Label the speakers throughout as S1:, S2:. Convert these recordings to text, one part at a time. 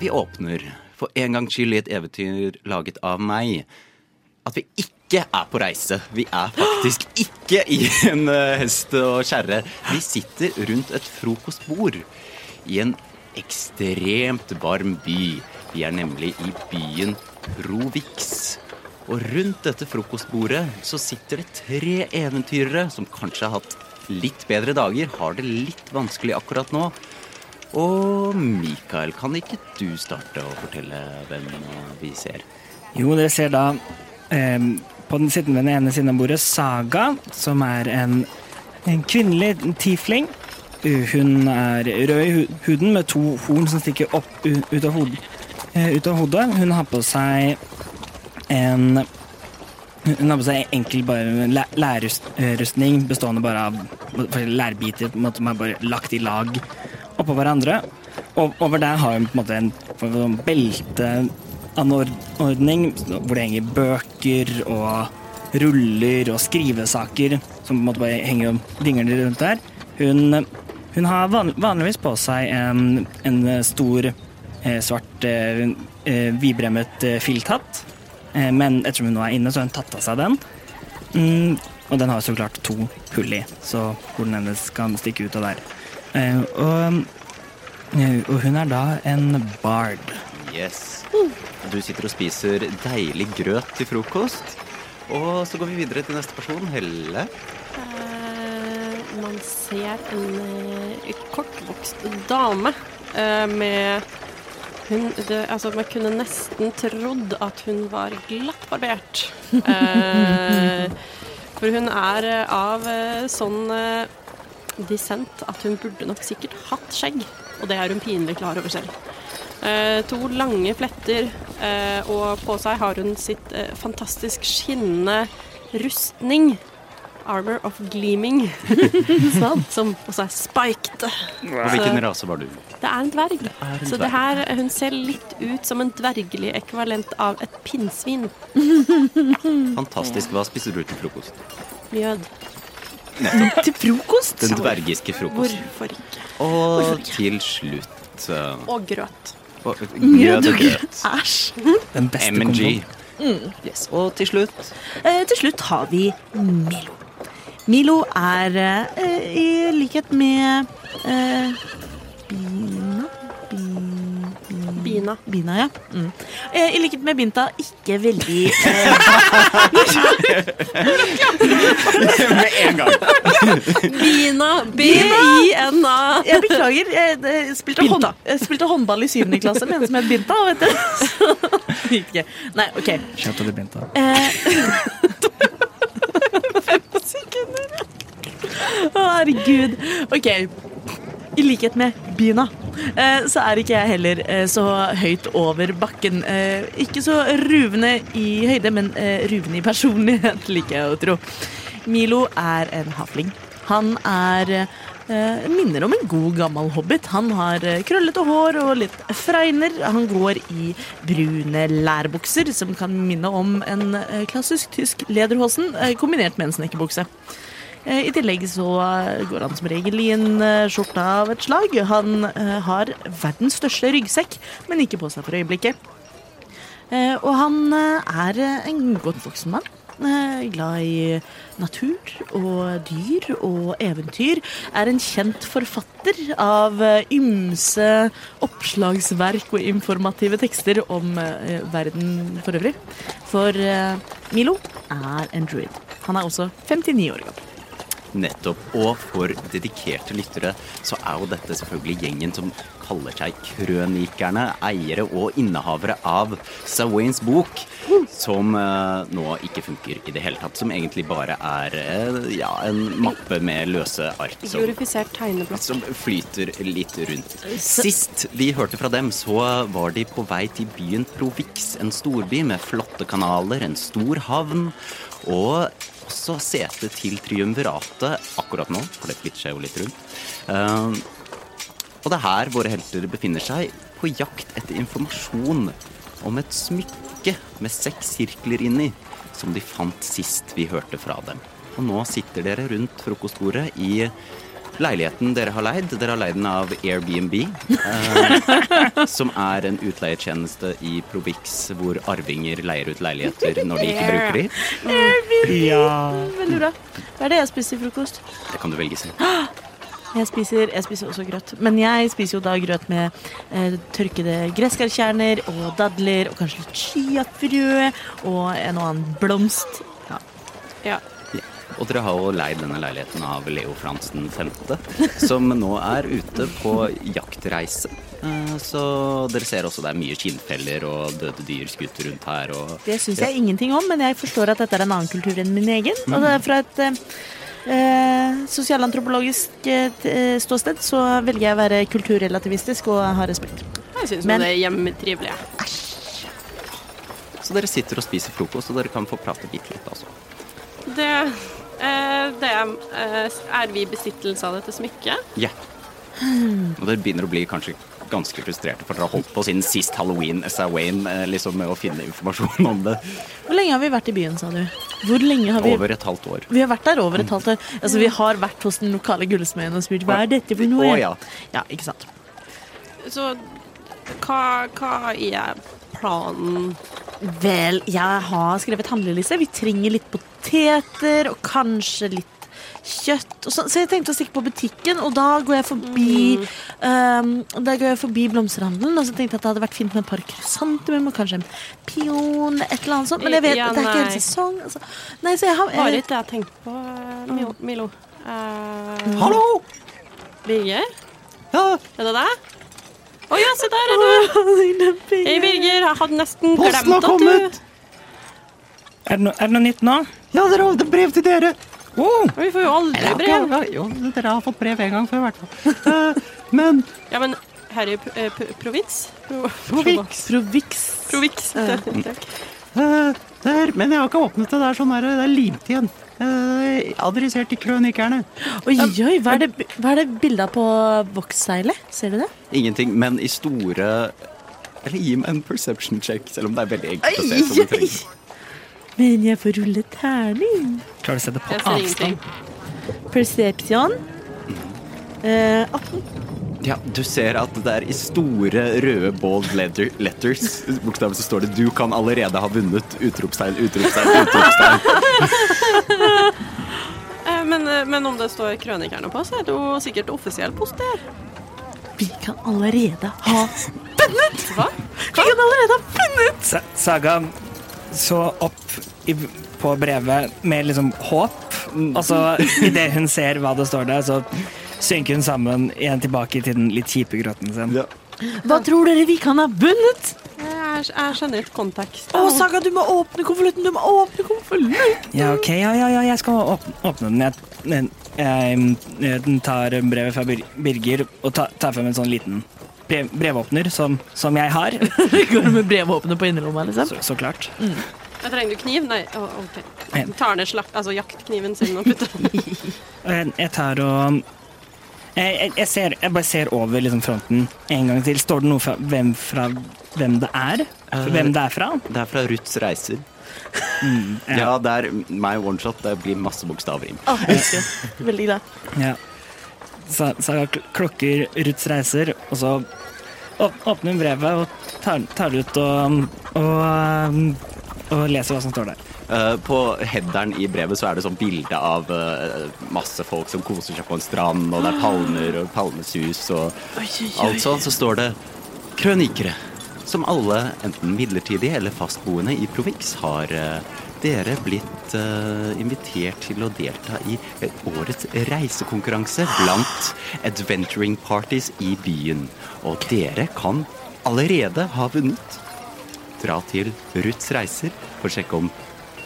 S1: vi åpner for en gangs skyld i et eventyr laget av meg. At vi ikke er på reise. Vi er faktisk ikke i en eh, hest og kjerre. Vi sitter rundt et frokostbord i en ekstremt varm by. Vi er nemlig i byen Provix. Og rundt dette frokostbordet så sitter det tre eventyrere som kanskje har hatt litt bedre dager, har det litt vanskelig akkurat nå. Og Mikael, kan ikke du starte å fortelle hvem vi ser?
S2: Jo, dere ser da ehm, på den sittende ved den ene siden av bordet Saga, som er en, en kvinnelig tiefling. Uh, Hun er rød i hu- huden med to horn som stikker opp u- ut av, hod eh, ut av hodet. Hun har på seg en hun har på seg enkel bare læ- lærrustning bestående bare av forskjellige lærbiter på en måte, som er bare lagt i lag oppå hverandre. Og over der har hun på en måte en form for sånn belteanordning hvor det henger bøker og ruller og skrivesaker som på en måte bare henger og dingler rundt der. Hun, hun har van, vanligvis på seg en, en stor eh, svart eh, eh, vidbremmet eh, filthatt. Eh, Men ettersom hun nå er inne, så har hun tatt av seg den. Mm, og den har så klart to hull i, så hornet hennes kan stikke ut av der. Eh, og, eh, og hun er da en bard.
S1: Yes. Du sitter og spiser deilig grøt til frokost. Og så går vi videre til neste person, Helle.
S3: Eh, Man ser en eh, kortvokst dame eh, med hun, det, altså, Man kunne nesten trodd at hun var glattbarbert. Eh, for hun er eh, av eh, sånn eh, dissent at hun burde nok sikkert hatt skjegg, og det er hun pinlig klar over selv. Eh, to lange fletter, eh, og på seg har hun sitt eh, fantastisk skinnende rustning. Armor of Gleaming, som også er spiked.
S1: Og hvilken rase var du?
S3: Det er en dverg.
S1: er en
S3: så
S1: dverg.
S3: det her, hun ser litt ut som en dvergelig ekvivalent av et pinnsvin.
S1: Fantastisk. Hva spiser du til frokost?
S3: Mjød.
S4: Til frokost?
S1: Den dvergiske frokosten.
S3: Hvorfor ikke?
S1: Og til slutt eh,
S3: Og grøt.
S1: og- Grøt og grøt.
S4: Æsj.
S2: Den beste
S1: MNG.
S2: komboen.
S1: Yes. Og til slutt
S4: Eh, til slutt har vi Milo. Milo er eh, i likhet med eh, Bina
S3: Bina.
S4: Bina, ja. Mm. Eh, I likhet med Binta ikke veldig eh,
S1: med en gang.
S3: Bina! B-i-n-a.
S4: Jeg beklager, jeg eh, spilte, hånd, jeg spilte håndball i syvende klasse med en som het Binta. Vet du. Det gikk ikke. Nei, OK.
S2: Shout out til Binta.
S4: Eh, Fem sekunder. Å, herregud. Ok. I likhet med Bina, eh, så er ikke jeg heller eh, så høyt over bakken. Eh, Ikke så ruvende i høyde, men eh, ruvende i personlighet, liker jeg å tro. Milo er en hafling. Han er eh, minner om en god gammel hobbit. Han har eh, krøllete hår og litt fregner. Han går i brune lærbukser, som kan minne om en eh, klassisk tysk lederhosen, eh, kombinert med en snekkerbukse. Eh, I tillegg så eh, går han som regel i en eh, skjorte av et slag. Han eh, har verdens største ryggsekk, men ikke på seg for øyeblikket. Eh, Og han eh, er eh, en godt voksen mann. eh, Glad i natur og dyr og eventyr. Er en kjent forfatter av eh, ymse oppslagsverk og informative tekster om eh, verden for øvrig. For eh, Milo er en druid. Han er også 59 år gammel.
S1: Nettopp. Og for dedikerte lyttere så er jo dette selvfølgelig gjengen som kaller seg Krønikerne, eiere og innehavere av Sawains bok, som eh, nå ikke funker i det hele tatt. Som egentlig bare er eh, ja, en mappe med løse ark som,
S3: Glorifisert tegneblokk.
S1: som flyter litt rundt. Sist vi hørte fra dem, så var de på vei til byen Provix, en storby med flotte kanaler, en stor havn og også sete til triumviratet akkurat nå, for det flytter seg jo litt rundt. Eh, og det er her våre helter befinner seg, på jakt etter informasjon om et smykke med seks sirkler inni, som de fant sist vi hørte fra dem. Og nå sitter dere rundt frokostbordet i leiligheten dere har leid. Dere har leid den av Airbnb, eh, som er en utleietjeneste i Provix hvor arvinger leier ut leiligheter når de ikke bruker de.
S2: Ja.
S4: Veldig bra. Hva er det jeg spiser til frokost?
S1: Det kan du velge selv.
S4: Jeg spiser, jeg spiser også grøt. Men jeg spiser jo da grøt med eh, tørkede gresskarkjerner og dadler og kanskje litt chiafrø og en og annen blomst. Ja.
S3: Ja.
S1: Ja. Og dere har jo leid denne leiligheten av Leo Fransen 5., som nå er ute på jaktreise. Eh, Så dere ser også det er mye skinnfeller og døde dyr skutt rundt her. Og
S4: Det syns jeg ingenting om, men jeg forstår at dette er en annen kultur enn min egen. Og det er fra et eh, eh, sosialantropologisk eh, t- eh, ståsted så velger jeg å være kulturrelativistisk og ha respekt.
S3: Jeg syns
S4: Men-
S3: det er hjemmetrivelig. jeg.
S1: så dere sitter og spiser frokost, og dere kan få prate bitte litt altså. også.
S3: Det, eh, det eh, Er vi i besittelse av dette smykket?
S1: Ja. Og dere begynner å bli kanskje ganske frustrerte, for dere har holdt på siden sist halloween Essa Wayne, eh, liksom med å finne informasjon om det.
S4: Hvor lenge har vi vært i byen, sa du? Hvor lenge har vi
S1: Over et halvt år.
S4: Vi har vært der over et halvt år. Altså, vi har vært hos den lokale gullsmeden og spurt hva er dette for noe.
S1: Å, ja.
S4: ja, ikke sant.
S3: Så hva, hva er planen?
S4: Vel, jeg har skrevet handleliste. Vi trenger litt poteter og kanskje litt kjøtt. Og så, så jeg tenkte å stikke på butikken, og da går jeg forbi ehm, Da går jeg forbi blomsterhandelen. Og så tenkte jeg at det hadde vært fint med et par krysantemum og kanskje en pion. Et eller annet sånt. Men jeg vet
S3: Ja,
S4: at det er ikke
S3: nei.
S4: hele sesong. Altså. Nei, så jeg har
S3: Var
S4: jeg,
S3: ikke det jeg tenkte på, eh, Milo. Milo. Eh,
S1: Hallo!
S3: Birger?
S1: Ja,
S3: Er det deg? Å ja, se der er du! Hei, Birger. Jeg hadde nesten
S1: posten har
S3: glemt at du
S1: kommet!
S2: Er, det no, er det noe nytt nå?
S1: Ja, dere har det er brev til dere!
S2: Oh,
S3: Vi får jo aldri brev.
S1: Ja, jo, dere har fått brev en gang før, i hvert fall. Eh, Men
S3: Ja, men her i eh, p- provins? Pro-
S1: Provix.
S4: Provix.
S3: Provix. Takk.
S1: eh, der, Men jeg har ikke åpnet det. Det er sånn der, det er limt igjen. Eh, Adressert til krønikerne.
S4: Oi, oi, hva er det, hva er det bildet på voksseilet? Ser du det?
S1: Ingenting, men i store Eller gi meg en perception check, selv om det er veldig enkelt å se. som du
S4: Oi,
S1: trenger.
S4: Men jeg får rulle terning.
S2: klarer du å se det på
S3: Jeg ser
S2: avstand?
S3: ingenting.
S4: Perception. Eh, 18.
S1: Ja, du ser at det er i store røde bold letter, letters Bokstaven så står det 'Du kan allerede ha vunnet!' Utropstegn, utropstegn, utropstegn.
S3: Eh, Men, eh, men om det står krønikerne på, så er det jo sikkert offisiell post der.
S4: Vi kan allerede ha
S3: Hva?
S4: Vi kan allerede ha funnet!
S2: Sa- Saga så opp i, på brevet med liksom håp, og så idet hun ser hva det står der, så synker hun sammen igjen tilbake til den litt kjipe gråten sin.
S1: Ja.
S4: Hva tror dere vi kan ha vunnet?
S3: Jeg, jeg skjønner ikke kontekst.
S4: Å, Saga, du må åpne konvolutten! Du må åpne konvolutten!
S2: Ja, OK, ja, ja, ja jeg skal åpne, åpne den. Jeg, den- jeg, den tar brevet fra Bir- Birger og tar, tar frem en sånn liten brev, brevåpner som, som jeg har,
S4: Går du med brevåpne på innerlomma, liksom?
S2: så, så klart.
S3: Jeg trenger du kniv? Nei, å, OK.
S2: Nei.
S3: Tar ned slapp, altså jaktkniven sin og putter
S2: Og
S3: den
S2: Jeg, jeg tar og jeg, jeg, jeg, ser, jeg bare ser over liksom, fronten en gang til. Står det noe fra hvem, fra, hvem det er? Hvem det er fra?
S1: Det er fra Ruths reiser. Ja, det er meg oneshot. Det blir masse bokstaver inn.
S4: Å, jeg elsker det. Veldig glad.
S2: Ja. Sa- Saga kl- klokker Ruths reiser, og så åp- åpner hun brevet og tar, tar det ut og, og, um, og leser hva som står der.
S1: Eh, på headeren i brevet så er det sånn bilde av eh, masse folk som koser seg på en strand, og det er palmer og palmesus og
S4: Oi, oi, oi.
S1: Altså så står det krønikere, som alle, enten midlertidige eller fastboende i Provix, har eh, dere blitt eh, invitert til å delta i eh, årets reisekonkurranse blant adventuring parties i byen. Og dere kan allerede ha vunnet. Dra til Ruths reiser for å sjekke om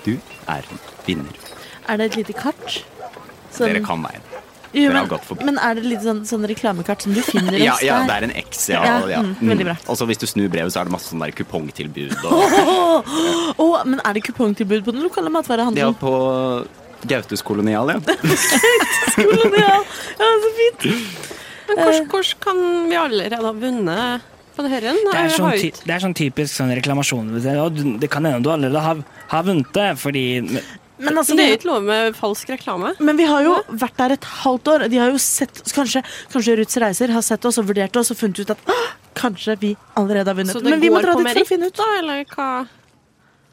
S1: du er en vinner.
S4: Er det et lite kart? Sånn-
S1: Dere kan veien.
S4: Jo,
S1: dere har
S4: men-
S1: gått forbi.
S4: Men er det litt sånn, sånn reklamekart som du finner en
S1: Ja, ja,
S4: sted?
S1: det er en X, ja.
S4: Ja,
S1: ja.
S4: mm, veldig bra.
S1: Og så hvis du snur brevet, så er det masse sånn der kupongtilbud og
S4: Å, men er det kupongtilbud på den lokale
S1: Ja,
S4: matvarehandelen?
S1: på Gautes kolonial, ja.
S4: Kolonial. Ja, så fint.
S3: Men hvordan hvordan kan vi allerede ha vunnet på det herren?
S2: Det er
S3: Jeg
S2: sånn,
S3: har jo
S2: ty,
S3: ikke-
S2: det er sånn typisk sånn reklamasjon. hvor det sier, «Å, du- Det kan hende du allerede har, har vunnet det, fordi
S4: Men altså,
S3: Men det er jo ikke lov med falsk reklame.
S4: Men vi har jo vært der et halvt år. og De har jo sett, kanskje, kanskje Ruths Reiser har sett oss og vurdert oss og funnet ut at «Åh, kanskje vi allerede har vunnet.
S3: Så det
S4: Men vi må
S3: går
S4: dra
S3: på
S4: dit for å
S3: meritt,
S4: finne ut.
S3: da, eller hva?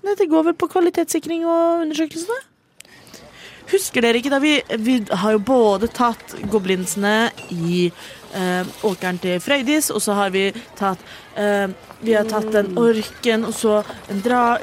S4: Nei, Det går vel på kvalitetssikring og undersøkelsene? Husker dere ikke da vi, vi har jo både tatt goblinsene i eh, åkeren til Frøydis, og så har vi tatt eh, Vi har tatt
S5: Mm.
S4: den orken, og så en dra...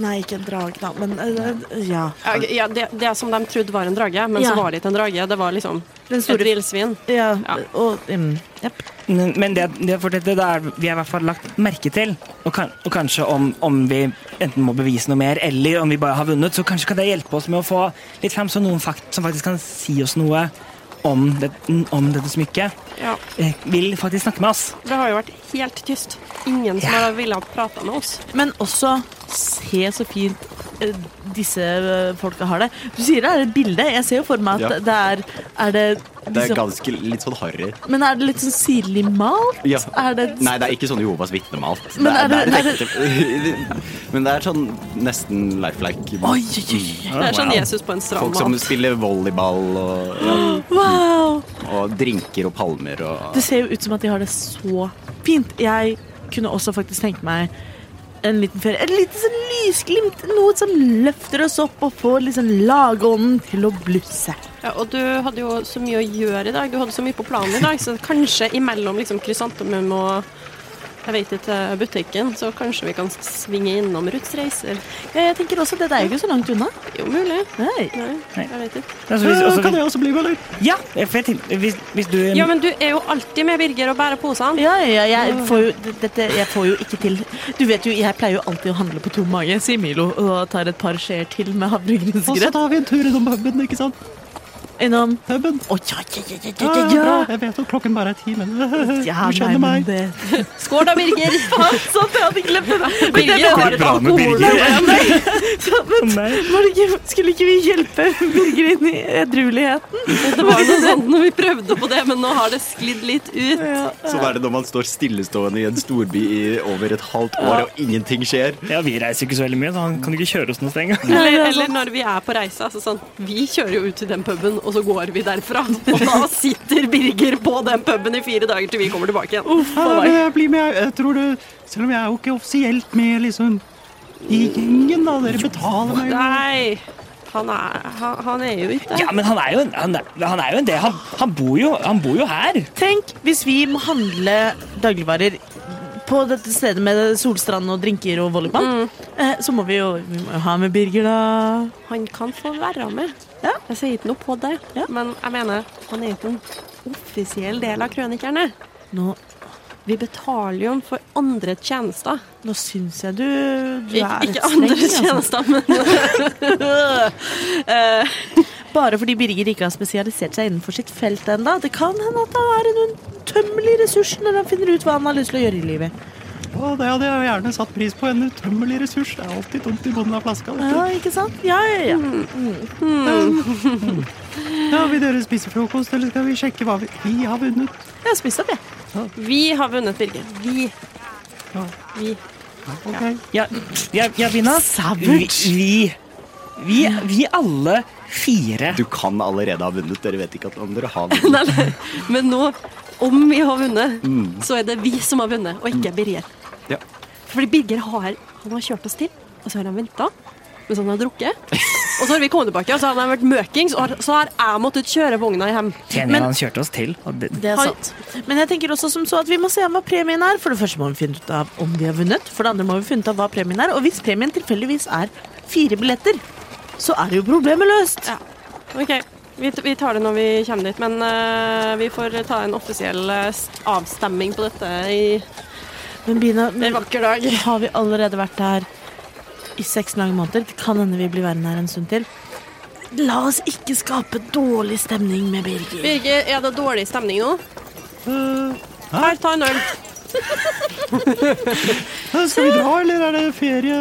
S4: Nei, ikke en drage, da, men eh, ja.
S3: Ja, g- Ja, det, det som de trodde var en drage, men
S4: Ja.
S3: så var det ikke en drage. Det var liksom
S4: Den
S3: et
S4: store
S3: villsvin.
S4: ja,
S3: Ja.
S4: Og, mm, jepp.
S2: Men men det, det fortsetter, det er vi har i hvert fall lagt merke til. Og, kan, og kanskje om, om vi enten må bevise noe mer, eller om vi bare har vunnet, så kanskje kan det hjelpe oss med å få litt frem så noen fakt som faktisk kan si oss noe om, det, om dette smykket.
S3: Ja.
S2: Eh, Vil faktisk snakke med oss.
S3: Det har jo vært helt tyst. Ingen som har villet prate med oss.
S4: Men også se så fint eh, disse eh, folka har det. Du sier det er et bilde. Jeg ser jo for meg at
S5: Ja.
S4: det er Er det, liksom-
S5: Det er
S4: disse-
S5: ganske litt sånn harry.
S4: Men er det litt sånn sirlig malt?
S5: Ja.
S4: Er det
S5: Nei, det er ikke sånn Jehovas vitnemalt.
S4: Men er det-
S5: Men det er sånn nesten lifelike.
S4: Oi, oi,
S1: Mm.
S4: oi.
S3: Det er sånn
S2: Wow.
S3: Jesus på en stram
S5: Folk som
S3: mat.
S5: spiller volleyball og, ja,
S4: Wow!
S5: og drinker og palmer og
S4: Det ser jo ut som at de har det så fint. Jeg kunne også faktisk tenke meg en liten ferie. Et lite sånn lysglimt. Noe som løfter oss opp og får liksom lagånden til å blusse.
S3: Ja, og du hadde jo så mye å gjøre i dag. Du hadde så mye på planen i dag, så kanskje imellom liksom krysantemum og jeg vet ikke, butikken, så kanskje vi kan svinge innom Ruths reiser.
S4: Ja, Jeg tenker også, Dette er jo ikke så langt unna.
S3: Jo, mulig.
S4: Nei.
S3: Nei,
S2: Nei.
S3: jeg vet ikke.
S2: Altså, hvis,
S6: Eh,
S2: også,
S5: jeg også bli med, eller?
S2: ja, for jeg tenkte, hvis, hvis du
S3: Ja, men du er jo alltid med, Birger, og bærer posene.
S4: Ja, ja, ja, jeg får jo, d- dette, jeg får jo ikke til Du vet jo, jeg pleier jo alltid å handle på tom mage, sier Milo, og tar et par skjeer til med havregrynsgrøt.
S5: tar vi en tur innom puben, ikke sant?
S4: Innom
S5: Puben.
S4: Å, ja, ja, ja, ja, ja, ja,
S5: Jeg vet at klokken bare er ti, men
S4: ja, ja nei, men det
S3: Skål da, Birger!
S4: Faen, sant, jeg hadde glemt det! der. Men det
S3: Birger har et
S2: bra med
S3: alkohol.
S2: Birger.
S3: Nei,
S4: ja, men,
S2: Nei.
S4: var det ikke, Skulle ikke vi hjelpe Birger inn i edrueligheten?
S3: Det var noe sånt når vi prøvde på det, men nå har det sklidd litt ut.
S5: Sånn er det når man står stillestående i en storby i over et halvt år, og ingenting skjer.
S2: Ja, vi reiser jo ikke så veldig mye, så han kan jo ikke kjøre oss noe sted engang.
S4: Nei,
S3: Eller,
S4: det er
S3: eller
S4: sant.
S3: når vi er på reise. Altså sånn, vi kjører jo ut til den puben, og så går vi derfra. Og da sitter Birger på den puben i fire dager til vi kommer tilbake igjen.
S6: Jeg blir med, jeg tror det Selv om jeg er jo ikke offisielt med liksom i gjengen, da. Dere betaler meg.
S3: Nei, han er, han, han er jo ikke
S2: Ja, men han er jo en, han er, han er jo en del. Han, han, bor jo, han bor jo her.
S4: Tenk hvis vi må handle dagligvarer på dette stedet med solstrand og drinker og volleyball.
S3: Mm.
S4: Eh, så må vi jo vi må jo ha med Birger, da.
S3: Han kan få være med.
S4: Ja.
S3: Jeg sier ikke noe på det,
S4: Ja.
S3: men jeg mener, han er jo ikke en offisiell del av krønikerne.
S4: Nå,
S3: Vi betaler jo for andre tjenester.
S4: nå syns jeg du, du
S3: Ik ikke
S4: er litt
S3: andre
S4: streng, altså.
S3: tjenester, men
S4: Bare fordi Birger ikke har spesialisert seg innenfor sitt felt ennå. Det kan hende at han er en utømmelig ressurs når han finner ut hva han har lyst til å gjøre i livet.
S6: Å, det hadde jeg gjerne satt pris på. En utømmelig ressurs. Det er alltid tomt i bunnen av flaska. vet du.
S4: Ja, ikke sant? Ja, ja,
S3: Mm.
S4: ja.
S6: Ja, Vil dere spise frokost, eller skal vi sjekke hva vi, vi har vunnet?
S4: Jeg har spist opp, jeg.
S3: vi har vunnet, Birger. Vi. Vi.
S6: Ok.
S2: Ja, ja, ja Vina. Vi,
S4: Savage.
S2: vi, vi, vi alle fire.
S5: Du kan allerede ha vunnet, dere vet ikke at om dere har vunnet.
S3: Nei, nei. Men nå, om vi har vunnet, så er det vi som har vunnet, og ikke Birger.
S5: Ja.
S3: Fordi Birger har, han har kjørt oss til, og så har han venta. Mens han har drukket. Og så har vi kommet tilbake, og så har han vært møkings, og har- så har jeg måttet kjøre vogna hjem.
S2: Tjeningen han kjørte oss til. Og det,
S4: Det er
S3: Har-
S4: sant. Men jeg tenker også som så at vi må se an hva premien er. For det første må vi finne ut av om vi har vunnet. For det andre må vi finne ut av hva premien er. Og hvis premien tilfeldigvis er fire billetter, så er jo problemet løst.
S3: Ja. Ok, vi, vi tar det når vi kommer dit, men eh, vi får ta en offisiell eh, avstemming på dette i
S4: Men Bina,
S3: en
S4: men,
S3: vakker dag.
S4: har vi allerede vært her i seks lange måneder? Det kan hende vi blir værende her en stund til. La oss ikke skape dårlig stemning med Birger.
S3: Birger, er det dårlig stemning nå?
S6: Eh,
S3: Her, ta en øl.
S6: Eh, skal vi dra, eller er det ferie?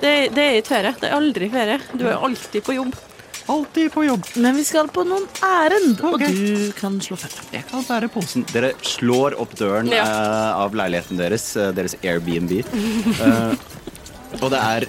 S3: Det, det er ikke ferie. Det er aldri ferie. Du er alltid på jobb.
S6: Alltid på jobb.
S4: Men vi skal på noen ærend, og
S6: Ok.
S4: du kan slå følge.
S5: Jeg kan bære posen. Dere slår opp døren
S3: Ja.
S5: eh, av leiligheten deres, eh, deres Airbnb. Eh, og det er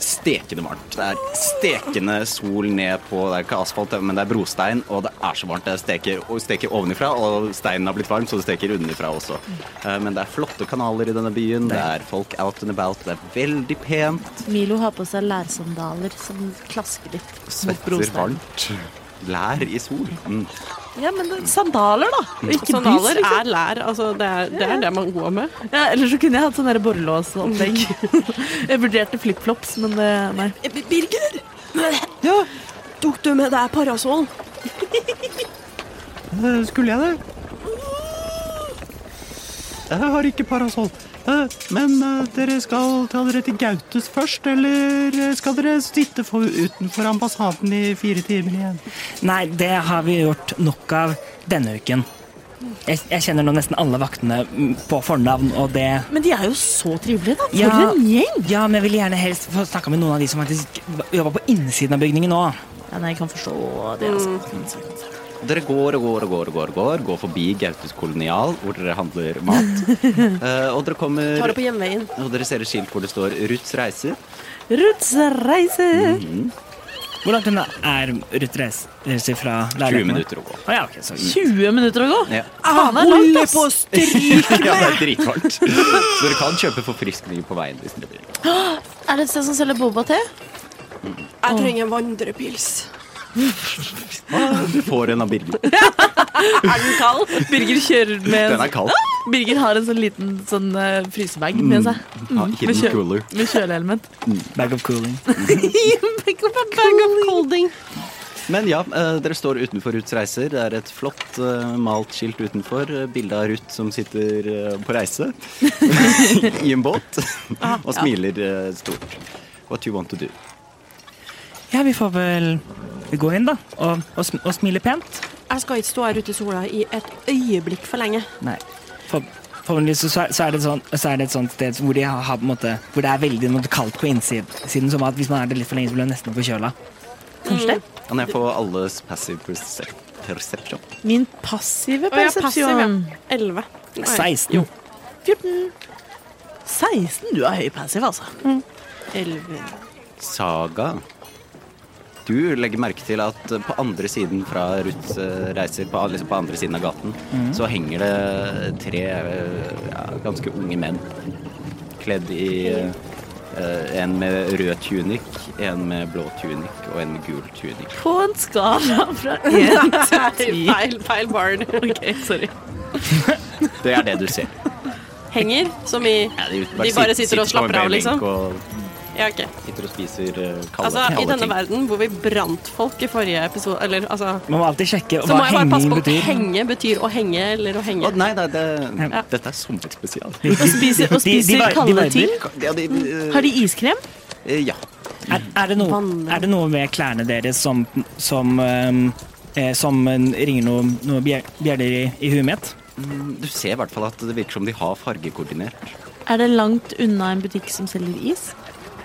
S5: s-
S1: stekende varmt. Det er stekende sol ned på Det er ikke asfalt, men det er brostein, og det er så varmt. Det steker, og steker ovenifra, og steinen har blitt varm, så det steker underfra også. Eh, Men det er flotte kanaler i denne byen, det er folk out and about, det er veldig pent.
S4: Milo har på seg lærsandaler som klasker litt. mot
S1: Svetter
S4: brosteinen.
S1: varmt. Lær i sol. Mm.
S4: Ja, men det- sandaler, da. og Ikke boots,
S3: Sandaler
S4: liksom.
S3: er lær. Altså, det, er, det er det man går med.
S4: Ja, Eller så kunne jeg hatt sånn der borrelåsopplegg. jeg vurderte flipflops, men det, nei.
S3: Eh, Birger! Ja? Tok du med deg parasoll?
S6: Eh, Skulle jeg det? Jeg har ikke parasoll. Eh, Men eh, dere skal ta dere til Gautes først, eller eh, skal dere sitte for, utenfor ambassaden i fire timer igjen?
S2: Nei, det har vi gjort nok av denne uken. Jeg, jeg kjenner nå nesten alle vaktene mm, på fornavn, og det
S4: Men de er jo så trivelige, da. For
S2: Ja.
S4: en gjeng!
S2: Ja, men jeg ville gjerne helst få snakka med noen av de som faktisk jobba på innsiden av bygningen nå.
S4: Ja, nei, jeg kan forstå det. Altså.
S1: Dere går og går og går og går, og går, går forbi Gautes kolonial, hvor dere handler mat. Eh, og dere kommer
S3: Tar det på hjemveien.
S1: Og dere ser et skilt hvor det står 'Ruths reiser'.
S4: Rutsreiser!
S2: Hvor langt unna er Ruth Reis- reiser fra
S1: 20
S2: leiligheten?
S1: minutter å gå.
S2: Å ja, ok, så
S4: 20 minutter å gå!
S1: Ja.
S2: Ah,
S4: Faen, det er langt, ass!
S1: ja, det er dritvarmt. Så dere kan kjøpe forfriskninger på veien hvis dere vil.
S4: Er det et sted som selger boba-te?
S3: Jeg trenger en vandrepils.
S1: Og Du får en av Birger.
S4: Er den kald? Birger kjører med
S1: Den er kald.
S4: Birger har en sånn liten sånn, eh, frysebag med seg.
S1: Ja,
S4: Med,
S1: hidden cooler.
S4: med kjøleelement.
S2: Bag of cooling.
S4: Pick up a bag of
S3: Holding.
S1: Men ja, eh, dere står utenfor Ruths reiser. Det er et flott eh, malt skilt utenfor. eh, Bilde av Ruth som sitter eh, på reise i en båt og smiler eh, stort. What you want to do?
S2: Ja, vi får vel gå inn, da. Og, og, sm og smile pent.
S3: Jeg skal ikke stå her ute i sola i et øyeblikk for lenge.
S2: Nei. For, forhåpentligvis så, så, er det et sånt, så er det et sånt sted hvor, de har, har på en måte, hvor det er veldig på en måte, kaldt på innsiden. Som at hvis man er det litt for lenge, så blir man nesten forkjøla.
S4: Kanskje det?
S1: Kan jeg få alles passive percep perception?
S4: Min passive
S3: Og jeg er passiv, ja.
S4: persepsjon.
S3: 11.
S2: 16.
S4: 14. 16? Du er høy passiv, altså.
S3: 11.
S1: Saga. Du legger merke til at på andre siden fra Ruths eh, reiser, på, liksom på andre siden av gaten,
S3: Mhm.
S1: så henger det tre eh, ja, ganske unge menn kledd i eh, eh, en med rød tunikk, en med blå tunikk og en med gul tunikk.
S4: På en skala fra 1 til 10.
S3: Feil, feil barn.
S4: OK, sorry.
S1: Det er det du ser.
S3: Henger, som i
S1: Ja,
S3: De bare
S1: sit-
S3: sitter og slapper
S1: på en
S3: av, liksom?
S1: benk Og
S3: Ja, ok.
S1: sitter og spiser eh, kalde,
S3: Altså, I
S1: kalde
S3: denne
S1: ting.
S3: verden hvor vi brant folk i forrige episode, eller altså
S2: Man må alltid sjekke
S3: Så
S2: hva
S3: må jeg bare passe
S2: henging
S3: på at
S2: betyr.
S3: henge betyr å henge eller å henge.
S1: Å, nei, nei, det,
S2: Ja.
S1: dette er sommerspesial.
S4: Og spiser, og
S2: De- de
S4: spiser
S2: var- de
S4: kalde
S2: varmer.
S4: ting.
S1: Ja, de, eh,
S4: Har de iskrem?
S1: eh, ja.
S2: Er, er, det noe,
S3: Vann.
S2: er det noe med klærne deres som, som, ehm, eh, som eh, ringer noen noe bjer- bjeller i, i huet mitt?
S1: Du ser i hvert fall at det virker som de har fargekoordinert.
S4: Er det langt unna en butikk som selger is?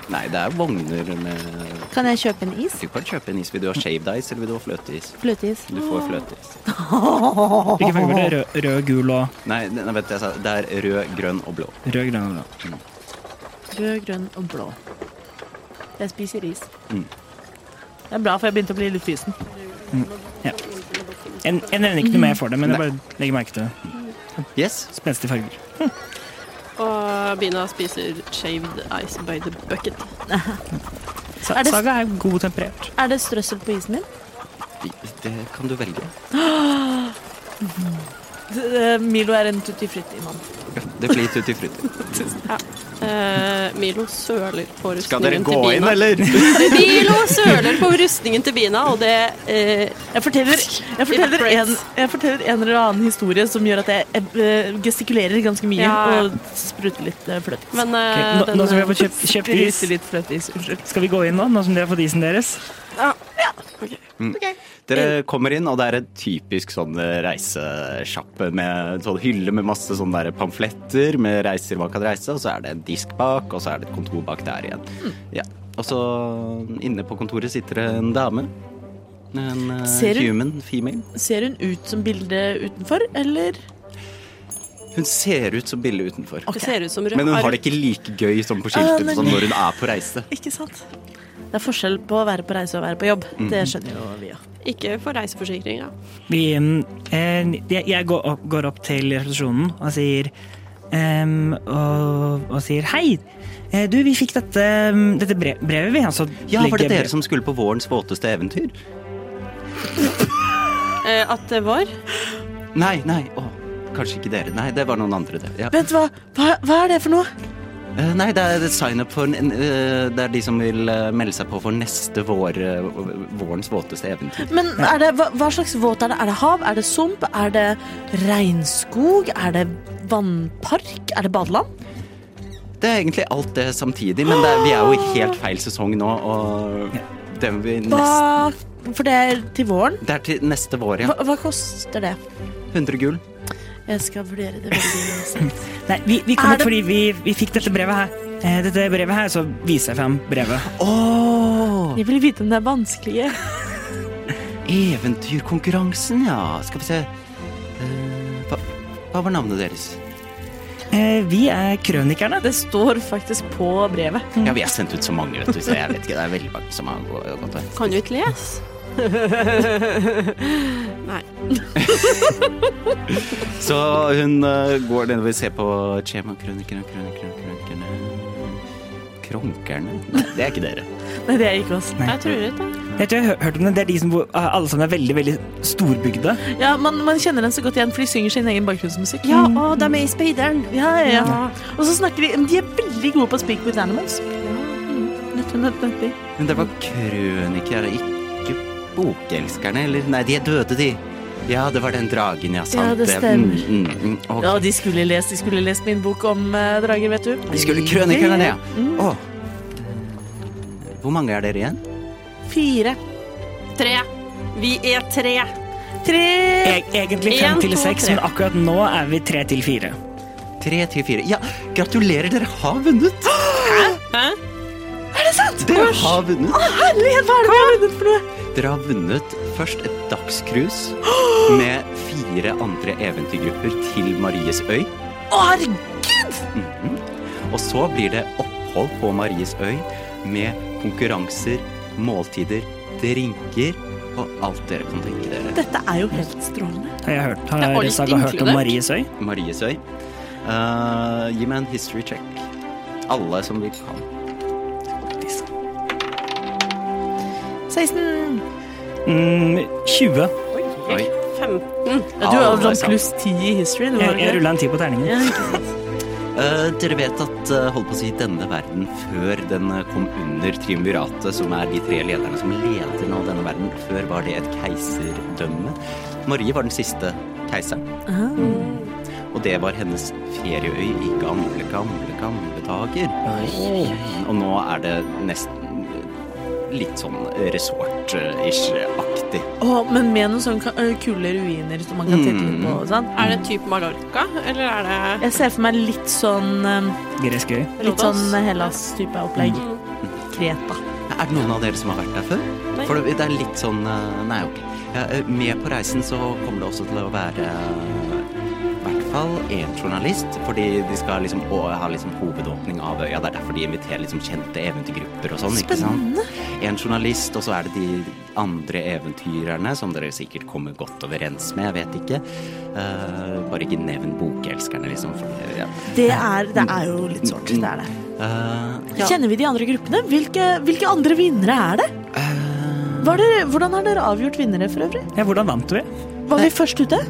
S1: Nei, det er vogner med
S4: Kan jeg kjøpe en is?
S1: Du kan kjøpe en is. Vil du ha shaved ice, eller vil du ha fløteis?
S4: Fløteis.
S1: Du får fløteis.
S2: Hvilke farger var det? Rød, rød gul og
S1: Nei, ne- nei, vent, jeg sa det er rød, grønn og blå.
S2: rød, grønn og blå.
S4: Rød, grønn og blå. Jeg spiser is.
S1: Mm.
S4: Det er bra, for jeg begynte å bli litt fysen.
S2: Jeg, jeg nevner ikke
S3: Mm.
S2: noe mer for det, men jeg bare legger merke til det.
S1: Yes.
S2: spenstige farger.
S3: Og Bina spiser shaved ice by the bucket.
S2: Sa,
S4: Er det-
S2: Saga er god temperert.
S4: Er det strøssel på isen min?
S1: Det kan du velge.
S4: D- eh, Milo er en tutti frutti-mann.
S1: Det blir tutti frutti.
S3: Eh, Milo søler på rustningen
S1: Skal dere gå
S3: til
S1: inn,
S3: Bina.
S1: eller?
S3: Milo søler på rustningen til Bina, og det eh,
S4: Jeg forteller, jeg, forteller en, jeg forteller en eller annen historie som gjør at jeg eh, gestikulerer ganske mye
S3: Ja.
S4: og spruter litt eh, fløteis.
S3: Men eh,
S2: Ok, nå-
S3: den-
S2: nå som vi har fått kjøpt, kjøpt is,
S4: Spruter litt fløteis, unnskyld.
S2: skal vi gå inn nå, nå som dere har fått isen deres?
S1: Dere kommer inn, og det er en typisk sånn reisesjappe med en sånn hylle med masse sånne der pamfletter med reiser man kan reise, og så er det en disk bak, og så er det et kontor bak der igjen.
S3: Hmm.
S1: Ja. Og så inne på kontoret sitter det en dame. En eh,
S4: Ser hun-
S1: human female.
S4: Ser hun ut som bildet utenfor, eller?
S1: Hun ser ut som Bille utenfor.
S4: Ok.
S3: Det ser ut som rød
S1: Men hun har
S3: arv.
S1: det ikke like gøy som på
S4: Ah,
S1: skiltet
S4: nei.
S1: som når hun er på reise.
S4: Ikke sant? Det er forskjell på å være på reise og være på jobb.
S1: Mm.
S4: Det skjønner jo vi òg.
S3: Ikke for reiseforsikringa.
S2: Vi, mm, eh, jeg jeg går, opp, går opp til resepsjonen og sier em, og, og sier hei. eh, Du, vi fikk dette, mm, dette bre- brevet, vi. Altså,
S1: Ja, var det
S2: legger brev-
S1: dere som skulle på vårens våteste eventyr?
S3: Eh, at det var
S1: Nei, nei, å, kanskje ikke dere. Nei, det var noen andre, det. Ja.
S4: Vent, hva, hva, hva er det for noe?
S1: Eh, Nei, det er sign up for en, eh, Det er de som vil eh, melde seg på for neste vår, eh, vårens våteste eventyr.
S4: Men er det, hva, hva slags våt er det? Er det hav? Er det sump? Er det regnskog? Er det vannpark? Er det badeland?
S1: Det er egentlig alt det samtidig, men det er, vi er jo i helt feil sesong nå, og det, vi nest,
S4: Hva, for det er til våren.
S1: det er til neste vår, ja.
S4: Hva, hva koster det?
S1: 100 gull.
S4: Jeg skal vurdere det veldig nøye.
S2: Nei, vi, vi
S4: Er
S2: kom opp
S4: det-
S2: fordi vi, vi fikk dette brevet her. Eh, Dette brevet her, så viser jeg frem brevet.
S1: Åh,
S4: Jeg vil vite om det er vanskelige.
S1: eventyrkonkurransen, ja. Skal vi se. Eh, hva, hva var navnet deres?
S2: Eh, Vi er krønikerne.
S4: Det står faktisk på brevet.
S1: Ja, vi er sendt ut så mange, vet du, så jeg vet ikke. Det er veldig mange som har gå- gått av.
S3: Kan du ikke lese? Nei.
S1: Så hun eh, går nedover og ser på Chema Krønikerne, krønikerne, krønikerne Kronkerne? Nei, det er ikke dere.
S4: Nei, det er ikke oss.
S2: Nei.
S3: Jeg tror ikke det.
S2: Jeg tror jeg har hørt om det. Det er de som bor, alle sammen er veldig, veldig storbygde.
S4: Ja, man, man kjenner dem så godt igjen, for de synger sin egen bakgrunnsmusikk.
S3: Ja, å, de er i speideren.
S4: Ja, ja, ja. Og så snakker de De er veldig gode på å speak with animals. Mm. Nøtte, nøtte, nøtte.
S1: Men det var krønikere, ikke bokelskerne, eller? Nei, de er døde, de. Ja, det var den dragen, ja. Sant.
S4: Ja, det
S1: Mm,
S4: stemmer.
S1: Mm, mm, ok.
S4: Ja, de skulle lest, de skulle lest min bok om eh, drager, vet du.
S1: Vi skulle krønikerne, ja.
S4: Mm,
S1: Å. Hvor mange er dere igjen?
S4: Fire.
S3: Tre. Vi er tre.
S4: Tre
S2: E- Egentlig fem
S3: En,
S2: til
S3: to,
S2: seks,
S3: tre.
S2: men akkurat nå er vi tre til fire.
S1: Tre til fire. Ja, gratulerer, dere har vunnet!
S3: Hæ?
S4: Er det sant?
S1: Dere har vunnet.
S4: Herlighet, hva er det vi har vunnet for noe?
S1: Dere har vunnet først et dagscruise med fire andre eventyrgrupper til Maries øy.
S4: Å, herregud!
S1: Og så blir det opphold på Maries øy med konkurranser, måltider, drinker og alt dere kan tenke dere.
S4: Dette er jo helt strålende.
S2: Har jeg hørt,
S3: Det er
S2: har
S3: alt
S2: Saga hørt om
S3: inkludert.
S2: Maries øy?
S1: Maries øy. Eh, gi meg en history check. Alle som vil kan.
S4: 16.
S2: Mm, 20.
S1: Oi.
S3: 15.
S4: Ja, du har
S1: Alle
S4: blant
S1: sammen.
S4: pluss 10 i history. Du
S2: Jeg,
S4: har
S2: jeg
S4: det.
S2: rulla en ti på terningen.
S4: Ja, ikke sant.
S1: Eh, dere vet at eh, holdt på å si, denne verden, før den eh, kom under triumviratet, som er de tre lederne som leder nå denne verden, før var det et keiserdømme. Marie var den siste keiseren. Og det var hennes ferieøy i gamle, gamle, gamle dager. Og nå er det nesten eh, litt sånn eh, resort-ish-aktig.
S4: Å, men med noen sånne ka- ø, kule ruiner som man kan titte litt på. og Sånn.
S3: Er det type Mallorca, eller er det
S4: Jeg ser for meg litt sånn um,
S2: Gresk øy.
S4: Litt
S3: Rhodos?
S4: sånn Hellas-type opplegg. Mm. Kreta.
S1: Er det noen av dere som har vært der før?
S3: Nei.
S1: For det det er litt sånn eh, Nei, ok. Ja, eh, Med på reisen så kommer det også til å være eh, i hvert fall én journalist, fordi de skal liksom å- ha liksom hovedåpning av øya. Det er derfor de inviterer liksom kjente eventyrgrupper og sånn. ikke sant? En journalist, og så er det de andre eventyrerne, som dere sikkert kommer godt overens med, jeg vet ikke. Eh, bare ikke nevn bokelskerne, liksom. For, det- ja.
S4: Det er, det er jo litt sårt. Det er det.
S1: Eh, ja.
S4: Kjenner vi de andre gruppene? Hvilke, hvilke andre vinnere er det? Var dere, hvordan har dere avgjort vinnere for øvrig?
S2: Ja, hvordan vant vi?
S4: Var vi først ute?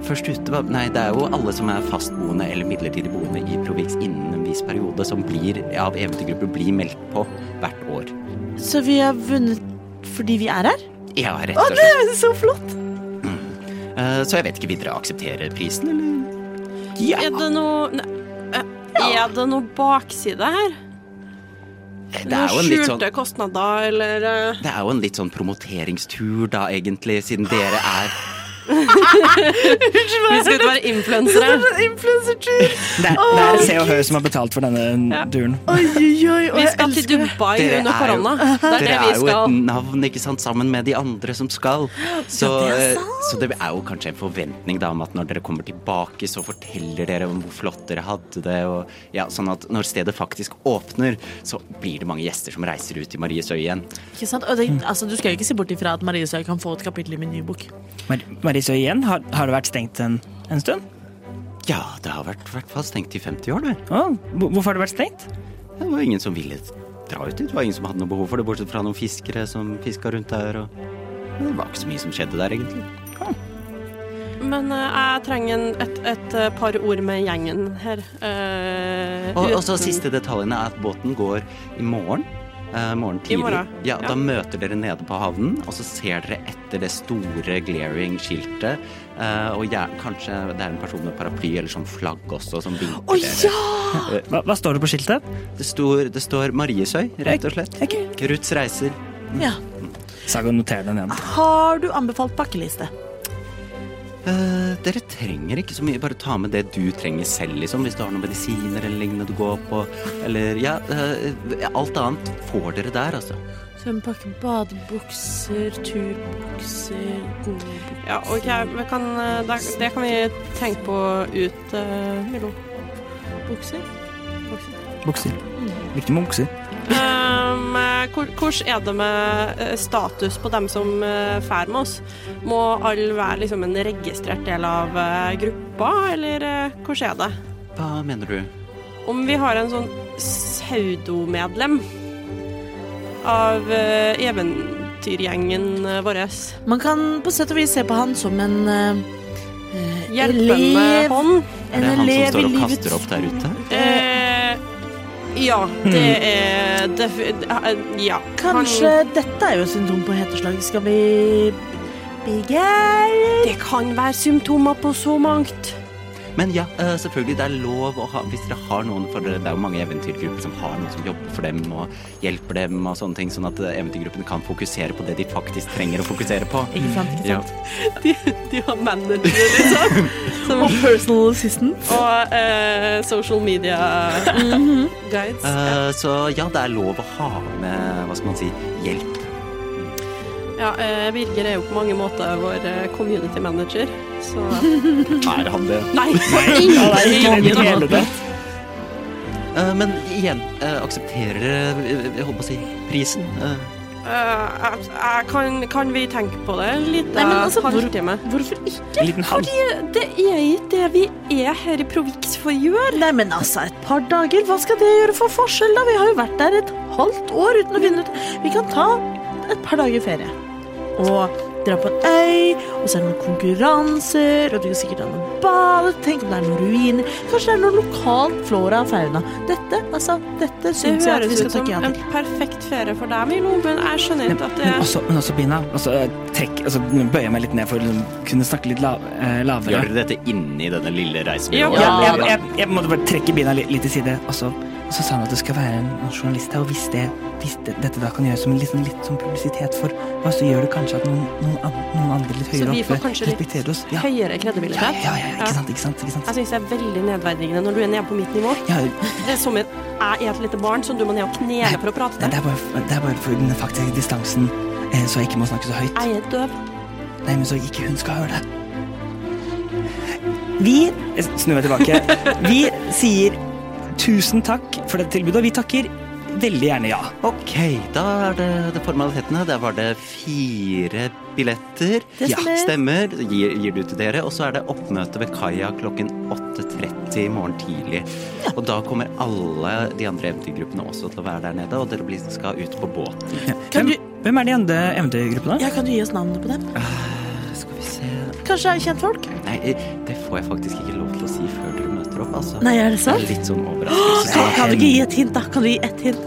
S1: Først ute var Nei, det er jo alle som er fastboende eller midlertidig boende i Provix innen en viss periode, som blir av eventyrgrupper blir meldt på hvert år.
S4: Så vi har vunnet fordi vi er her?
S1: Ja, rett
S4: Å,
S1: og
S4: det
S1: slett.
S4: er så flott!
S1: Eh, Så jeg vet ikke, vil dere akseptere prisen, eller? Ja.
S3: Er det noe Nei, eh, Er det noe bakside her?
S1: Det er
S3: Noen
S1: jo en litt sånn
S3: skjulte kostnader, eller eh,
S1: det er jo en litt sånn promoteringstur, da, egentlig, siden dere er
S3: Vi skal ut og være influensere.
S4: Influensertur!
S2: Det, er- det er Se og Hør som har betalt for denne
S3: Ja.
S2: turen.
S4: Oi, oi, oi. og
S3: Vi
S4: jeg
S3: skal til
S4: elsker det.
S3: Dubai
S1: Dere
S3: under
S1: er jo-
S3: korona. Det er det
S1: Dere
S3: vi
S1: er jo et
S3: skal.
S1: navn ikke sant, sammen med de andre som skal. Så,
S4: Ja, det er
S1: eh,
S4: sant.
S1: så det er jo kanskje en forventning da, om at når dere kommer tilbake, så forteller dere om hvor flott dere hadde det. Og, ja, sånn at når stedet faktisk åpner, så blir det mange gjester som reiser ut i Maries øy igjen.
S4: Ikke sant? Og det, altså, du skal jo ikke se bort ifra at Marie Søy kan få et kapittel i min nye bok.
S2: Mar Marisøy igjen, har, har det vært stengt en, en stund?
S1: Ja, det har vært i hvert fall stengt i 50 år, det.
S2: Å, hvor- hvorfor har det vært stengt?
S1: Det var ingen som ville dra ut dit. Det var ingen som hadde noe behov for det, bortsett fra noen fiskere som fiska rundt der. Og det var ikke så mye som skjedde der, egentlig.
S3: Men eh, jeg trenger en- et, et eh, par ord med gjengen her. Eh,
S1: Og, og så
S3: uten-
S1: siste detaljene er at båten går i morgen. eh, morgen tidlig.
S3: morgen,
S1: ja,
S3: ja.
S1: Da møter dere nede på havnen, og så ser dere etter det store glaring-skiltet. eh, og gjer- kanskje det er en person med paraply eller sånn flagg også som vinker
S4: Å
S1: dere.
S4: ja!
S2: Hva, hva står det på skiltet?
S1: Det, står, det står Mariesøy, rett og slett.
S2: Ok.
S1: Ruths reiser.
S4: ja!
S2: Saga noterer den igjen.
S4: Har du anbefalt pakkeliste?
S1: Eh, dere trenger ikke så mye. Bare ta med det du trenger selv, liksom. Hvis du har noen medisiner eller lignende du går på. Eller ja, eh, alt annet får dere der, altså.
S4: Så en pakke badebukser, turbukser, gode
S3: Ja, ok, vi kan, eh, det, det kan vi tenke på ut, eh, Milo.
S4: bukser.
S2: Bukser. Viktig med bukser.
S3: Um, eh, hvor- Hvordan er det med eh, status på dem som eh, fær med oss? Må alle være liksom en registrert del av eh, gruppa, eller eh, hvordan er det?
S1: Hva mener du?
S3: Om vi har en sånn pseudomedlem av eh, eventyrgjengen eh, vår.
S4: Man kan på sett og vis se på han som en eh,
S3: Hjelpende
S4: elev-
S3: hånd.
S1: Er
S4: En
S1: det han som
S4: elev i
S1: står og
S4: livets
S1: kaster opp der ute?
S4: Eh,
S3: Eh, ja, det er defi... eh, Ja.
S4: kanskje dette er jo et symptom på heteslag. Skal vi
S3: Han,
S4: Begjær?
S3: det kan være symptomer på så mangt.
S1: Men ja, eh, selvfølgelig, det er lov å ha Hvis dere har noen for Det er jo mange eventyrgrupper som har noen som jobber for dem og hjelper dem og sånne ting, sånn at eh, eventyrgruppene kan fokusere på det de faktisk trenger å fokusere på.
S4: Ikke sant, ikke
S1: Ja.
S4: sant.
S3: De, de har manager, liksom. Som,
S4: Og personal assistant.
S3: og eh, social media
S4: Mhm.
S3: guides.
S1: Eh, så ja, det er lov å ha med Hva skal man si hjelp.
S3: Ja, eh, Birger er jo på mange måter vår eh, community manager, så
S1: Er han det?
S3: Nei!
S1: Eh, men igjen, eh, aksepterer dere eh, Jeg holdt på å si prisen? Eh,
S3: Eh, jeg- jeg kan, kan vi tenke på det en liten
S4: Nei, men altså, hvor-
S3: halvtime?
S4: Hvorfor ikke?
S2: En liten hand.
S3: Det er ikke det vi er her i Provix for å gjøre.
S4: Nei, men altså, et par dager. Hva skal det gjøre for forskjell, da? Vi har jo vært der et halvt år uten å finne ut Vi kan ta et par dager ferie. Og dra på en øy, og så er det noen konkurranser, og du kan sikkert ha noen bad. Tenk om det er noen ruiner. Kanskje det er noe lokal flora og fauna. Dette, altså, dette
S3: Det
S4: syns jeg at vi
S3: høres ut
S4: skal
S3: som
S4: takke ja
S3: en
S4: til.
S3: perfekt ferie for deg, Milo, men jeg skjønner
S2: Men,
S3: ikke at det
S2: men, også, men også Bina. Altså, eh, trekk, altså, bøyer jeg meg litt ned for å liksom, kunne snakke litt lav, eh, lavere.
S1: Gjør dere dette inni denne lille
S3: Ja,
S1: reisebyrået?
S2: Ja,
S4: Ja,
S2: jeg, jeg, jeg måtte bare trekke bina litt, litt til side. Og så, og så sa han at det skal være en en journalist her, og hvis, det, hvis det, dette da kan gjøres som en litt sånn- litt sånn publisitet for hva, så gjør det kanskje at noen, noen, an, noen andre litt
S3: Så
S2: høyere
S3: vi får
S2: oppe
S3: kanskje litt
S2: respekterer oss. Ja, ja,
S3: høyere Altså-
S2: ja,
S3: kredibilitet.
S2: ja, ja ikke sant, ikke sant. Ikke sant.
S3: Jeg syns det er veldig nedverdigende når du er nede på mitt nivå.
S2: Ja,
S3: Det er som et jeg er et lite barn som du må ned og knele for å prate
S2: nei,
S3: til.
S2: det, er bare, det er bare for den faktiske distansen, eh, så jeg ikke må snakke så høyt.
S3: Jeg er døv.
S2: Nei, men så ikke hun skal høre det. Vi jeg snur meg tilbake. Vi sier tusen takk for dette tilbudet, og vi takker veldig gjerne ja.
S1: Ok, da er det, det formalitetene. Der var det fire billetter.
S4: Det
S1: ja,
S4: stemmer.
S1: stemmer. Gir, gir du til dere. Og så er det oppmøte ved kaia klokken 8.30 i morgen tidlig. Og da kommer alle de andre eventyrgruppene også til å være der nede, og dere blir, skal ut på båten.
S4: Kan
S2: Hvem,
S4: du-
S2: hvem er de andre MD-gruppene?
S4: Ja, kan du gi oss navnet på dem?
S1: Skal vi se
S4: Kanskje er kjentfolk?
S1: Nei, det får jeg faktisk ikke lov til å si før dere møter opp, altså.
S4: Nei, er det
S1: Det er
S4: sant?
S1: litt sånn overraskelse.
S4: Kan kan du ikke gi et hint, da? Kan du gi ett hint?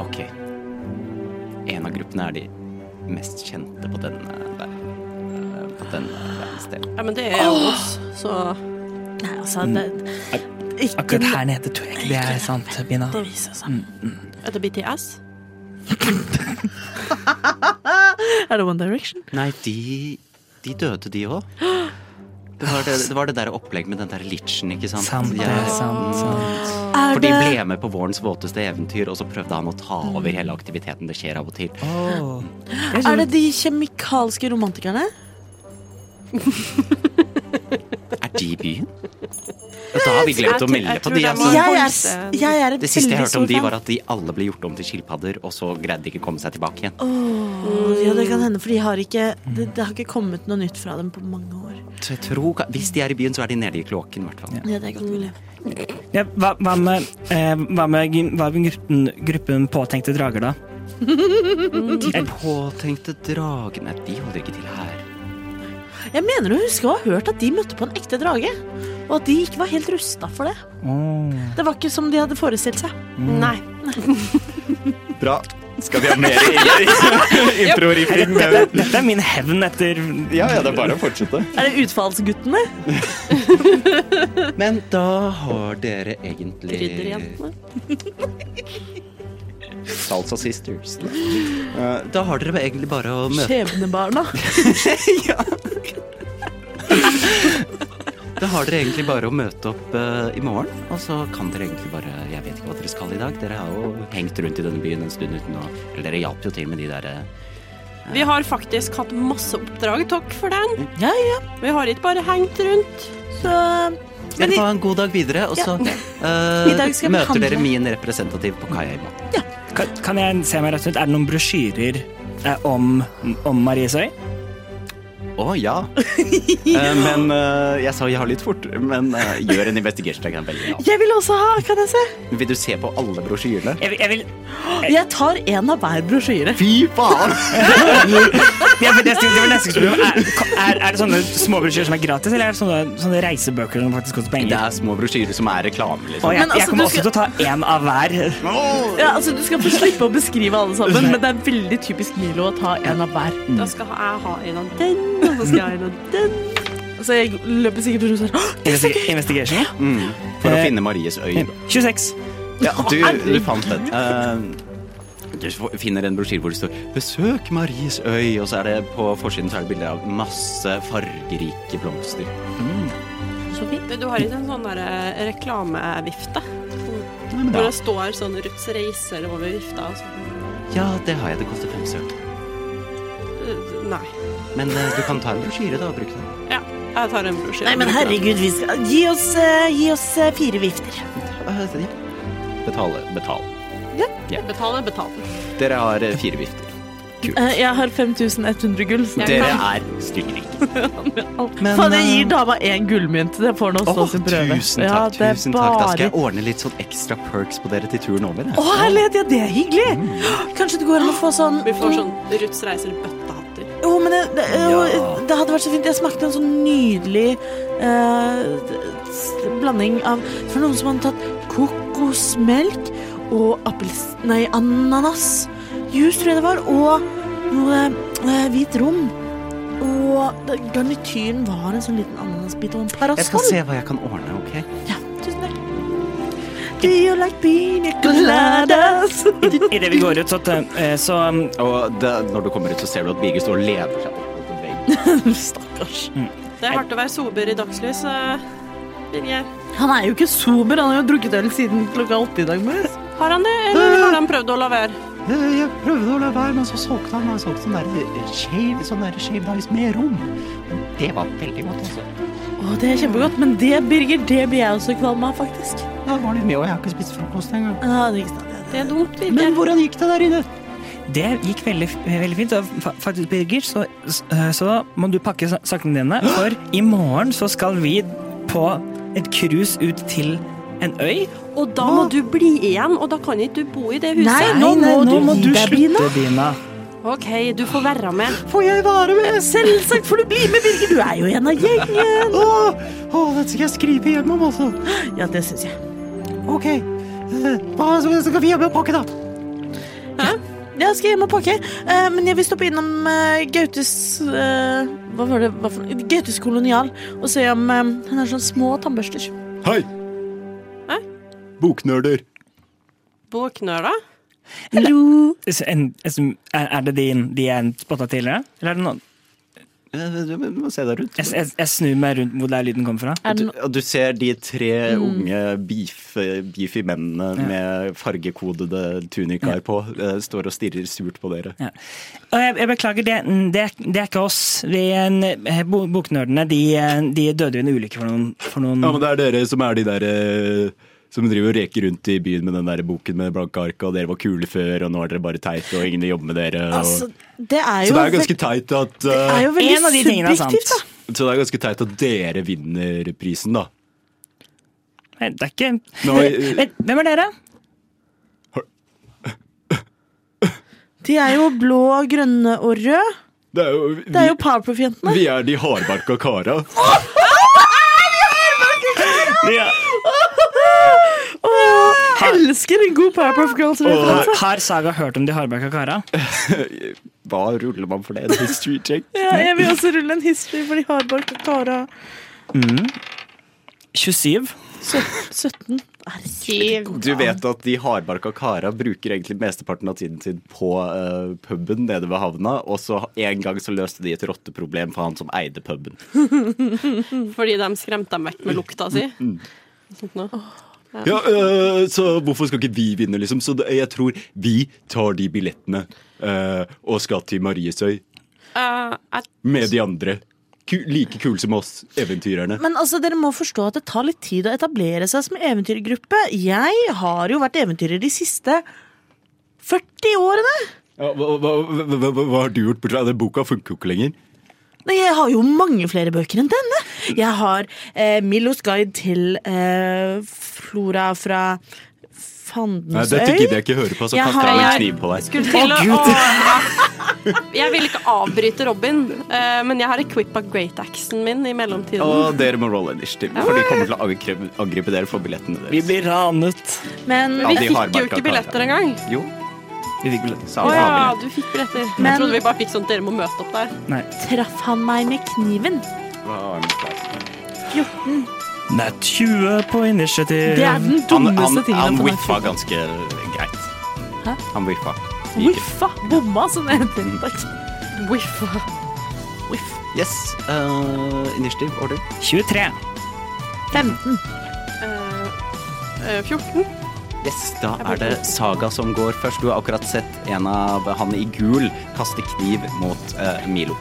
S1: Ok. En av gruppene er de mest kjente på denne der. eh, På denne der stedet.
S3: Ja, men det er jo oss, så
S4: Nei, altså,
S1: Mm.
S4: det, ikke
S2: Akkurat her nede tror jeg ikke det er sant, Bina.
S4: Det viser
S1: Mm,
S4: seg.
S3: Er det BTS?
S4: Er det One Direction?
S1: Nei, de de døde, de òg. Det var det, det var det der opplegg med den der litchen, ikke sant.
S2: Sant det,
S1: Jeg-
S2: sant, sant.
S4: Er
S1: For de
S4: det
S1: ble med på vårens våteste eventyr, og så prøvde han å ta over hele aktiviteten. Det skjer av og til.
S2: Åh.
S4: Er det de kjemikalske romantikerne?
S1: Er de i byen? Da har vi glemt å
S3: Jeg- jeg
S1: melde på
S3: tror
S1: de.
S3: det
S1: Altså.
S3: må-
S4: Jeg er,
S3: Holmsten.
S4: jeg er et
S1: Det siste jeg
S4: veldig
S1: hørte om
S4: stor
S1: de,
S4: fan.
S1: var at de alle ble gjort om til skilpadder, og så greide de ikke komme seg tilbake igjen.
S4: Åh, Mm. ja, det kan hende, for de har ikke, det, det har ikke kommet noe nytt fra dem på mange år.
S1: Så jeg tror, ka- Hvis de er i byen, så er de nede i kloakken, i hvert fall.
S4: Ja, det er godt mulig.
S2: Ja, hva, hva med, eh, hva med, gin- hva med gruppen, gruppen påtenkte drager, da?
S1: De påtenkte dragene De holder ikke til her.
S4: Jeg mener å huske å ha hørt at de møtte på en ekte drage, og at de ikke var helt rusta for det. Det var ikke som de hadde forestilt seg.
S3: Nei.
S1: Bra. Skal vi ha mer improriffing?
S2: Dette, dette er min hevn etter
S1: Ja, ja, det er bare å fortsette.
S4: Er det utfallsguttene?
S1: Men da har dere egentlig
S3: Krydderjentene.
S1: Salsa Sisters. Eh, Da har dere egentlig bare å møte
S4: Skjebnebarna?
S1: Da har dere egentlig bare å møte opp eh, i morgen, og så kan dere egentlig bare Jeg vet ikke hva dere skal i dag. Dere har jo hengt rundt i denne byen en stund uten å Eller dere hjalp jo til med de der eh,
S3: Vi har faktisk hatt masse oppdrag. Takk for den.
S4: Ja, ja.
S3: Vi har ikke bare hengt rundt.
S4: Så Men
S1: Dere
S4: i,
S1: får ha en god dag videre, og så eh,
S4: I dag skal vi
S1: møter dere
S4: handle.
S1: min representativ på kaia i morgen.
S2: Kan, kan jeg se meg rett ut? Er det noen brosjyrer eh, om, om Mariesøy?
S1: Å ja. Eh, men eh, Jeg sa ja litt fort, men eh, gjør en investigation. Jeg kan velge,
S4: jeg vil også ha, kan jeg se?
S1: ja. Vil du se på alle brosjyrene?
S2: Jeg, vil- jeg vil
S4: Jeg tar en av hver brosjyre.
S1: Fy faen!
S2: jeg, vil- jeg, det var neste spørsmål. Er, er, er det sånne små brosjyrer som er gratis, eller er det sånne, sånne reisebøker som faktisk koster
S1: Det
S2: penger?
S1: er små brosjyrer som er reklame,
S2: Og
S1: liksom.
S2: jeg,
S4: Men altså,
S2: jeg kommer
S4: du
S2: også
S4: skal-
S2: til å ta én av hver.
S4: Ja, altså Du skal få slippe å beskrive alle sammen, men det er veldig typisk Milo å ta en av hver.
S3: Da skal jeg ha en av den, og så skal jeg ha en av den.
S4: Så Altså, jeg løper sikkert rundt sånn «Åh, det er så
S2: Investi- Investigation.
S1: Mm, for å
S2: Eh,
S1: finne Maries øy.
S2: 26.
S1: Ja, du, du fant den. Eh, du f- finner en brosjyr hvor det står 'Besøk Maries øy', og så er det på forsiden så er det bilder av masse fargerike blomster.
S3: Du, du har ikke en sånn der eh, reklamevifte?
S1: Nei, men da,
S3: Hvor det står sånn Ruths reiser over vifta? og så-
S1: ja, det har jeg. Det koster fem søk.
S3: Eh, Nei.
S1: Men eh, du kan ta en brosjyre da og bruke den.
S3: Ja, jeg tar en brosjyre.
S4: Nei, men herregud, vi skal Gi oss, eh, gi oss eh, fire vifter.
S1: Eh, ja. Betale. Betal.
S3: Betale, betale.
S1: Dere har eh, fire vifter.
S4: Eh, jeg har 5100 gull. så jeg
S1: Dere
S4: kan
S1: er styrtrike.
S4: alt.
S1: Men,
S4: Faen, jeg gir
S1: eh,
S4: dama én gullmynt. Det får nå
S1: Å,
S4: stå sin prøve.
S1: tusen
S4: Ja,
S1: takk.
S4: det er
S1: tusen takk. Da
S4: bare-
S1: skal jeg ordne litt sånn ekstra perks på dere til turen over. jeg.
S4: Å, herlighet, ja, det er hyggelig! Kanskje det går an å få sånn
S3: Vi får sånn Ruths reiser-bøttehatter.
S4: Jo, men det, det, jo, det hadde vært så fint. Jeg smakte en sånn nydelig eh, s- blanding av For noen som hadde tatt kokosmelk og appels... Nei, ananasjuice, tror jeg det var. Og noe eh, hvit rom. Og det- garnityren var en sånn liten ananasbit og en
S1: Jeg skal
S4: parasoll.
S1: se hva jeg kan ordne, OK?
S4: Ja, tusen takk. Do you like pina coladas?
S2: Idet vi går ut, så, eh, så um,
S1: Og da, når du kommer ut, så ser du at Birger står og lener seg opp mot en vegg.
S4: Stakkars.
S3: Det er hardt å være sober i dagslys, eh, Birger.
S4: Han er jo ikke sober. Han har jo drukket øl siden klokka åtte i dag morges.
S3: Har han det, eller har han prøvd å la være?
S6: Eh, Jeg prøvde å la være, men så solgte han han solgte sånn der shave, sånn der shave dice med rom.
S1: Det var veldig godt, altså.
S4: Å, det er kjempegodt, men det, Birger, det blir jeg også kvalm av, faktisk.
S6: Jeg var litt med, og jeg har ikke spist frokost engang.
S4: Ja, det er ikke sant.
S3: Det er dumt,
S6: Men
S3: Birger.
S6: hvordan gikk det der inne?
S2: Det gikk veldig, veldig fint. Og fa- faktisk, Birger, så, eh, så må du pakke sa- sakene dine, for i morgen så skal vi på et cruise ut til en øy.
S3: Og da må du bli igjen, og da kan ikke du bo i det huset.
S4: Nei, nå må du gi deg, Bina.
S2: Bina.
S3: OK, du får være med.
S6: Får jeg være med?
S4: Selvsagt får du bli med, Birger. Du er jo en av gjengen.
S6: Åh, åh, dette skal jeg skrive hjem om, altså.
S4: Ja, det syns jeg.
S6: Ok, eh, hva skal skal vi ha med å pakke da?
S4: Jeg skal hjem og pakke, eh, men jeg vil stoppe innom eh, Gautes eh, Hva var det? Hva for, noe? Gautes kolonial og se om eh, Han har sånne små tannbørster.
S7: Hei!
S3: Hæ?
S7: Boknerder.
S3: Boknøla?
S4: Hallo.
S2: Så en- en- Er er det din de jeg spotta tidligere? Eller er det noen
S1: Eh, Du må se deg rundt.
S2: Jeg, jeg, jeg snur meg rundt hvor der lyden kommer fra.
S4: Er
S1: Og
S4: det
S1: du,
S4: no
S1: og du ser de tre
S4: Mm.
S1: unge beef, beefy mennene med fargekodede tunikaer på, eh, står og stirrer surt på dere.
S2: Ja. Og jeg, jeg beklager, det, det, er- det er ikke oss. Vi, eh, bo- boknerdene de, eh, de døde i en ulykke for noen, for noen
S1: Ja, men det er dere som er de der eh, som driver og reker rundt i byen med den der boken med blanke ark, og dere var kule før, og nå er dere bare teite, og ingen vil jobbe med dere. Og...
S4: Altså, det er
S1: så
S4: jo
S1: det er ganske
S4: veld-
S1: teit at
S4: det er
S1: eh,
S4: jo veldig
S2: En av de tingene er sant.
S4: subjektivt, da.
S1: Så det er ganske teit at dere vinner prisen, da.
S2: Nei, Det er ikke
S1: Nå, eh,
S2: Vet- Hvem er dere?
S4: De er jo blå, grønne og røde.
S1: det er jo,
S4: Det er jo
S1: vi,
S4: Powerpuff-jentene.
S1: vi er de hardbarka kara.
S2: Ja.
S4: Åh, elsker en god Powerpuff Girls. referanse.
S2: Har, har Saga hørt om de hardbarka kara?
S1: Hva ruller man for det? En history check?
S4: Ja, jeg vil også rulle en history for de hardbarka Tara.
S2: 27.
S4: Søt- 17.
S3: Syv.
S1: Du vet at de hardbarka kara bruker egentlig mesteparten av tiden sin på eh, puben nede ved havna, og så en gang så løste de et rotteproblem for han som eide puben.
S3: Fordi de skremte dem vekk med lukta si. Sånt nå.
S1: Ja, eh, så hvorfor skal ikke vi vinne, liksom? Så det, jeg tror vi tar de billettene eh, og skal til Mariesøy
S3: Eh, jeg
S1: med de andre. Ku, like kule som oss, eventyrerne.
S4: Men altså, dere må forstå at det tar litt tid å etablere seg som eventyrgruppe. Jeg har jo vært eventyrer de siste 40 årene.
S1: Ja, hva, hva, hva, hva, hva har du gjort? bortsett fra- Den boka funker jo ikke lenger.
S4: Nei, jeg har jo mange flere bøker enn denne. Jeg har eh, Millos guide til eh, flora fra
S1: Nei,
S4: Fandens
S1: Dette
S4: øy.
S1: gidder jeg ikke høre på, så
S4: Jeg
S1: kaster
S4: har-
S1: jeg en
S3: jeg-
S1: kniv på deg.
S3: skulle til å Åh, Jeg vil ikke avbryte Robin, eh, men jeg har equippa great axen min i mellomtiden.
S1: Og dere må rolle initiativ, for de kommer til å angripe, angripe dere for billettene
S2: Vi
S1: deres.
S2: blir ranet.
S4: Men,
S1: Ja,
S3: Vi
S1: de har
S3: fikk jo
S1: merket
S3: ikke
S1: at-
S3: billetter engang.
S1: Jo,
S2: Vi fikk vel-
S1: sa
S3: Å
S1: han.
S3: ja, du fikk billetter.
S4: Men-
S3: Jeg trodde vi bare fikk sånn dere må møte opp der.
S2: Nei.
S4: traff han meg med kniven?
S1: Hva har han?
S4: 14.
S2: Nei, 20 på initiativ.
S4: Det er den
S1: Han,
S4: dummeste
S1: han,
S4: tingen
S1: han
S4: på meg.
S1: whiffa ganske greit.
S4: Hæ?
S1: Han whiffa. Det gikk ikke.
S4: Whiffa. Bomma, som det heter. Takk.
S3: Whiff.
S4: Whiff.
S1: Yes. eh, initiativ, order.
S2: 23.
S4: 15.
S3: Eh, eh, 14.
S1: Yes, Da er det Saga som går først. Du har akkurat sett en av han i gul kaste kniv mot eh, Milo.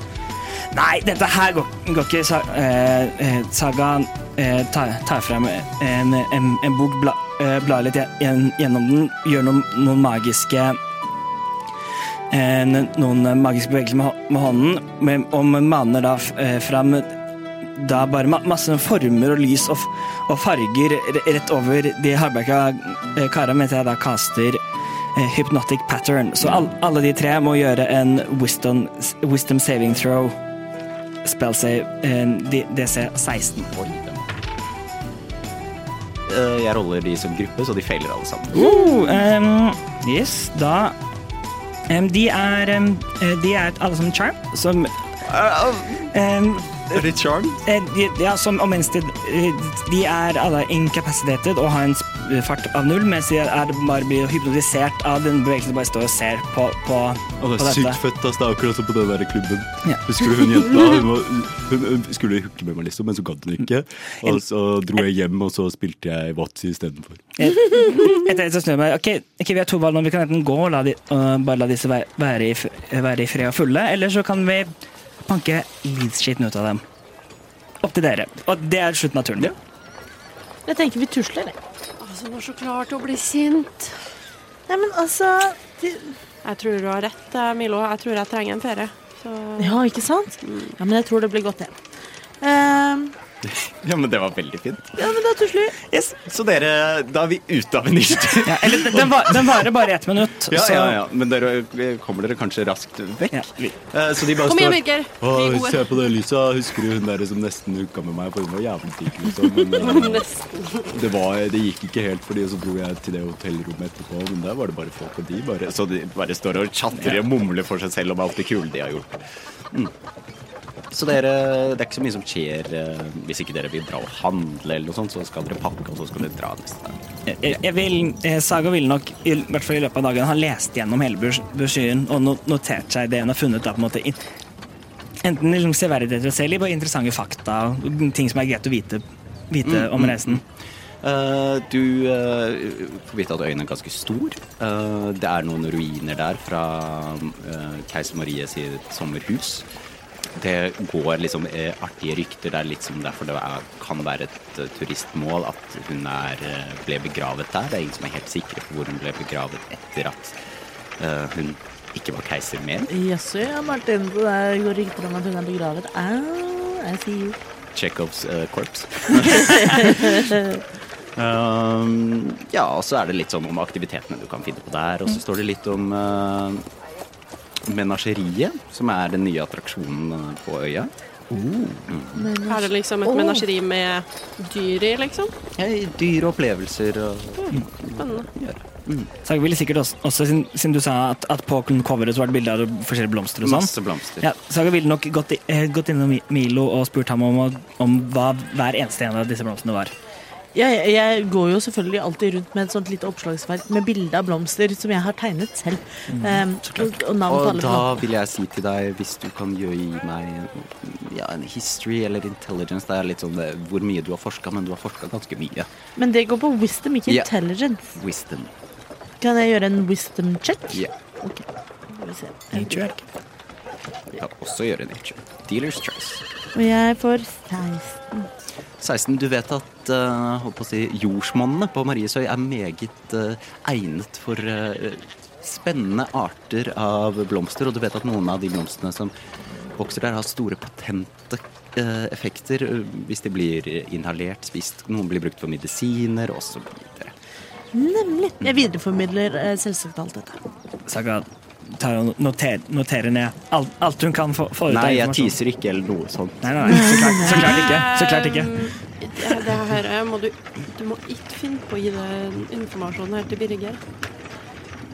S2: Nei, dette her går, går ikke. Sa, eh, eh, saga eh, tar, tar frem eh, en, en, en bok, bla, eh, blar litt gjen- gjennom den, gjør noen, noen magiske eh, n- noen magiske bevegelser med, hå- med hånden, men- og maner da f- eh, fram da bare ma masse former og lys og, f og farger re- rett over de hardbarka eh, kara, mens jeg da caster eh, Hypnotic Pattern. Så all, alle de tre må gjøre en wisdom, wisdom saving throw. Spell save eh, D- DC 16.
S1: Oi, den var- Eh, jeg roller de som gruppe, så de feiler alle sammen.
S2: Oh, em, yes, da em, De er em, eh, De er alle som charm, som em,
S1: Uh, Er det charm?
S2: Eh, de- Ja, som, og mens de, eh, de er alle incapacitated og har en sp- eh, fart av null, mens de er bare blir hypnotisert av den bevegelsen de bare står og ser på, på,
S1: Og det
S2: på
S1: er
S2: dette.
S1: sykt fett, ass. Det er akkurat som på den der klubben.
S2: Ja.
S1: Husker du hun jenta? Hun, var, hun, hun skulle hooke med meg, liksom, men så gadd hun ikke. Og så dro jeg hjem, og så spilte jeg Watzy istedenfor.
S2: Etter det så snur jeg meg. Ok, ok, vi har to valg nå. Vi kan enten gå og la de, og bare la disse væ- være i, f- være i fred og fulle, eller så kan vi banke livsskitten ut av dem. Opp til dere. Og det er slutten av turen.
S4: Jeg tenker vi tusler, jeg.
S3: Altså, hun var så klar til å bli sint.
S4: Nei, men altså de-
S3: Jeg tror du har rett, eh, Milo. Jeg tror jeg trenger en ferie. Så
S4: Ja, ikke sant? Ja, men jeg tror det blir godt, det. Ehm,
S1: Ja, men det var veldig fint.
S4: ja, men da tusler vi.
S1: Yes. Så dere Da er vi ute av en nisje.
S2: Ja, eller, den, var, den varer bare ett minutt.
S1: Ja,
S2: så-
S1: ja, ja. Men dere kommer dere kanskje raskt vekk.
S2: Ja, vi-
S1: Eh, Så de bare
S3: kom igjen,
S1: står
S3: Birger.
S1: Å,
S3: Vi
S1: se
S3: er
S1: på det lyset. Husker du hun der som nesten hooka med meg? For hun var jævlig digg, liksom.
S3: gode.
S1: Men, eh,
S3: Nesten.
S1: det, var, det gikk ikke helt, fordi så dro jeg til det hotellrommet etterpå. Men der var det bare folk, og de bare Så de bare står og chatter og mumler for seg selv om alt det kule de har gjort. Så dere, det er ikke så mye som skjer eh, hvis ikke dere vil dra og handle eller noe sånt. Så skal dere pakke, og så skal dere dra neste dag.
S2: Jeg, jeg vil, eh, Saga ville nok, i l- hvert fall i løpet av dagen, ha lest gjennom hele brosj- brosjyren og no- notert seg det hun har funnet. Da, på en måte, in, enten liksom severdigheter å se litt, og interessante fakta og ting som er greit å vite, vite
S1: Mm,
S2: om reisen.
S5: Eh, du eh, får vite at øyen er ganske stor. Eh, det er noen ruiner der fra eh, keiser Marie sitt sommerhus. Det går liksom eh, artige rykter. Det er litt som derfor det er, kan være et eh, turistmål at hun er, eh, ble begravet der. Det er ingen som er helt sikre på hvor hun ble begravet etter at eh, hun ikke var keiser mer.
S4: Jaså, ja, Martin. Det der går rykter om at hun er begravet. Ah, I see you.
S5: Chekhovs uh, korps. um, ja, og så er det litt sånn om aktivitetene du kan finne på der, og så står det litt om uh, menasjeriet, som er den nye attraksjonen eh, på øya.
S3: Er det liksom et menasjeri med dyr i, liksom?
S5: Ja, dyre opplevelser og
S3: Spennende.
S2: Så jeg ville sikkert også, også siden, siden du sa at, at på coveret så var det bilder av forskjellige blomster og sånn.
S5: masse blomster.
S2: Ja, Saga ville nok gått, i- eh, gått innom Mi- Milo og spurt ham om, å- om hva hver eneste en av disse blomstene var.
S4: Jeg, jeg går jo selvfølgelig alltid rundt med et sånt lite oppslagsverk med bilde av blomster som jeg har tegnet selv. Um, og, og navn på
S5: Og
S4: alle
S5: da
S4: plantene.
S5: vil jeg si til deg, hvis du kan jo gi meg eh, ja, en history eller intelligence, det er litt sånn eh, hvor mye du har forska, men du har forska ganske mye.
S4: Men det går på wisdom, ikke
S5: Ja.
S4: intelligence.
S5: Wisdom.
S4: Kan jeg gjøre en wisdom check?
S5: Ja.
S4: Ok. Skal vi se.
S2: Nature.
S5: Ja, også gjøre nature. Dealer's choice.
S4: Og jeg får 16.
S5: 16. Du vet at eh, holdt på å si, jordsmonnene på Mariesøy er meget eh, egnet for eh, spennende arter av blomster, og du vet at noen av de blomstene som vokser der, har store patente eh, effekter eh, hvis de blir inhalert, spist. Noen blir brukt for medisiner osv.
S4: Nemlig. Jeg videreformidler eh, selvsagt alt dette.
S2: Saga tar og noter, noterer ned alt, alt hun kan få, få ut av
S5: Nei, jeg
S2: informasjon.
S5: teaser ikke, eller noe sånt.
S2: Nei, nei, nei, så klart, så klart ikke. Så klart ikke.
S3: Um, Det, det her eh, må du Du må ikke finne på å gi den informasjonen her til Birger.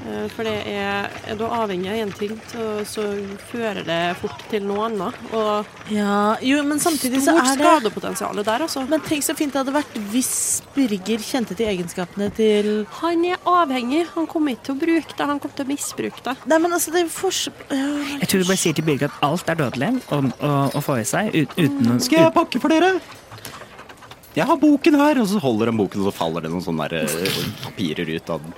S3: Eh, For det er Er du avhengig av én ting, så, så fører det fort til noe annet. Og
S4: Ja, jo, men samtidig så
S3: stort
S4: er det
S3: skadepotensial der, altså.
S4: Men tenk så fint det hadde vært hvis Birger kjente til egenskapene til
S3: Han er avhengig. Han kommer ikke til å bruke det, han kommer til å misbruke det.
S4: Nei, men altså, det er forskjell ja,
S2: Jeg tror du bare sier til Birgit at alt er dødelig å, å, å få i seg ut, uten noen
S6: Skal jeg pakke for dere?
S5: Jeg har boken her, og så holder han boken, og så faller det noen sånne der, eh, papirer ut av den.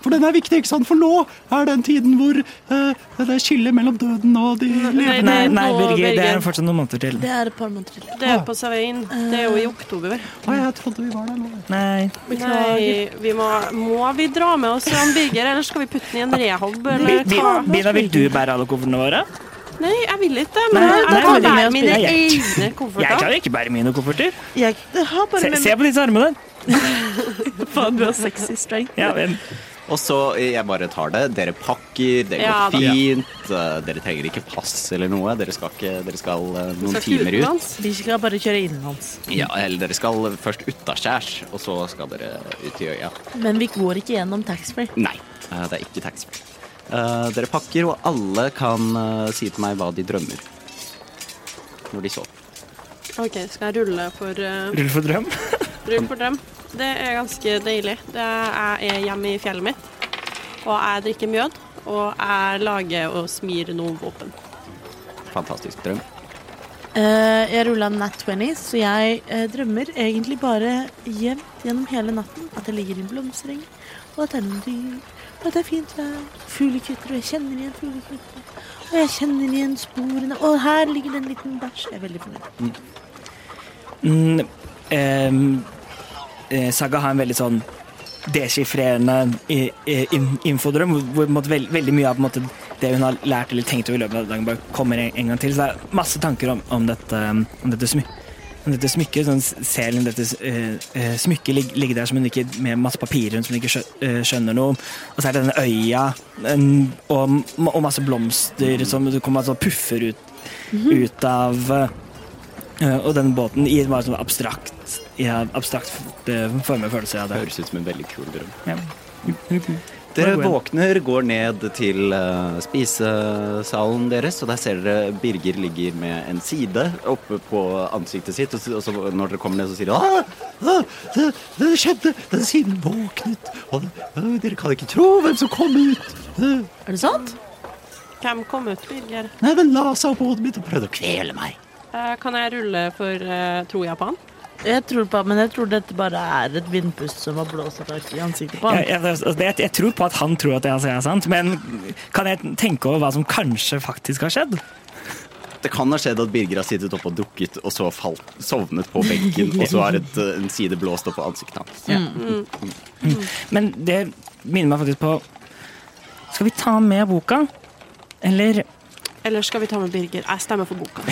S6: For den er viktig, ikke sant? For nå er den tiden hvor eh, det er skillet mellom døden og de levende.
S2: Nei, nei,
S3: Nå,
S2: Birger, det er
S3: Birger.
S2: fortsatt noen måneder til.
S4: Det er et par måneder til.
S3: Det er på Savein. Det er jo i oktober.
S6: Nei, jeg trodde vi var der nå.
S2: Nei.
S4: Beklager.
S3: Nei, vi må, må vi dra med oss han Birger, eller skal vi putte han i en rehab?
S2: Bi-
S3: Eller
S2: Bi-
S3: ta
S2: Bina, vil du bære alle koffertene våre?
S3: Nei, jeg vil ikke det. Men
S2: Nei,
S3: jeg
S2: nei,
S3: tar
S2: men det er
S3: bare
S2: med
S3: mine
S2: å spille, jeg-
S3: egne
S2: Jeg
S3: kofferter.
S2: klarer ikke bære mine kofferter.
S4: Jeg det har bare
S2: Se,
S4: med
S2: se på disse armene.
S4: Faen, du har sexy strength.
S2: Ja, men,
S5: Og så eh, jeg bare tar det. Dere pakker, det går
S3: Ja, da.
S5: fint. eh, Dere trenger ikke pass eller noe. Dere skal, ikke, dere skal eh, noen
S3: Skal
S5: timer ut.
S3: utenlands.
S4: Vi skal bare kjøre innenlands.
S5: Ja, eller dere skal først utaskjærs, og så skal dere ut i øya.
S4: Men vi går ikke gjennom taxfree.
S5: Nei, eh, det er ikke taxfree. Eh, dere pakker, og alle kan eh, si til meg hva de drømmer. Når de sover.
S3: OK, skal jeg rulle for, eh,
S2: rull for drøm.
S3: rull for dem? Det er ganske deilig. Det er, jeg er hjemme i fjellet mitt, og jeg drikker mjød. Og jeg lager og smir noe våpen.
S5: Fantastisk drøm.
S4: Eh, jeg rulla nat 20, så jeg eh, drømmer egentlig bare jevnt gjennom hele natten at jeg ligger i en blomstereng, og at det er noen dyr, og at det er fint vær, fuglekvitter, og jeg kjenner igjen fuglekvitter, og jeg kjenner igjen sporene, og her ligger det en liten bæsj. Jeg er veldig fornøyd.
S2: Mm, ehm, eh, Saga har en veldig sånn deskifrerende i- i- in- infodrøm, hvor- hvor på en måte veld, veldig mye av på en måte, det hun har lært eller tenkt over i løpet av dagen, bare kommer en, en gang til. Så det er masse tanker om, om, dette, um, om, dette, smy, om dette smykket. Sånn, ser hun dette eh, eh, smykket ligge, ligge der som hun ikke, med masse papirer rundt som hun ikke skjø, eh, skjønner noe om. Og så er det denne øya en, og, og masse blomster som det kommer altså puffer ut, ut av eh, Eh, Og den båten gir meg sånn abstrakt ja, Abstrakt eh, form og følelse av
S5: Det
S2: det.
S5: høres ut som en veldig kul drøm.
S2: Ja.
S5: Dere
S2: Bare gå inn.
S5: våkner, går ned til eh, spisesalen deres, og der ser dere Birger ligger med en side oppe på ansiktet sitt, og så, og så når dere kommer ned, så sier dere
S6: Ah, ah, det, det skjedde! Den siden våknet. Og, øh, dere kan ikke tro hvem som kom ut. Øh,
S4: Er det sant?
S3: Hvem Hvem kom ut, Birger?
S6: Nei, men la seg opp på hodet mitt og prøvde å kvele meg.
S3: Eh, kan jeg rulle for eh, tro jeg på han?
S4: Jeg tror på, men jeg tror dette bare er et vindpust som har blåst tak i ansiktet på
S2: Jeg,
S4: han.
S2: jeg, altså, det- jeg tror på at han tror at det jeg sier er sant, men kan jeg tenke over hva som kanskje faktisk har skjedd?
S5: Det kan ha skjedd at Birger har sittet oppe og drukket, og så falt, sovnet på benken, og så har et, eh, en side blåst opp på ansiktet hans.
S2: Men det minner meg faktisk på Skal vi ta med boka? Eller
S3: Eller skal vi ta med Birger? Jeg stemmer for boka.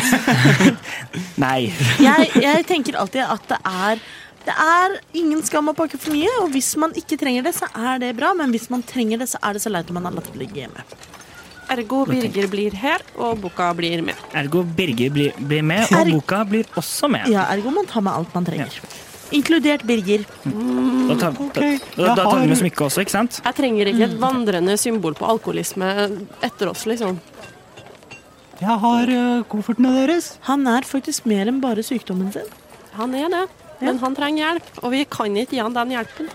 S2: Nei.
S4: Jeg, jeg tenker alltid at det er det er ingen skam å pakke for mye, og hvis man ikke trenger det, så er det bra. Men hvis man trenger det, så er det så leit om man har latt det ligge hjemme.
S3: Ergo Birger blir her, og boka blir med.
S2: Ergo Birger blir, blir med, og
S4: Erg-
S2: boka blir også med.
S4: Ja, ergo man tar med alt man trenger. Inkludert Birger.
S2: Da tar,
S6: Ok,
S2: da, da,
S6: jeg
S2: da tar vi med
S6: har-
S2: smykket også, ikke sant?
S3: Jeg trenger ikke
S5: Mm.
S3: et vandrende symbol på alkoholisme etter oss, liksom.
S6: Jeg har eh, koffertene deres.
S4: Han er faktisk mer enn bare sykdommen sin.
S3: Han er det, men han trenger hjelp, og vi kan ikke gi han den hjelpen.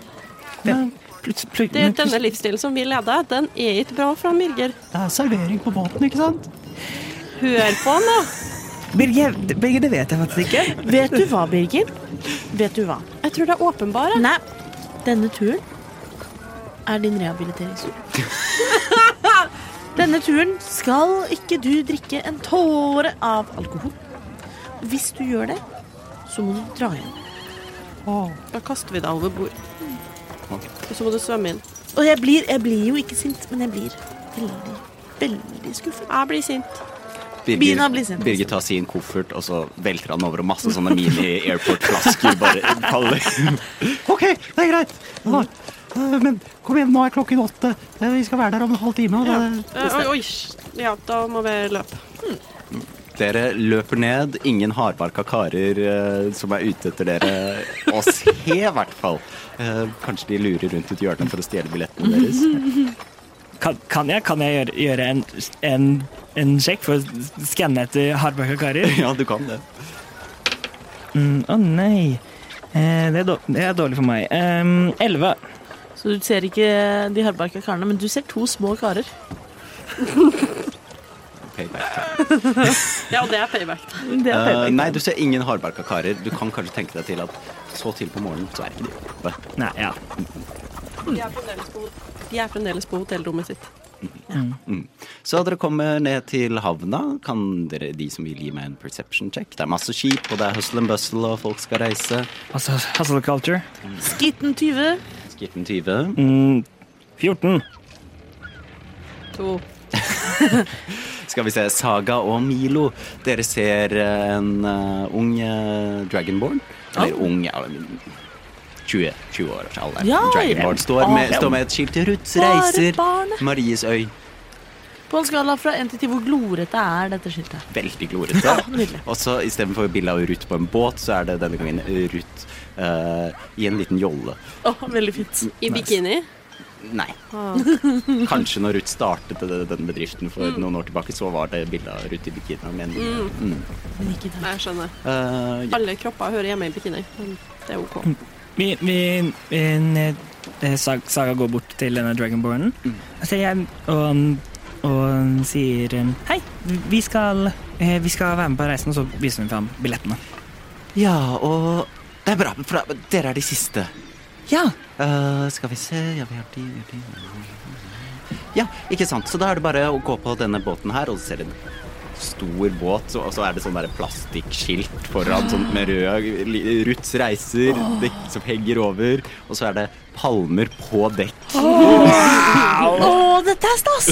S2: Det, plut- plut-
S3: Det er denne livsstilen som vi leder, den er ikke bra for han Birger.
S6: Det er servering på båten, ikke sant?
S3: Hør på han, da.
S2: Birger, Birger, det vet jeg faktisk ikke.
S4: Vet du hva, Birger? Vet du hva?
S3: Jeg tror det er åpenbare.
S4: Nei, denne turen er din rehabiliteringstur. denne turen skal ikke du drikke en tåre av alkohol. Hvis du gjør det, så må du dra hjem.
S6: Åh,
S3: Da kaster vi deg over bord.
S5: Ok.
S3: Og så må du svømme inn.
S4: Og jeg blir, jeg blir jo ikke sint, men jeg blir veldig, veldig skuffet.
S3: Jeg blir sint.
S4: Bina blir sint.
S5: Birger tar sin koffert, og så velter han over og masse sånne mini-airport-flasker bare faller.
S6: OK, det er greit. Da, eh, men kom igjen, nå er klokken åtte. Eh, Vi skal være der om en halv time. Og det,
S3: Eh, Oi, oi. Ja, da må vi løpe.
S5: Dere løper ned. Ingen hardbarka karer eh, som er ute etter dere. Oss he, i hvert fall. Eh, kanskje de lurer rundt et hjørne for å stjele billettene deres.
S2: Kan, kan jeg, kan jeg gjøre, gjøre en, en, en sjekk for å skanne etter hardbarka karer?
S5: Ja, du kan det.
S2: Mm, Å nei. Eh, det, er dårlig, det er dårlig for meg. Ehm, Elleve.
S4: Så du ser ikke de hardbarka karene, men du ser to små karer.
S5: Payback.
S3: Ja, og det er payback.
S4: Det er
S5: Eh,
S4: payback.
S5: nei, du ser ingen hardbarka karer. Du kan kanskje tenke deg til at så til på morgenen, så er ikke de oppe.
S2: Nei, ja.
S3: De er fremdeles på, de er fremdeles på hotellrommet sitt.
S5: Så dere kommer ned til havna. Kan dere, de som vil gi meg en perception check? Det er masse skip, og det er hustle and bustle, og folk skal reise.
S2: Altså, hustle culture.
S4: Skitten 20.
S5: Skitten 20.
S2: Mm, 14.
S3: To.
S5: Skal vi se, Saga og Milo. Dere ser eh, en eh, ung eh, dragonborn. Eller ung ja, 20, 20 år gammel alder.
S4: Ja, ja.
S5: dragonborn står med,
S4: Ja.
S5: står med et skilt til Ruths
S4: Bare
S5: reiser.
S4: barnet.
S5: Maries øy.
S4: På en skala fra 1 til 10, hvor glorete er dette skiltet?
S5: Veldig
S4: Ja,
S5: glorete.
S4: nydelig.
S5: Og så istedenfor bilde av Ruth på en båt, så er det denne gangen Ruth eh, i en liten jolle.
S4: Åh, veldig fint.
S3: I bikini.
S5: Nei.
S3: Ah.
S5: Kanskje når Ruth startet det- den bedriften for noen år tilbake, så var det bilde av Ruth i bikini. Men mm.
S4: Men ikke det.
S3: Nei, Jeg skjønner.
S5: Eh, ja.
S3: Alle kropper hører hjemme i bikini, men det er OK.
S2: Vi, vi, en, eh, Sag- Saga går bort til denne dragonbornen.
S5: Mm.
S2: Så jeg, og, han- og han sier eh, Hei, vi skal, eh, vi skal være med på reisen, og så viser hun fram billettene.
S5: ja, og Det er bra, for dere er de siste.
S2: Ja,
S5: Eh, skal vi se ja, vi har de, vi har de. ja, ikke sant. Så da er det bare å gå på denne båten her, og så ser du en stor båt, og så er det sånn der plastikkskilt foran sånn med rød li- Ruths reiser dekk, som henger over, og så er det palmer på dekk.
S4: Å, dette er stas!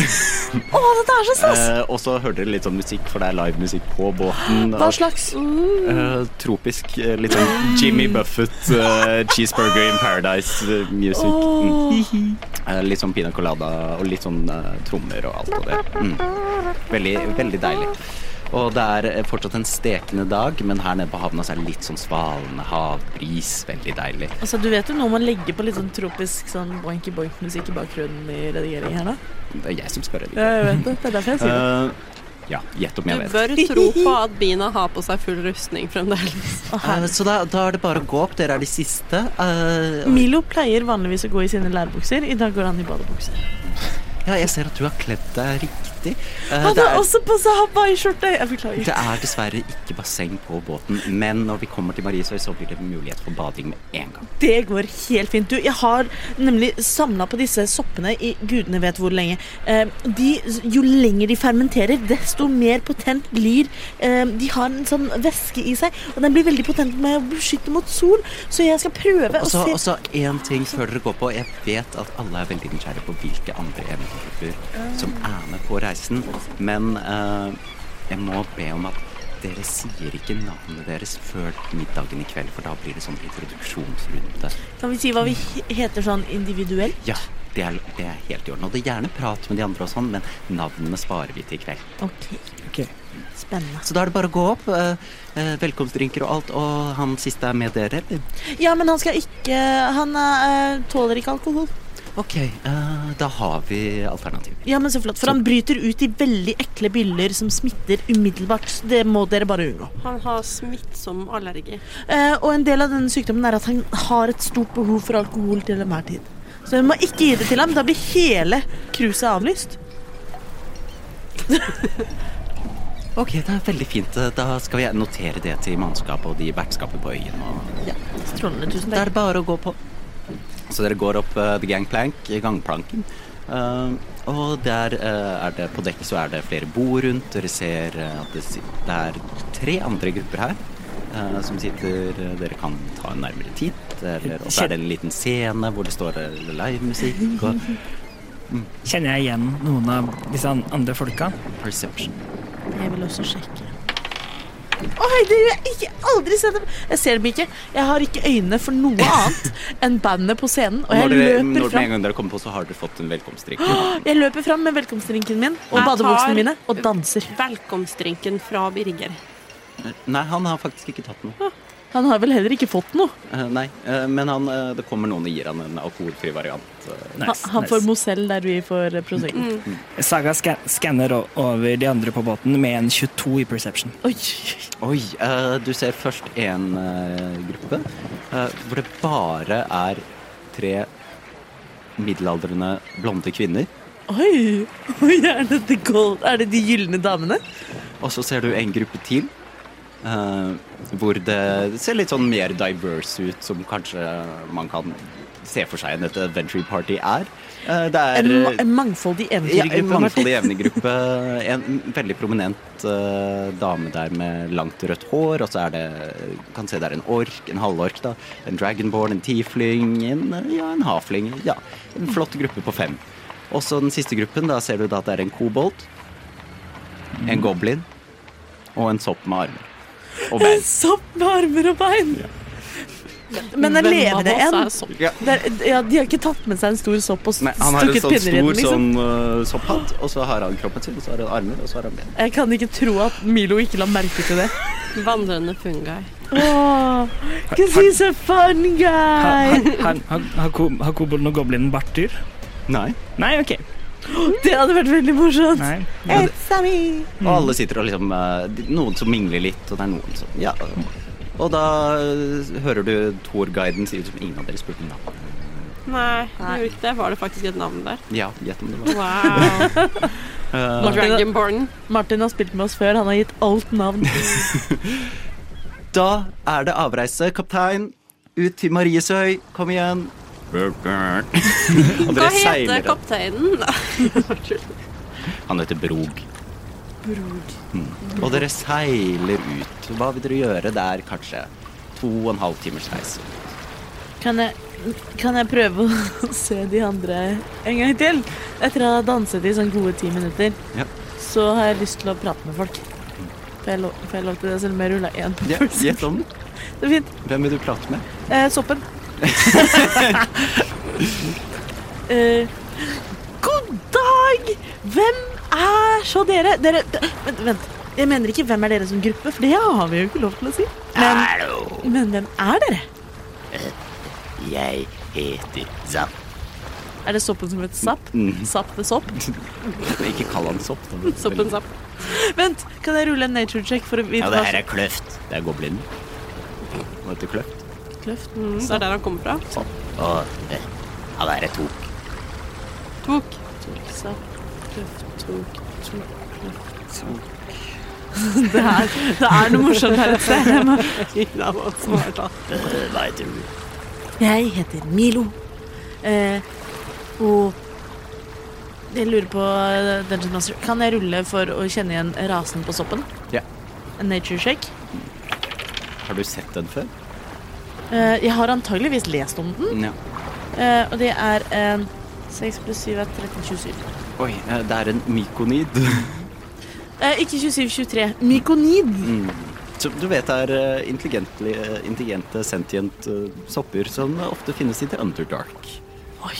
S4: Å, dette er så stas!
S5: Eh, og så hører dere litt sånn musikk, for det er livemusikk på båten.
S4: Hva slags?
S5: Eh, tropisk. eh, Litt sånn Jimmy Buffett, eh, Cheeseburger in eh, Paradise-music. litt sånn pina colada og litt sånn eh, trommer og alt og det. Mm. Veldig, veldig deilig. Og det er eh, fortsatt en stekende dag, men her nede på havna så er det litt sånn svalende havbris. Veldig deilig.
S4: Altså, du vet jo når man legger på litt sånn tropisk sånn boinky-boink-musikk i bakgrunnen i redigering her, da?
S5: Det er jeg som spør.
S4: Ja,
S5: Eller?
S4: jeg vet det. Det er derfor jeg sier det.
S5: Eh, ja, gjett om
S3: Du
S5: jeg vet.
S3: bør tro på at Bina har på seg full rustning fremdeles.
S5: Eh, så da, da er det bare å gå opp. Dere er de siste. Eh, og-
S4: Milo pleier
S5: Eh,
S4: vanligvis å gå i sine lærbukser. I dag går han i badebukser.
S5: ja, jeg ser at du har kledd deg riktig. riktig. Eh,
S4: Han
S5: det,
S4: har
S5: er,
S4: også på seg hawaiiskjorte! Jeg beklager.
S5: det er dessverre ikke basseng på båten, men når vi kommer til Mariesøy, så blir det mulighet for bading med en gang.
S4: Det går helt fint. Du, jeg har nemlig samla på disse soppene i gudene vet hvor lenge. Eh, De, jo lenger de fermenterer, desto mer potent blir eh, De har en sånn væske i seg, og den blir veldig potent med å beskytte mot sol, så jeg skal prøve
S5: Og
S4: å
S5: så
S4: se
S5: og så én ting før dere går på. Jeg vet at alle er veldig nysgjerrige på hvilke andre eventyrgrupper som er med på reisen, men eh, jeg må be om at dere sier ikke navnet deres før middagen i kveld, for da blir det sånn introduksjonsrunde.
S4: Kan vi si hva vi he- heter sånn individuelt?
S5: Ja, det er, det er helt i orden. Og det er gjerne prat med de andre og sånn, men navnene sparer vi til i kveld.
S4: Ok,
S2: Ok.
S4: spennende.
S5: Så da er det bare å gå opp. eh, eh, Velkomstdrinker og alt, og han siste er med dere.
S4: Ja, men han skal ikke Han eh, tåler ikke alkohol.
S5: Ok, eh, da har vi alternativ.
S4: Ja, men så flott, For han bryter ut i veldig ekle byller som smitter umiddelbart. så Det må dere bare unngå.
S3: Han har smittsom allergi.
S4: Eh, og en del av denne sykdommen er at han har et stort behov for alkohol til enhver tid. Så vi må ikke gi det til ham. Da blir hele cruiset avlyst.
S5: Ok, det er veldig fint. Eh, Da skal jeg notere det til mannskapet og de vertskapet på øyen. Og
S4: Strålende. Tusen
S5: da
S4: takk.
S5: er det bare å gå på. Så dere går opp eh, the gangplank, eh, gangplanken. Eh, og der eh, er det på dekk så er det flere bord rundt. Dere ser eh, at det, sit- det er tre andre grupper her eh, som sitter eh, Dere kan ta en nærmere titt. Eller, og så er det en liten scene hvor det står eh, livemusikk og
S2: Kjenner jeg igjen noen av disse an- andre folka?
S5: perception.
S4: Jeg vil også sjekke. Oi, det har jeg ikke, aldri sett dem. Jeg ser dem ikke. Jeg har ikke øynene for noe annet enn bandet på scenen. Og jeg
S5: når dere, når
S4: løper
S5: med en
S4: fram.
S5: gang dere kommer på, så har dere fått en velkomstdrikk.
S4: Jeg løper fram med velkomstdrinken min og
S3: Jeg tar-
S4: badebuksene mine og danser.
S3: Velkomstdrinken fra Birger.
S5: Nei, han har faktisk ikke tatt noe.
S4: Han har vel heller ikke fått noe.
S5: Eh, nei, eh, men han, eh, det kommer noen og gir han en alkoholfri variant. eh.
S4: Han,
S2: Nice,
S4: han får
S2: nice.
S4: Mozell der vi får Prosecco.
S2: Saga ska- skanner o- over de andre på båten med en 22 i perception.
S4: Oi,
S5: Oi, eh, du ser først en eh, gruppe eh, hvor det bare er tre middelaldrende blonde kvinner.
S4: oi, oi, er det the gold? Er det de gylne damene?
S5: Og så ser du en gruppe til eh, hvor det ser litt sånn mer diverse ut, som kanskje man kan se for seg enn et adventure party er. Eh, det er
S4: En, ma en mangfoldig
S5: Ja, en
S4: eventyrgruppe.
S5: mangfoldig
S4: Martin.
S5: evnegruppe. En veldig prominent eh, dame der med langt rødt hår, og så er det kan se det er en ork, en halvork, da. En dragonborn, en tiefling, en, eh, ja, en hafling. Ja, en flott gruppe på fem. Også den siste gruppen, da ser du da at det er en kobolt, en goblin og en sopp med armer. Og bein.
S4: Sopp med armer og bein. Men er
S3: Hvem
S4: levende
S3: av
S4: en?
S3: oss er sånn?
S5: Ja.
S4: Der, ja, de har ikke tatt med seg en stor sopp og
S5: Nei,
S4: stukket
S5: han har en
S4: pinner
S5: sånn
S4: i den,
S5: stor
S4: liksom.
S5: sånn eh, sopphatt, og så har han kroppen sin, og så har han armer, og så har han ben.
S4: Jeg kan ikke tro at Milo ikke la merke til det.
S3: Vandrende fungi.
S4: Åh, cause he's a fun guy!
S2: Har- har- har- Har ko- har kobolden og goblinen barter?
S5: Nei.
S2: Nei, OK.
S4: Det hadde vært veldig morsomt.
S2: Nei.
S4: It's a me.
S5: Og alle sitter og liksom eh, de- Noen som mingler litt, og det er noen som Ja. Og da eh, hører du Thor-guiden si ut som ingen av dere spurte om navn.
S3: Nei, det gjorde ikke det. Var det faktisk et navn der?
S5: Ja, gjett om det var.
S3: Wow.
S5: Eh,
S3: Dragonborn.
S4: Martin har spilt med oss før. Han har gitt alt navn.
S5: da er det avreise, kaptein. Ut til Mariesøy. Kom igjen. og
S3: Hva
S5: dere
S3: heter
S5: seiler opp.
S3: kapteinen?
S5: Han heter Brog.
S4: Bror.
S5: Mm. Og dere seiler ut. Hva vil dere gjøre? Det er kanskje to og en halv timers reise.
S4: Kan jeg, kan jeg prøve å se de andre en gang til? Etter å ha danset i sånn gode ti minutter,
S5: Ja.
S4: så har jeg lyst til å prate med folk. Får jeg, lov, får jeg lov til det, selv om jeg rulla én på
S5: Ja,
S4: pulsen?
S5: Gjett om.
S4: Det er fint.
S5: Hvem vil du prate med?
S4: Eh, soppen. eh, god dag! Hvem er så dere? Dere d- Vent, vent. Jeg mener ikke hvem er dere som gruppe, for det har vi jo ikke lov til å si. Men,
S5: Hallo,
S4: men hvem er dere?
S5: jeg heter Zapp.
S4: Er det soppen som heter Zapp?
S5: Mm.
S4: Zapp the Sopp?
S5: Ikke kall han sopp. da.
S3: Soppen sapp.
S4: Vent, kan jeg rulle en nature check for å vite
S5: Ja, det
S4: hva
S5: her er kløft. Det er goblinen. Hva heter kløft?
S4: som kløft?
S3: Mm, det er der han kommer fra.
S5: Sånn. Og eh, ja, det her er tok.
S3: Tok.
S4: Tok, sapp, kløft, tok Det er, det er noe morsomt her et sted. Jeg må- Eh,
S6: La meg svare, da.
S4: Hva heter du? Jeg heter Milo. Eh, og jeg lurer på eh, Dungeon Master, kan jeg rulle for å kjenne igjen rasen på soppen?
S5: Ja.
S4: En Nature shake?
S5: Har du sett den før?
S4: Eh, jeg har antageligvis lest om den,
S5: Ja.
S4: eh, og det er en 6 pluss 7 er 13, 27.
S5: Oi, eh, det er en mykonid.
S4: Eh, ikke 27, 23. Mykonid.
S5: Som du vet er eh, intelligentli- eh, intelligente, sentient eh, sopper som ofte finnes i The Underdark.
S4: Oi.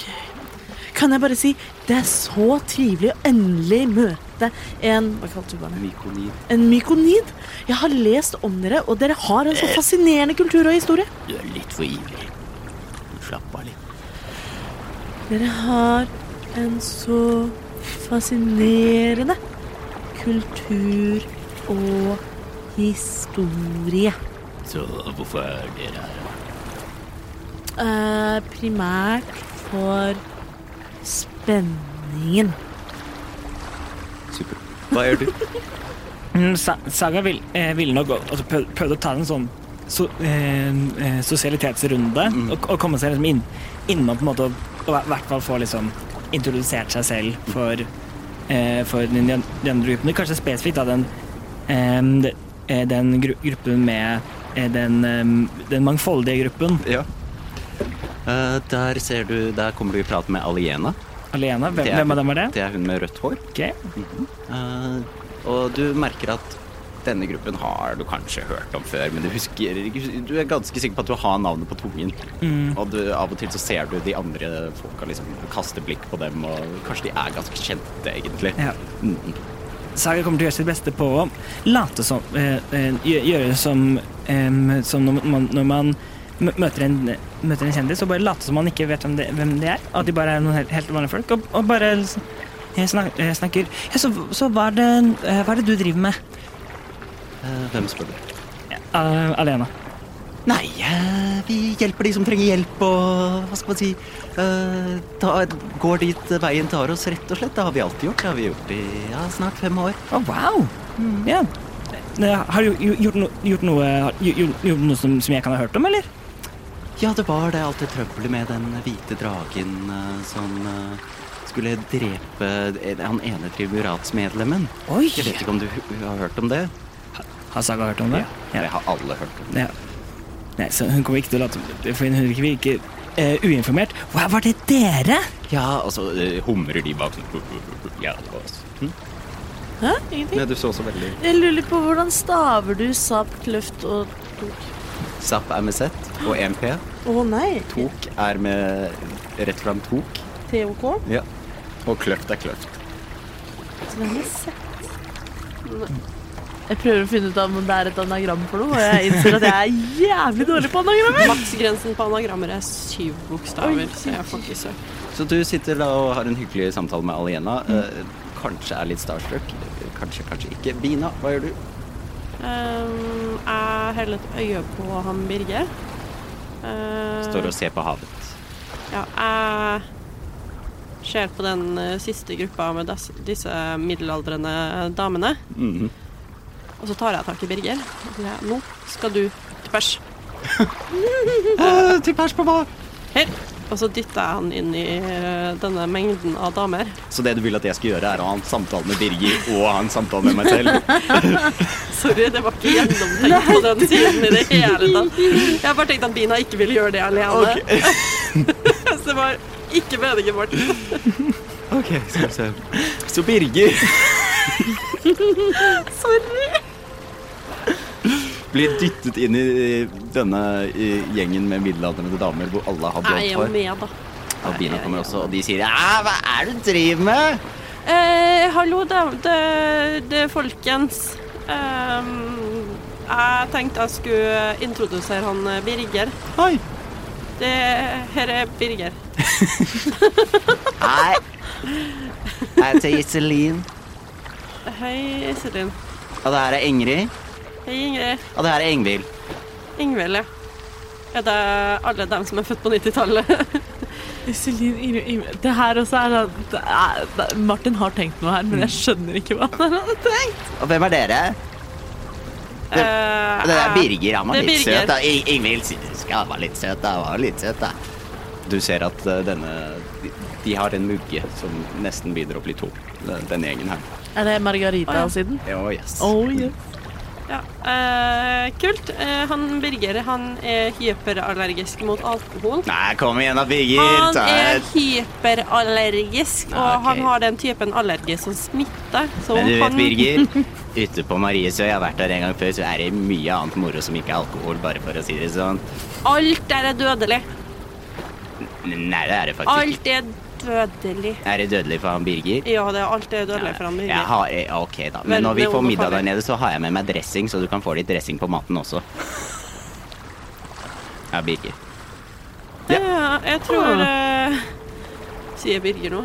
S4: Kan jeg bare si, det er så trivelig å endelig møte en Hva kalte du barnet?
S5: Mykonid.
S4: En mykonid. Jeg har lest om dere, og dere har en så fascinerende kultur og historie.
S5: Eh. Du er litt for ivrig. Slapp av litt.
S4: Dere har en så fascinerende kultur og historie.
S5: Så hvorfor er dere her?
S4: Eh, primært for spenningen.
S5: Super. Hva gjør du?
S2: Mm, Sa- Saga vil- eh, ville nok gå- altså, prøv- prøvde å ta en sånn so, eh, eh, sosialitetsrunde og, og komme seg liksom inn, innom på en måte og, og i hvert fall få liksom introdusert seg selv for, eh, for den, den de andre gruppen. Kanskje spesifikt da den, em, de- eh, den gru, gruppen med eh, den, em, den mangfoldige gruppen
S5: Ja. Eh, der ser du Der kommer du i prat med Aliena.
S2: alene. Hvem,
S5: Det er-
S2: hvem av dem var det?
S5: Det er hun med rødt hår.
S2: Ok.
S5: Eh, og du merker at denne gruppen har du kanskje hørt om før, men du husker ikke- Du er ganske sikker på at du har navnet på tungen. Og du, av og til så ser du de andre folka liksom kaste blikk på dem, og kanskje de er ganske kjente, egentlig.
S2: Ja.
S5: Mm.
S2: Saga kommer til å gjøre sitt beste på å late som eh, eh, gjø- Gjøre som, eh, som når man, når man mø- møter en, møter en kjendis, og bare late som man ikke vet hvem det, hvem det er. At de bare er noen helt, helt vanlige folk. Og, og bare liksom, jeg snak, jeg snakker ja, så, så hva er, det, eh, hva er det du driver med?
S5: Eh, hvem spør du?
S2: Uh, alene.
S5: Nei, eh, vi hjelper de som trenger hjelp, og hva skal man si eh, ta, Går dit veien tar oss, rett og slett. Det har vi alltid gjort. Det har vi gjort i ja, snart fem år.
S2: Å, wow! Ja. Eh, Har du gjo- gjort, no, gjort noe, har du gjort, gjort noe som, som jeg kan ha hørt om, eller?
S5: Ja, det var det alltid trøbbel med den hvite dragen eh, som eh, skulle drepe en- han ene triburatsmedlemmen.
S2: Oi!
S5: Jeg vet ikke om du hu- har hørt om det?
S2: Har Saga hørt om det?
S5: Det har alle hørt om. det.
S2: Ja. Nei, så hun kommer ikke til å late For hun virker ikke eh, uinformert. Hva var det dere?
S5: Ja, og så eh, humrer de bak sånn. Ja, det var oss. Hm?
S4: Hæ? Ingenting?
S5: du så så veldig
S4: Jeg lurer på hvordan staver du sap, kløft og tok?
S5: Zapp er med Z, og MP.
S4: Å nei.
S5: Tok er med rett fram tok.
S4: TOK?
S5: Ja. Og kløft er kløft.
S4: Så det er litt sett. Jeg prøver å finne ut av om det er et anagram for noe, og jeg innser at jeg er jævlig dårlig på anagrammer.
S3: Maksgrensen på anagrammer er syv bokstaver, så jeg får ikke søkt.
S5: Så du sitter da og har en hyggelig samtale med Aliena. eh, Kanskje er litt starstruck. Kanskje, kanskje ikke. Bina, hva gjør du?
S3: Um, jeg holder et øye på han Birger. Uh,
S5: Står og ser på havet.
S3: Ja, jeg ser på den eh, siste gruppa med des, disse middelaldrende damene.
S5: Mhm.
S3: Og så tar jeg tak i Birger. og sier jeg, Nå skal du til pers.
S5: Eh,
S6: Til pers på hva?
S3: Her! Og så dytter jeg han inn i eh, denne mengden av damer.
S5: Så det du vil at jeg skal gjøre, er å ha en samtale med Birger og ha en samtale med meg selv?
S3: Sorry, det var ikke gjennomtenkt på den siden i det hele tatt. Jeg har bare tenkt at Bina ikke ville gjøre det alene. så det var ikke meningen vår.
S5: Ok, skal vi se. Så Birger
S4: Sorry.
S5: blir dyttet inn i denne eh, gjengen med middelaldrende damer hvor alle har
S3: Jeg er jo
S5: blondt hår.
S3: med, da.
S5: Og Bina kommer også, og de sier «Æ, hva er det du driver med?
S3: Eh, hallo, det, det, det er folkens. Ehm, jeg tenkte jeg skulle introdusere han eh, Birger.
S5: Oi.
S3: Det, her er Birger.
S5: Hei. Jeg heter Iselin.
S3: Hei, Iselin.
S5: Og det her er Ingrid.
S3: Hei, Ingrid.
S5: Og det her er Ingvild.
S3: Ingvild, ja. Er det alle dem som er født på 90-tallet?
S4: Iselin Iri- Iri- Det her også er sånn det er, det, Martin har tenkt noe her, men jeg skjønner ikke hva han har tenkt.
S5: Og hvem er dere?
S3: Det,
S5: Det er Birger. Han var
S3: Eh, Ah, Det er
S5: litt
S3: Birger.
S5: søt. da. I- Ingvild sy- ja, han var litt søt, da. Han var litt søt, da. Du ser at eh, denne de, de har en mugge som nesten begynner å bli tom, den- denne gjengen her.
S4: Er det Margarita siden?
S5: Oh, yes.
S4: Oh, yes.
S3: Ja, eh, kult. Eh, han Birger han er hyperallergisk mot alkohol.
S5: Nei, kom igjen da, Birger.
S3: Han
S5: Ta
S3: er
S5: et-
S3: hyperallergisk, og
S5: Ah, ok.
S3: han har den typen allergi som smitter. Så
S5: Men du vet,
S3: han,
S5: Birger, ute på Mariesø, jeg har vært der en gang før, så er det mye annet moro som ikke er alkohol, bare for å si det sånn.
S3: alt der er dødelig.
S5: Nei, det er det faktisk ikke.
S3: Alt er dødelig.
S5: Er det dødelig for han Birger?
S3: Ja, det er alt er dødelig for han
S5: Jeg
S3: Birger.
S5: har, eh, ok da,
S3: Veldig
S5: men når vi får middag
S3: overfarlig.
S5: der nede, så har jeg med meg dressing, så du kan få litt dressing på maten også. Ja, Birger.
S3: Ja, jeg tror eh, Sier Birger nå.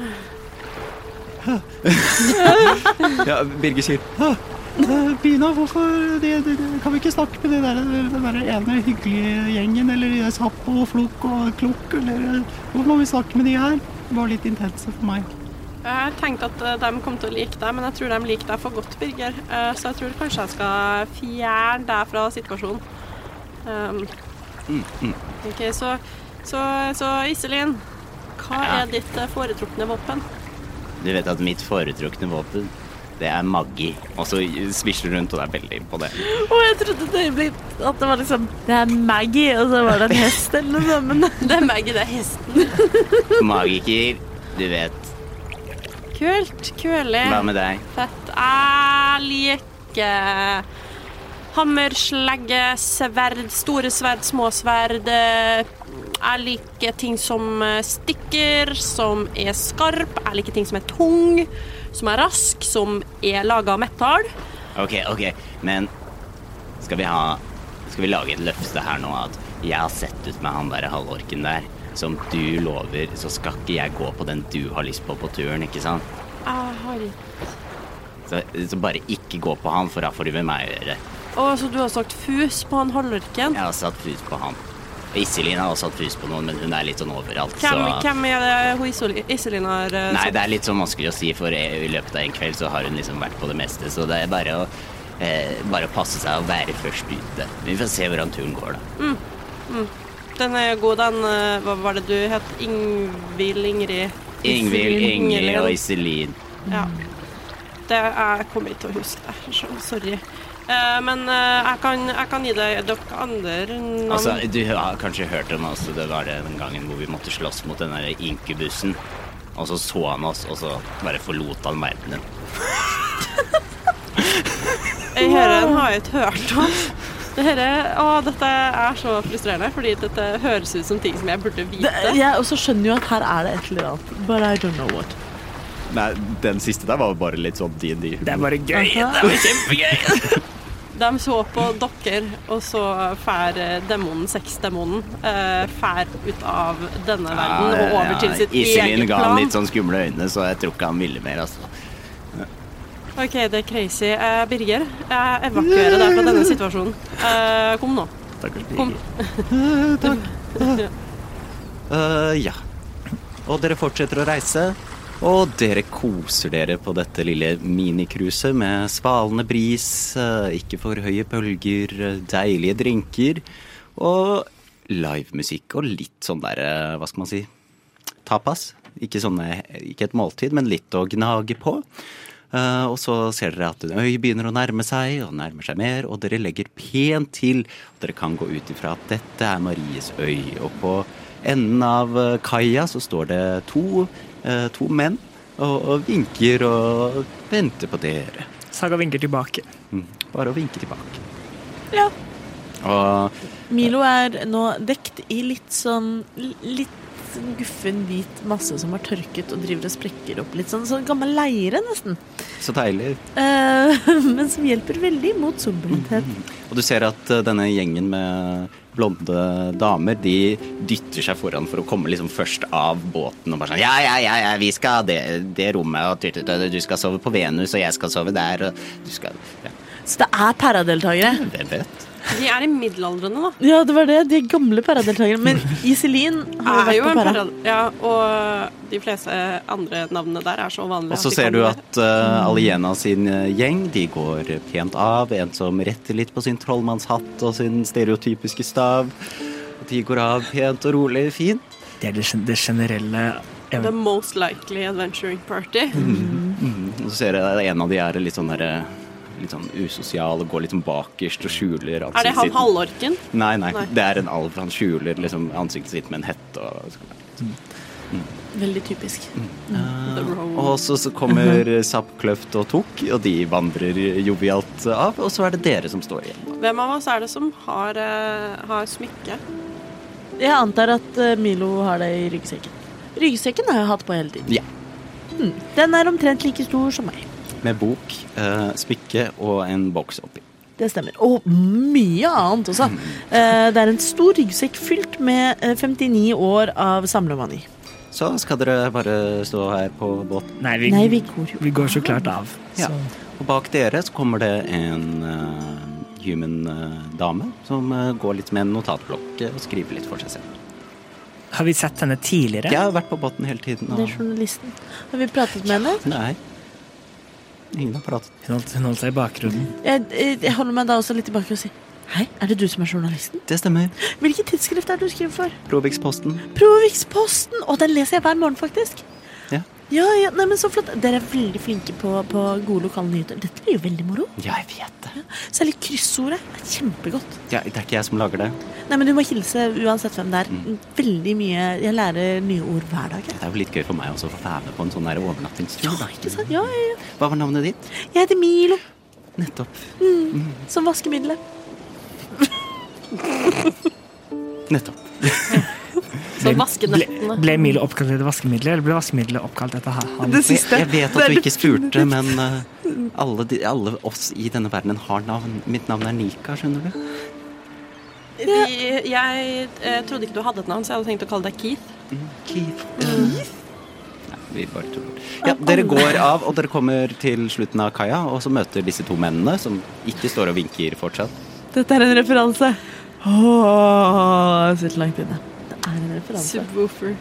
S5: Ja, Birger sier.
S6: Eh, Bina, hvorfor de, de, de, kan vi ikke snakke med de der, den der ene hyggelige gjengen, eller de der Sapp og Flokk og Klokk, eller eh, Hvorfor må vi snakke med de her? Det var litt intense for meg.
S3: Jeg har tenkt at eh, de kom til å like deg, men jeg tror de liker deg for godt, Birger. Eh, så jeg tror kanskje jeg skal fjerne deg fra situasjonen. Um, OK, så, så, så Iselin, hva
S5: Ja.
S3: er ditt eh, foretrukne våpen?
S5: Du vet at mitt foretrukne våpen, det er Maggi. Og så svisler du rundt, og det er veldig på det.
S4: Å, jeg trodde et øyeblikk at det var liksom Det er Maggie, og så var det en hest eller noe sånt. Men
S3: Det er Maggie, det er hesten.
S5: Magiker, du vet.
S3: Kult, kulig,
S5: Hva med deg?
S3: fett. Jeg liker hammerslegge, sverd, store sverd, små sverd. eh, Jeg liker ting som eh, stikker, som er skarp. Jeg liker ting som er tung, som er rask, som er laga av metall.
S5: Ok, ok, men skal vi ha Skal vi lage et løfte her nå at jeg har sett ut med han der halvorken der. Som du lover, så skal ikke jeg gå på den du har lyst på på turen, ikke sant?
S3: Jeg har
S5: Så, så bare ikke gå på han, for da får du med meg å gjøre.
S3: Å, så du har sagt fus på han halvorken?
S5: Jeg har satt fus på han. Iselin har også satt fus på noen, men hun er litt sånn overalt,
S3: Hvem,
S5: så
S3: hvem er det hun Isoli- Iselin har eh,
S5: Nei,
S3: satt-
S5: det er litt sånn vanskelig å si, for i løpet av en kveld så har hun liksom vært på det meste, så det er bare å eh, bare å passe seg og være først ute. Vi får se hvordan turen går, da.
S3: Den er god, den. eh, Hva var det du het? Ingvild Ingrid?
S5: Ingvild, Ingrid og
S3: Ingrid.
S5: Iselin.
S3: Ja. Det jeg kommer ikke til å huske det. så Sorry. Eh, men eh, jeg, kan, jeg kan gi deg dere andre navn.
S5: Altså, du har kanskje hørt om oss, det var den gangen hvor vi måtte slåss mot den der inkubussen. Og så så han oss, og så bare forlot han verdenen.
S3: Jeg hører den har jeg ikke hørt om. Dette, å, dette er så frustrerende, fordi dette høres ut som ting som jeg burde vite.
S4: jeg også skjønner jo at her er det et eller annet. But I don't know what.
S5: Nei, den siste der var bare litt sånn DND.
S2: Det er bare gøy.
S3: De så på dere, og så fær eh, demonen, sexdemonen, eh, fær ut av denne verden og over til sitt
S5: Iselin
S3: eget
S5: ga han
S3: plan.
S5: litt sånn skumle øyne, så jeg tror ikke han ville mer, altså.
S3: OK, det er crazy. Eh, Birger, jeg evakuerer deg fra denne situasjonen. Eh, kom nå.
S5: Stakkars
S3: Kom.
S6: Eh, takk.
S5: Eh, ja. Og dere fortsetter å reise. Og dere koser dere på dette lille minikruset med svalende bris, eh, ikke for høye bølger, eh, deilige drinker og livemusikk og litt sånn derre, hva skal man si, tapas. Ikke, sånne, ikke et måltid, men litt å gnage på. Eh, og så ser dere at en øy begynner å nærme seg, og nærmer seg mer, og dere legger pent til. Og dere kan gå ut ifra at dette er Maries øy. Og på enden av eh, kaia så står det to, eh, to menn og, og vinker og venter på dere.
S2: Saga vinker tilbake.
S5: Mm, bare å vinke tilbake.
S4: Ja.
S5: Og
S4: Milo er nå dekt i litt sånn litt guffen hvit masse som har tørket og driver og sprekker opp litt sånn, sånn gammel leire, nesten.
S5: så deilig.
S4: Eh, men som hjelper veldig mot sommerhet.
S5: Og du ser at eh, denne gjengen med blonde damer, de dytter seg foran for å komme liksom først av båten og bare sånn Ja, ja, ja, ja vi skal ha det, det rommet, og tut, tut, tut, du skal sove på Venus, og jeg skal sove der, og du skal ja,
S4: Så det er paradeltakere.
S5: Hvem vet?
S3: De er i middelaldrende, da.
S4: Ja, det var det. De er gamle paradeltakerne. Men Iselin har
S3: Er
S4: vært
S3: jo
S4: på
S3: en
S4: para.
S3: parad... Ja, og de fleste andre navnene der er så vanlige.
S6: Og så
S3: at de
S6: ser
S3: kan
S6: du
S3: det.
S6: at uh, Aliena sin eh, gjeng de går pent av. En som retter litt på sin trollmannshatt og sin stereotypiske stav. De går av pent og rolig, fint.
S2: Det er det, gen- det generelle
S3: The
S2: ev-
S3: most likely adventuring party.
S6: Mm. Og så ser jeg at en av de er litt sånn der, eh, litt sånn usosial og går litt sånn bakerst og skjuler ansiktet
S3: Er det han
S6: sitt.
S3: halvorken?
S6: Nei, nei,
S3: Nei.
S6: det er en alv. Han skjuler liksom ansiktet sitt med en hette. Og,
S4: Veldig typisk.
S3: The rogue.
S6: Mm. Ah. og så, så kommer
S4: Mhm.
S6: Zapp, Kløft og Tok, og de vandrer jovialt av. Og så er det dere som står igjen.
S3: Hvem av oss er det som har, eh, har smykke?
S4: Jeg antar at eh, Milo har det i ryggsekken. Ryggsekken har jeg hatt på hele tiden. Hmm.
S6: Ja.
S4: Den er omtrent like stor som meg.
S6: Med bok, eh, smykke og en boks oppi.
S4: Det stemmer. Og mye annet også.
S6: Hmm.
S4: Eh, Det er en stor ryggsekk fylt med eh, 59 år av samlemani.
S6: Så skal dere bare stå her på båten.
S2: Nei, vi,
S4: Nei, vi går jo
S2: vi går så klart av.
S6: Ja.
S2: Så.
S6: Og bak dere så kommer det en eh, human eh, dame som eh, går litt med en notatblokk eh, og skriver litt for seg selv.
S2: Har vi sett henne tidligere?
S6: Jeg har vært på båten hele tiden.
S4: Det er
S6: Og...
S4: journalisten. Har vi pratet med henne?
S6: Nei. Ingen har pratet.
S2: Hun, holdt, hun holdt seg i bakgrunnen.
S4: Jeg, eh, jeg holder meg da også litt tilbake og sier Hei, er det du som er journalisten?
S6: Det stemmer.
S4: Hvilket tidsskrift er det du skriver for?
S6: Robiksposten.
S4: Proviksposten! Og den leser jeg hver morgen, faktisk.
S6: Ja.
S4: Ja, ja, nei, men så flott. Dere er veldig flinke på, på gode lokale nyheter. Dette blir jo veldig moro.
S6: Ja, jeg vet det.
S4: Særlig kryssordet er kjempegodt.
S6: Ja, det er ikke jeg som lager det.
S4: Nei, men Du må hilse uansett hvem det er. Veldig mye Jeg lærer nye ord hver dag. jeg.
S6: Det er jo litt gøy for meg også å få være med på en sånn der overnattingstur.
S4: Ja,
S6: da.
S4: ikke sant? Ja, ja, ja.
S6: Hva var navnet ditt?
S4: Jeg heter Milo,
S6: Nettopp.
S4: som vaskemiddelet.
S6: Nettopp.
S3: Så vaskenettene.
S2: Ble, ble Milo oppkalt etter vaskemiddelet, eller ble vaskemiddelet oppkalt etter ha- han?
S4: Det
S6: Jeg,
S4: siste.
S6: jeg vet
S4: Det
S6: at
S4: er
S6: du ikke spurte, men eh, alle, de, alle oss i denne verdenen har navn. Mitt navn er Nika, skjønner du.
S3: De, jeg eh, trodde ikke du hadde et navn, så jeg hadde tenkt å kalle deg Keith.
S6: Keith. Vi bare tuller. Ja, dere går av, og dere kommer til slutten av kaia, og så møter disse to mennene, som ikke står og vinker fortsatt.
S4: Dette er en referanse. Åh, jeg sitter langt inne. Det er en referanse.
S3: Subwoofer.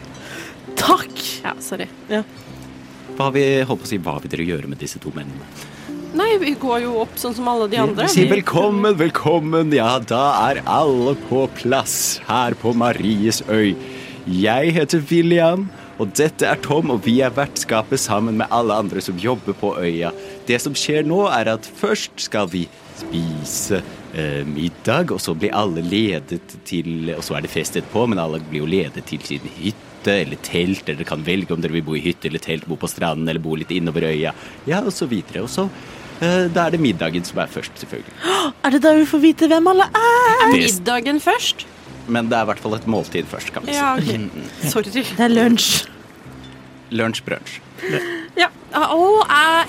S4: Takk!
S3: Ja, sorry.
S6: Hva har vi, holdt på å si, hva vil dere gjøre med disse to mennene?
S3: Nei, vi går jo opp sånn som alle de andre.
S6: Si velkommen, velkommen, ja, da er alle på plass her på Maries øy. Jeg heter William, og dette er Tom, og vi er vertskapet sammen med alle andre som jobber på øya. Det som skjer nå, er at først skal vi spise eh, middag, og så blir alle ledet til Og så er det fest etterpå, men alle blir jo ledet til sin hytte hytte eller telt, eller dere kan velge om dere vil bo i hytte eller telt, bo på stranden eller bo litt innover øya, ja, og så videre. Og så eh, da er det middagen som er først, selvfølgelig.
S4: Er det da vi får vite hvem alle er?
S3: Er
S6: Det-
S3: middagen først?
S6: Men det er i hvert fall et måltid først, kan vi si.
S3: Ja, ok. Sorry.
S4: Det er lunsj.
S6: Lunsj, brunsj.
S3: Ja. Å,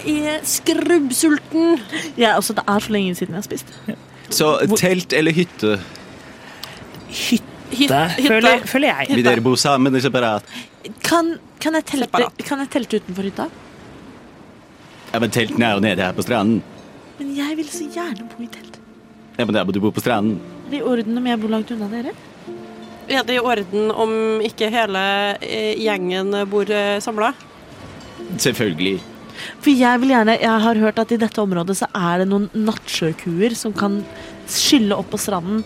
S3: jeg er skrubbsulten.
S4: Ja, altså, det er så lenge siden jeg har spist.
S6: Så telt eller hytte?
S3: Hytte.
S2: Det
S3: hytte.
S2: føler, føler jeg.
S6: Vil dere bo sammen eller separat?
S4: Kan, kan, jeg telte,
S3: Separat.
S4: kan jeg telte utenfor hytta?
S6: Ja, men teltene er jo nede her på stranden.
S4: Men jeg vil så gjerne bo i telt.
S6: Ja, men da må du bo på stranden.
S4: Er det i orden om jeg bor langt unna dere?
S3: Er det i orden om ikke hele eh, gjengen bor eh, samla?
S6: Selvfølgelig.
S4: For jeg vil gjerne, jeg har hørt at i dette området så er det noen nattsjøkuer som kan skylle opp på stranden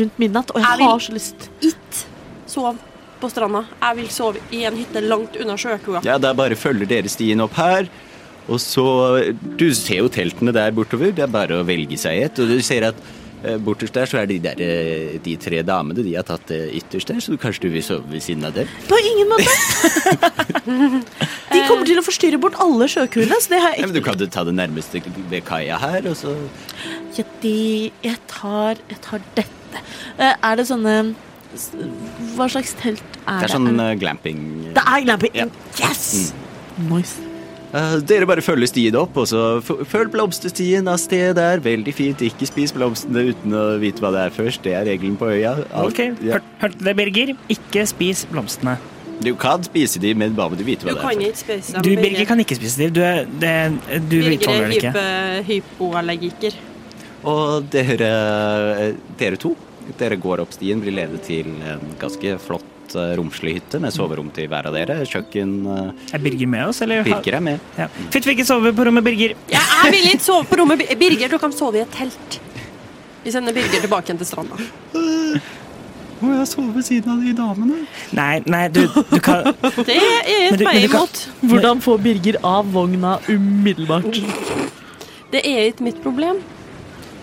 S4: rundt midnatt, og
S3: Jeg
S4: jeg
S3: vil-
S4: har så lyst.
S3: Ikke sov på stranda. Jeg vil sove i en hytte langt unna sjøkua.
S6: Ja, da bare følger dere stien opp her. Og så Du ser jo teltene der bortover. Det er bare å velge seg et. Og du ser at eh, borterst der så er de der eh, de tre damene. De har tatt det ytterst der, så du- kanskje du vil sove ved siden av dem?
S4: På ingen måte! De kommer til å forstyrre bort alle sjøkuene, så det har
S6: Ja,
S4: jeg
S6: men
S4: ikke
S6: du kan jo ta det nærmeste ved kaia her, og så
S4: ja, de, jeg, tar, jeg tar dette. Eh, Er det sånne s- Hva slags telt er det?
S6: Det er sånn
S3: Mm.
S6: eh, glamping.
S4: Det er glamping!
S6: Ja. Mm.
S4: Yes! Nice.
S6: Eh, dere bare følger stien opp, og så f- følg blomsterstien av sted der. Veldig fint. Ikke spis blomstene uten å vite hva det er først. Det er regelen på øya. Alt-
S2: Ok,
S6: ja.
S2: hør- hørte du det, Birger? Ikke spis blomstene.
S6: Du kan spise de, men bare du vite
S3: Du
S6: hva det er
S3: kan
S6: først.
S3: ikke spise dem.
S2: Du, Birger, kan ikke spise div. Du, er- det- du
S3: Birger
S2: tåler
S3: er
S2: det ikke.
S3: hype, hypoallergiker.
S5: Og
S6: eh,
S5: dere, dere to dere går opp stien, blir ledet til en ganske flott, eh, romslig hytte med soverom til hver av dere. Kjøkken eh,
S2: Er Birger med oss, eller?
S5: Birger er med.
S2: Ja. Fint vi ikke sover på rommet, Birger.
S3: Jeg, jeg vil ikke sove på rommet. Birger, du kan sove i et telt. Vi sender Birger tilbake igjen til stranda.
S6: Må jeg sove ved siden av de damene?
S2: Nei, nei, du, du kan
S3: Det er jeg
S2: Men du- men
S3: meg
S2: du kan-
S3: imot.
S4: Hvordan få Birger av vogna umiddelbart?
S3: Det er ikke mitt problem.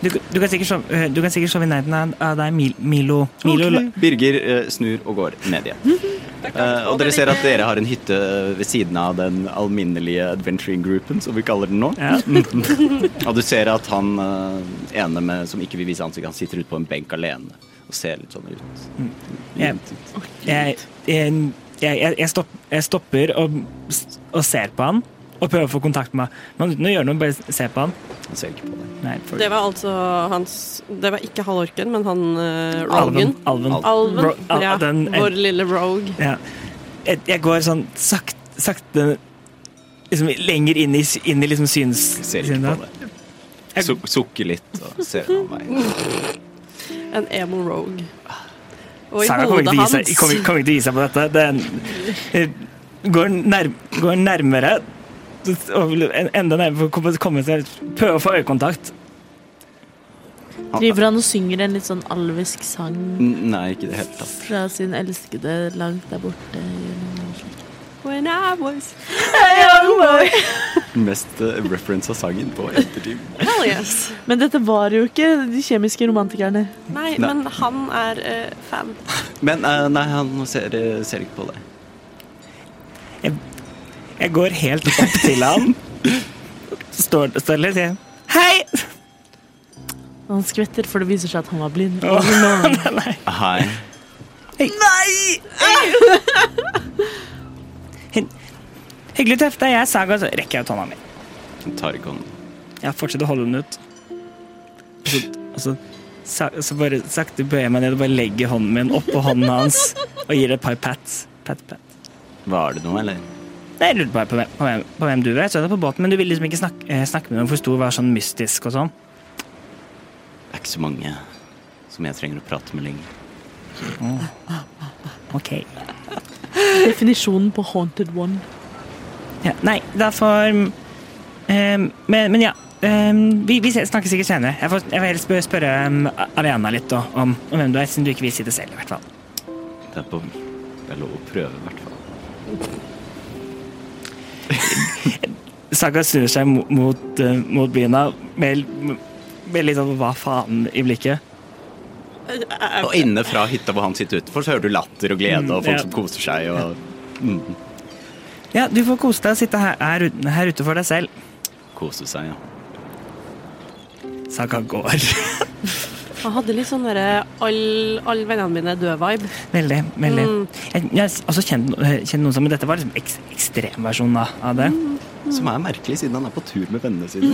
S2: Du, du kan sikkert sove, eh, du kan sikkert sove i nærheten av- av deg, Mil- Milo. Milo
S6: Ok.
S5: Birger eh, snur og går ned igjen. Eh, og dere ser at dere har en hytte ved siden av den alminnelige adventuring-gruppen, som vi kaller den nå.
S2: Ja. mm.
S5: Og du ser at han eh, ene med, som ikke vil vise ansiktet, han sitter ute på en benk alene og ser litt sånn ut.
S2: Mm. Ja. Jeg, jeg, jeg, jeg- jeg, stopp, jeg stopper og, og ser på han og prøver å få kontakt med han. Men uten å gjøre noe, bare se på han.
S5: Han ser ikke på deg.
S2: Nei, for,
S3: Det var altså hans Det var ikke halvorken, men han uh,
S2: Alven.
S3: rogen.
S2: Alven.
S3: Alven.
S2: Ro- al-
S3: ja,
S2: den-
S3: vår lille rogue.
S2: Ja. Jeg, jeg går sånn sakte, sakte liksom, lenger inn i, sy- inn i liksom syns...
S5: Ser ikke
S2: synet.
S5: på deg.
S2: Jeg-
S5: Su sukker litt og ser en annen vei.
S3: En emo rogue. Og i
S2: Saga kommer
S3: hodet
S2: ikke til å gi seg-
S3: hans
S2: kommer- kommer ikke til å gi seg på dette. Det er en- eh, går, nær, går nærmere og vil en- enda nærmere for å komme- komme seg Prøve å få øyekontakt.
S6: Ah.
S4: Driver han og synger en litt sånn alvisk sang
S5: N- Nei, ikke i det hele tatt.
S4: fra sin elskede langt der borte?
S3: When I was
S5: Mest eh, reference av sangen på ettertid.
S3: Hell yes.
S4: Men dette var jo ikke de kjemiske romantikerne.
S3: Nei,
S5: Nei.
S3: men han er eh, fan.
S5: Men eh, nei, han ser, eh, ser ikke på deg.
S2: Jeg går helt opp til han. Står, står litt igjen. Hei!
S4: Han skvetter, for det viser seg at han var blind.
S2: Å,
S5: Hei.
S2: Hyggelig å treffe deg. Jeg er Saga, så rekker jeg ut hånda mi.
S5: Han tar ikke hånden.
S2: Jeg fortsetter å holde den ut. Og så, og så, sa- så bare sakte bøyer jeg meg ned og bare legger hånden min oppå hånden hans og gir det et par pats. Pat, pat.
S5: Var det noe, eller?
S2: Nei, Jeg lurte bare på hvem, på, hvem, på hvem du var. Jeg så deg på båten, men du ville liksom ikke snakke, eh, snakke med noen, for stor var sånn mystisk og sånn.
S5: Det er ikke så mange som jeg trenger å prate med lenger.
S2: Ok.
S4: Definisjonen på haunted one.
S2: Ja, nei, da får ehm, men, men ja. ehm, vi vi ses- snakkes sikkert senere. Jeg, får, jeg vil helst spørre, spørre ehm, Ariana litt da, om, om hvem du er, siden du ikke vil si det selv. i hvert fall.
S5: Det er, på, det er lov å prøve, i hvert fall.
S2: Saga snur seg mot, mot, eh, mot Bina med, med litt sånn hva faen i blikket.
S5: Og inne fra hytta hvor han sitter utenfor, så hører du latter og glede og folk
S2: ja.
S5: som koser seg. og
S2: Ja, du får kose deg og sitte her, her, ut- her ute for deg selv.
S5: koser seg. Ja.
S2: Saga går.
S3: Han hadde litt sånn derre all, all vennene mine er døde-vibe.
S2: Veldig. veldig.
S3: Mm.
S2: Jeg, jeg har også kjent, eh, kjent noen som men Dette var liksom eks, ekstremversjonen av- av det.
S5: Som er merkelig, siden han er på tur med vennene sine.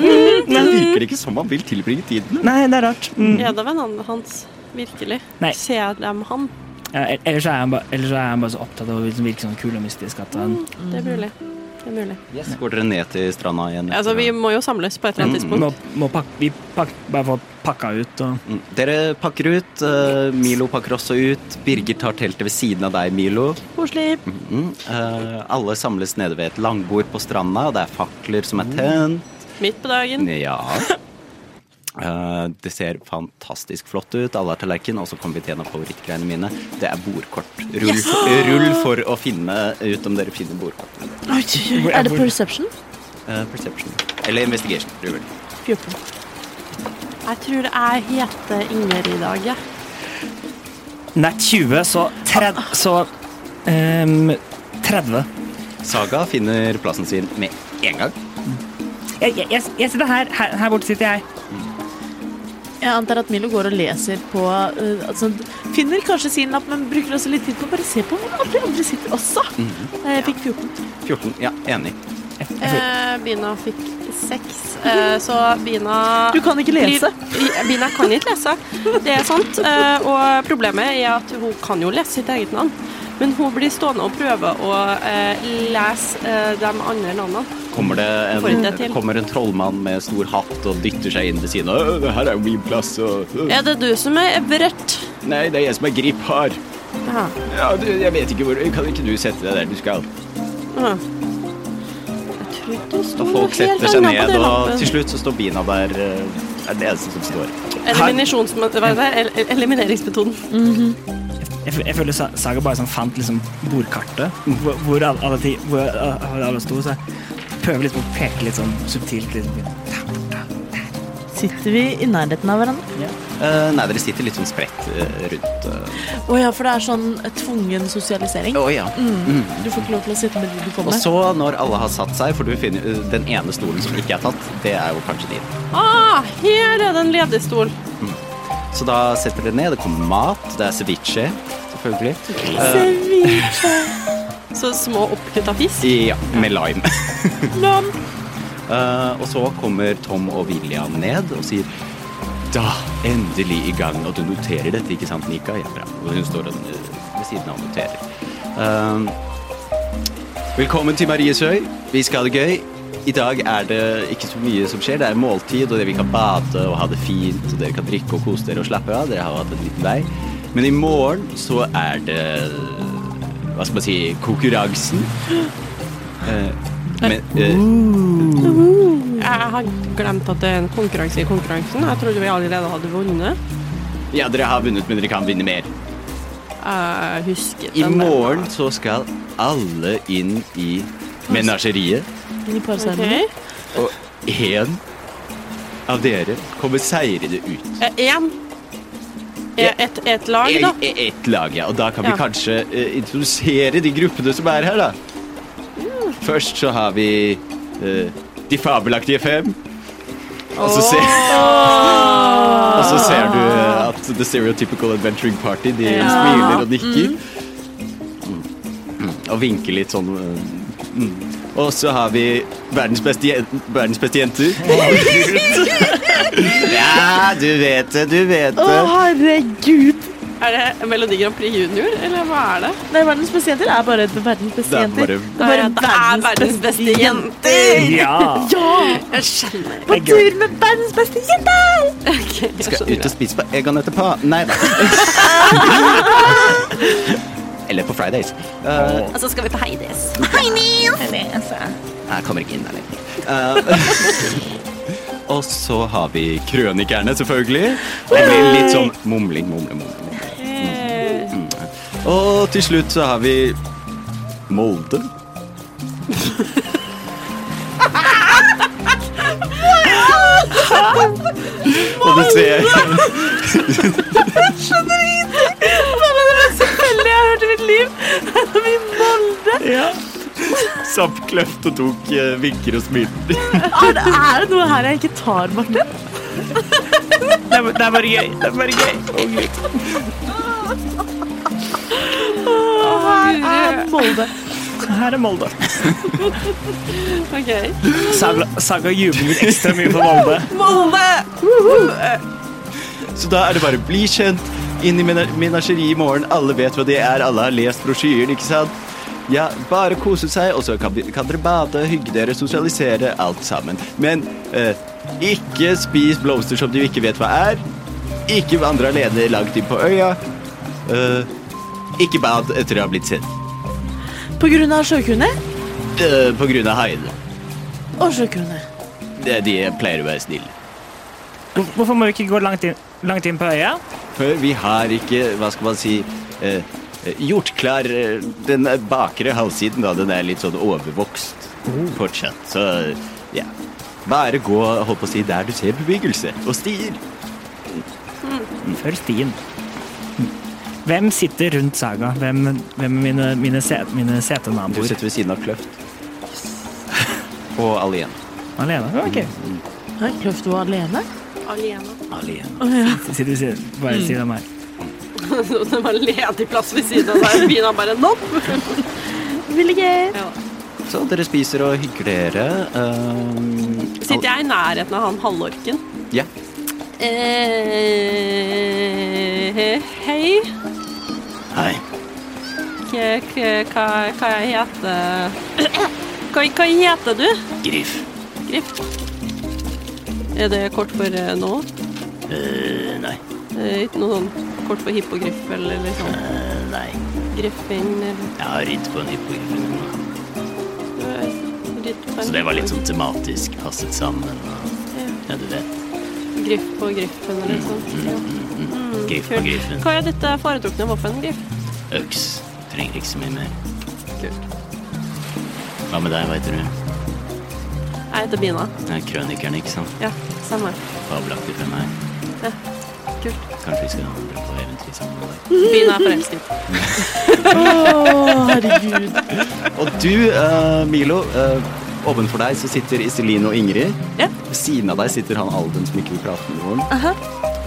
S5: Det virker ikke som han vil tilbringe tiden.
S2: Nei, det er rart. Mm.
S3: Er det vennene hans? Virkelig?
S2: Nei.
S3: Ser dem han?
S2: Ja, el- ellers, så er han bare, ellers så er han bare så opptatt av å liksom virke sånn kul og mystisk at han
S3: Mm-hmm. Det er mulig. Det er mulig.
S5: Yes. Går dere ned til stranda igjen? Mm-hmm.
S3: Altså, vi må jo samles på et eller annet
S2: må,
S3: tidspunkt.
S2: må pakke, vi pak, bare få pakka ut og
S5: Mm. Dere pakker ut. eh, Milo pakker også ut. Birger tar teltet ved siden av deg, Milo.
S4: Koselig.
S5: Mm. Eh, alle samles nede ved et langbord på stranda, og det er fakler som
S2: Mm.
S5: er tent.
S3: Midt på dagen.
S5: Ja. Eh, det ser fantastisk flott ut. Alle har tallerken, og så kommer vi til en av favorittgreiene mine. Det er bordkort. Rull, rull for å finne ut om dere finner bordkort.
S4: Er det perception?
S5: Eh, perception. Eller investigation. Rull.
S4: 14.
S3: Jeg tror jeg heter eh, Inger i dag, jeg.
S2: Nett 20, så, tred, så ehm, 30.
S5: Saga finner plassen sin med en gang.
S2: Jeg, jeg, jeg, jeg sitter her, her. Her borte sitter jeg.
S4: Jeg antar at Milo går og leser på eh, altså, Finner kanskje sin lapp, men bruker også litt tid på å bare se på hvor alle de andre sitter også. Eh, Jeg fikk 14.
S5: 14. Ja, enig.
S2: Jeg, jeg, får-
S3: Eh, Bina fikk seks, eh, så Bina
S4: Du kan ikke lese.
S3: Blir- Bina kan eh, ikke lese, det er sant. Eh, og problemet er at hun kan jo lese sitt eget navn. Men hun blir stående og prøve å eh, lese eh, de andre navnene.
S5: Kommer det
S3: Får det til.
S5: en, kommer en trollmann med stor hatt og dytter seg inn ved siden av. «Øh, Det her er jo min plass. Og, øh,
S3: Er det du som er Everett?
S5: Nei, det er jeg som er grip hard.
S3: Ja.
S5: Ja, du, jeg vet ikke hvor Kan ikke du sette deg der du skal?
S3: Ja. Jeg trodde det sto
S5: Og
S3: noe
S5: folk
S3: helt
S5: setter seg
S3: annet på
S5: ned,
S3: den
S5: og
S3: lappen.
S5: til slutt så står bina der. eh, er det eneste som står.
S3: Eliminisjons- hva er det? El- Elimineringsmetoden.
S2: Jeg, f- jeg føler Sa- Saga bare sånn fant liksom bordkartet, hvor, hvor alle, alle, ti- hvor alle, alle sto. Så jeg prøver liksom å peke litt sånn subtilt. Liksom.
S4: Sitter vi i nærheten av hverandre?
S5: Eh, nei, dere sitter litt sånn spredt eh, rundt. eh.
S4: Å ja, for det er sånn tvungen sosialisering.
S5: Å ja. Mm,
S4: Du får ikke lov til å sitte med de du
S5: Og
S4: kommer med.
S5: så, når alle har satt seg, for du finner eh, den ene stolen som ikke er tatt, det er jo kanskje din.
S3: Ah, her er det en ledig stol.
S5: Så da setter dere ned. Det kommer mat. Det er ceviche, selvfølgelig.
S3: Så små oppkutta fisk.
S5: Ja, med lime. Eh, og så kommer Tom og William ned og sier Da, endelig i gang. Og du noterer dette, ikke sant, Nika? Ja, bra. Og hun står og, eh, ved siden av og noterer. Eh, velkommen til Mariesøy. Vi skal ha det gøy. I dag er det ikke så mye som skjer. Det er måltid, og dere kan bade og ha det fint. Og dere kan drikke og kose dere og slappe av. Dere har hatt en liten vei. Men i morgen så er det Hva skal man si konkurransen. Eh, men, eh,
S3: Jeg har glemt at det er en konkurranse i konkurransen. Jeg trodde vi allerede hadde vunnet.
S5: Ja, dere har vunnet, men dere kan vinne mer.
S3: Jeg husker
S5: I
S3: den der.
S5: morgen så skal alle inn i menasjeriet,
S4: I parseilene.
S3: Ok.
S5: og én av dere kommer seirende ut.
S3: Eh, En. Eh, Et, et lag,
S5: I
S3: da.
S5: ett e- lag, ja. Og da kan vi
S3: Ja.
S5: kanskje eh, introdusere de gruppene som er her, da. Først så har vi eh, De fabelaktige fem. Og så ser, og så ser du eh, at The Stereotypical Adventuring Party De smiler og nikker. Mm. Og vinker litt sånn. eh, Mm. Og så har vi verdens beste, jen verdens beste jenter. ja, du vet det, du vet
S4: Å,
S5: det.
S4: herregud!
S3: Er det Melodi Grand Prix Junior, eller hva er det?
S4: Nei, verdens beste jenter er bare verdens beste
S5: Det er
S4: jenter.
S5: bare-
S4: Det er bare
S3: Det er verdens beste jenter!
S2: Ja!
S3: Jeg skjønner.
S4: På tur med verdens beste jenter!
S3: Okay, jeg
S5: Skal ut
S3: skjønner.
S5: og spise på Egon etterpå. Nei da. Eller på Fridays. Eh,
S3: Og så Altså, skal vi på Heidis.
S5: jeg kommer ikke inn der lenger. Eh, og så har vi krønikerne, selvfølgelig. Det blir litt sånn mumling, mumling, mumling. Mm, Og til slutt så har vi Molde. Og du ser
S4: Veldig, jeg har hørt i mitt liv. Er vi i Molde?
S5: Sappkløft og tok eh, vinker og smilte.
S4: Er det, er det noe her jeg ikke tar, Martin?
S2: Det er, det er bare gøy. Det er bare gøy.
S4: Er Molde.
S2: Her er Molde.
S3: OK.
S2: Saga, Saga jubler litt ekstra mye for Molde.
S5: Så da er det bare bli kjent. Inn i mena- menageriet i morgen. Alle vet hva det er. Alle har lest brosjyren, ikke sant? Ja, bare kose seg, og så kan, vi- kan dere bade, hygge dere, sosialisere, alt sammen. Men eh, ikke spis blomster som du ikke vet hva er. Ikke vandre alene langt inn på øya. Eh, ikke bad etter å ha blitt sett
S4: På grunn av sjøkunder?
S5: eh, på grunn av haiene.
S4: Og sjøkunder.
S5: Det- De pleier å være snille.
S2: Hvor- Hvorfor må vi ikke gå langt inn, langt inn på øya?
S5: For vi har ikke, hva skal man si eh, eh, Gjort klar eh, den bakre halvsiden, da. Den er litt sånn overvokst fortsatt. Så ja. Bare gå holdt på å si, der du ser bevegelse og stier.
S2: Mm. Følg stien. Mm. Hvem sitter rundt Saga? Hvem, hvem er mine, mine, set, mine
S5: Du
S2: setenaboer?
S5: sitter ved siden av Kløft. Og alene.
S2: Alene? Ok.
S5: Mm,
S4: Nei, Kløft var alene.
S3: Alene.
S5: Alene.
S2: Sitter ved siden, bare ved siden av meg.
S3: Det var ledig plass ved siden av seg. Bina bare nopp.
S4: Vil ikke.
S3: Ja.
S5: Så dere spiser og hygger dere. ehm,
S3: Sitter jeg i nærheten av han halvorken?
S5: al- Ja.
S3: Eh, hei.
S5: Hei.
S3: k k hva, hva jeg heter hva, hva heter du?
S5: Griff.
S3: Griff. Er det kort for eh, noe?
S5: Eh, nei.
S3: Eh, Ikke noe sånn kort for hippogriffel eller sånn
S5: Eh, nei.
S3: griffin eller
S5: Jeg har ridd på en hippogriff.
S3: Ritt på en
S5: Så det var litt sånn tematisk passet sammen. Og, ja, du vet.
S3: Griff på griffen eller sånn. Ja.
S5: Mm.
S3: Mm,
S5: Griff på
S3: Kult.
S5: griffen.
S3: Hva er ditt eh, foretrukne våpen, Griff?
S5: Øks. Trenger ikke så mye mer. Hva med deg, hva heter du?
S3: Jeg heter Bina.
S5: Det er krønikeren, ikke sant?
S3: Ja, samme.
S5: Fabelaktig for meg.
S3: Ja. Kult.
S5: Kanskje vi skal dra på eventyr sammen med deg.
S3: Bina er forelsket.
S4: herregud.
S5: Og du, eh, Milo, eh, ovenfor deg så sitter Iselin og Ingrid.
S4: Ja.
S5: Ved siden av deg sitter han Alden som ikke vil prate med noen.
S4: Aha.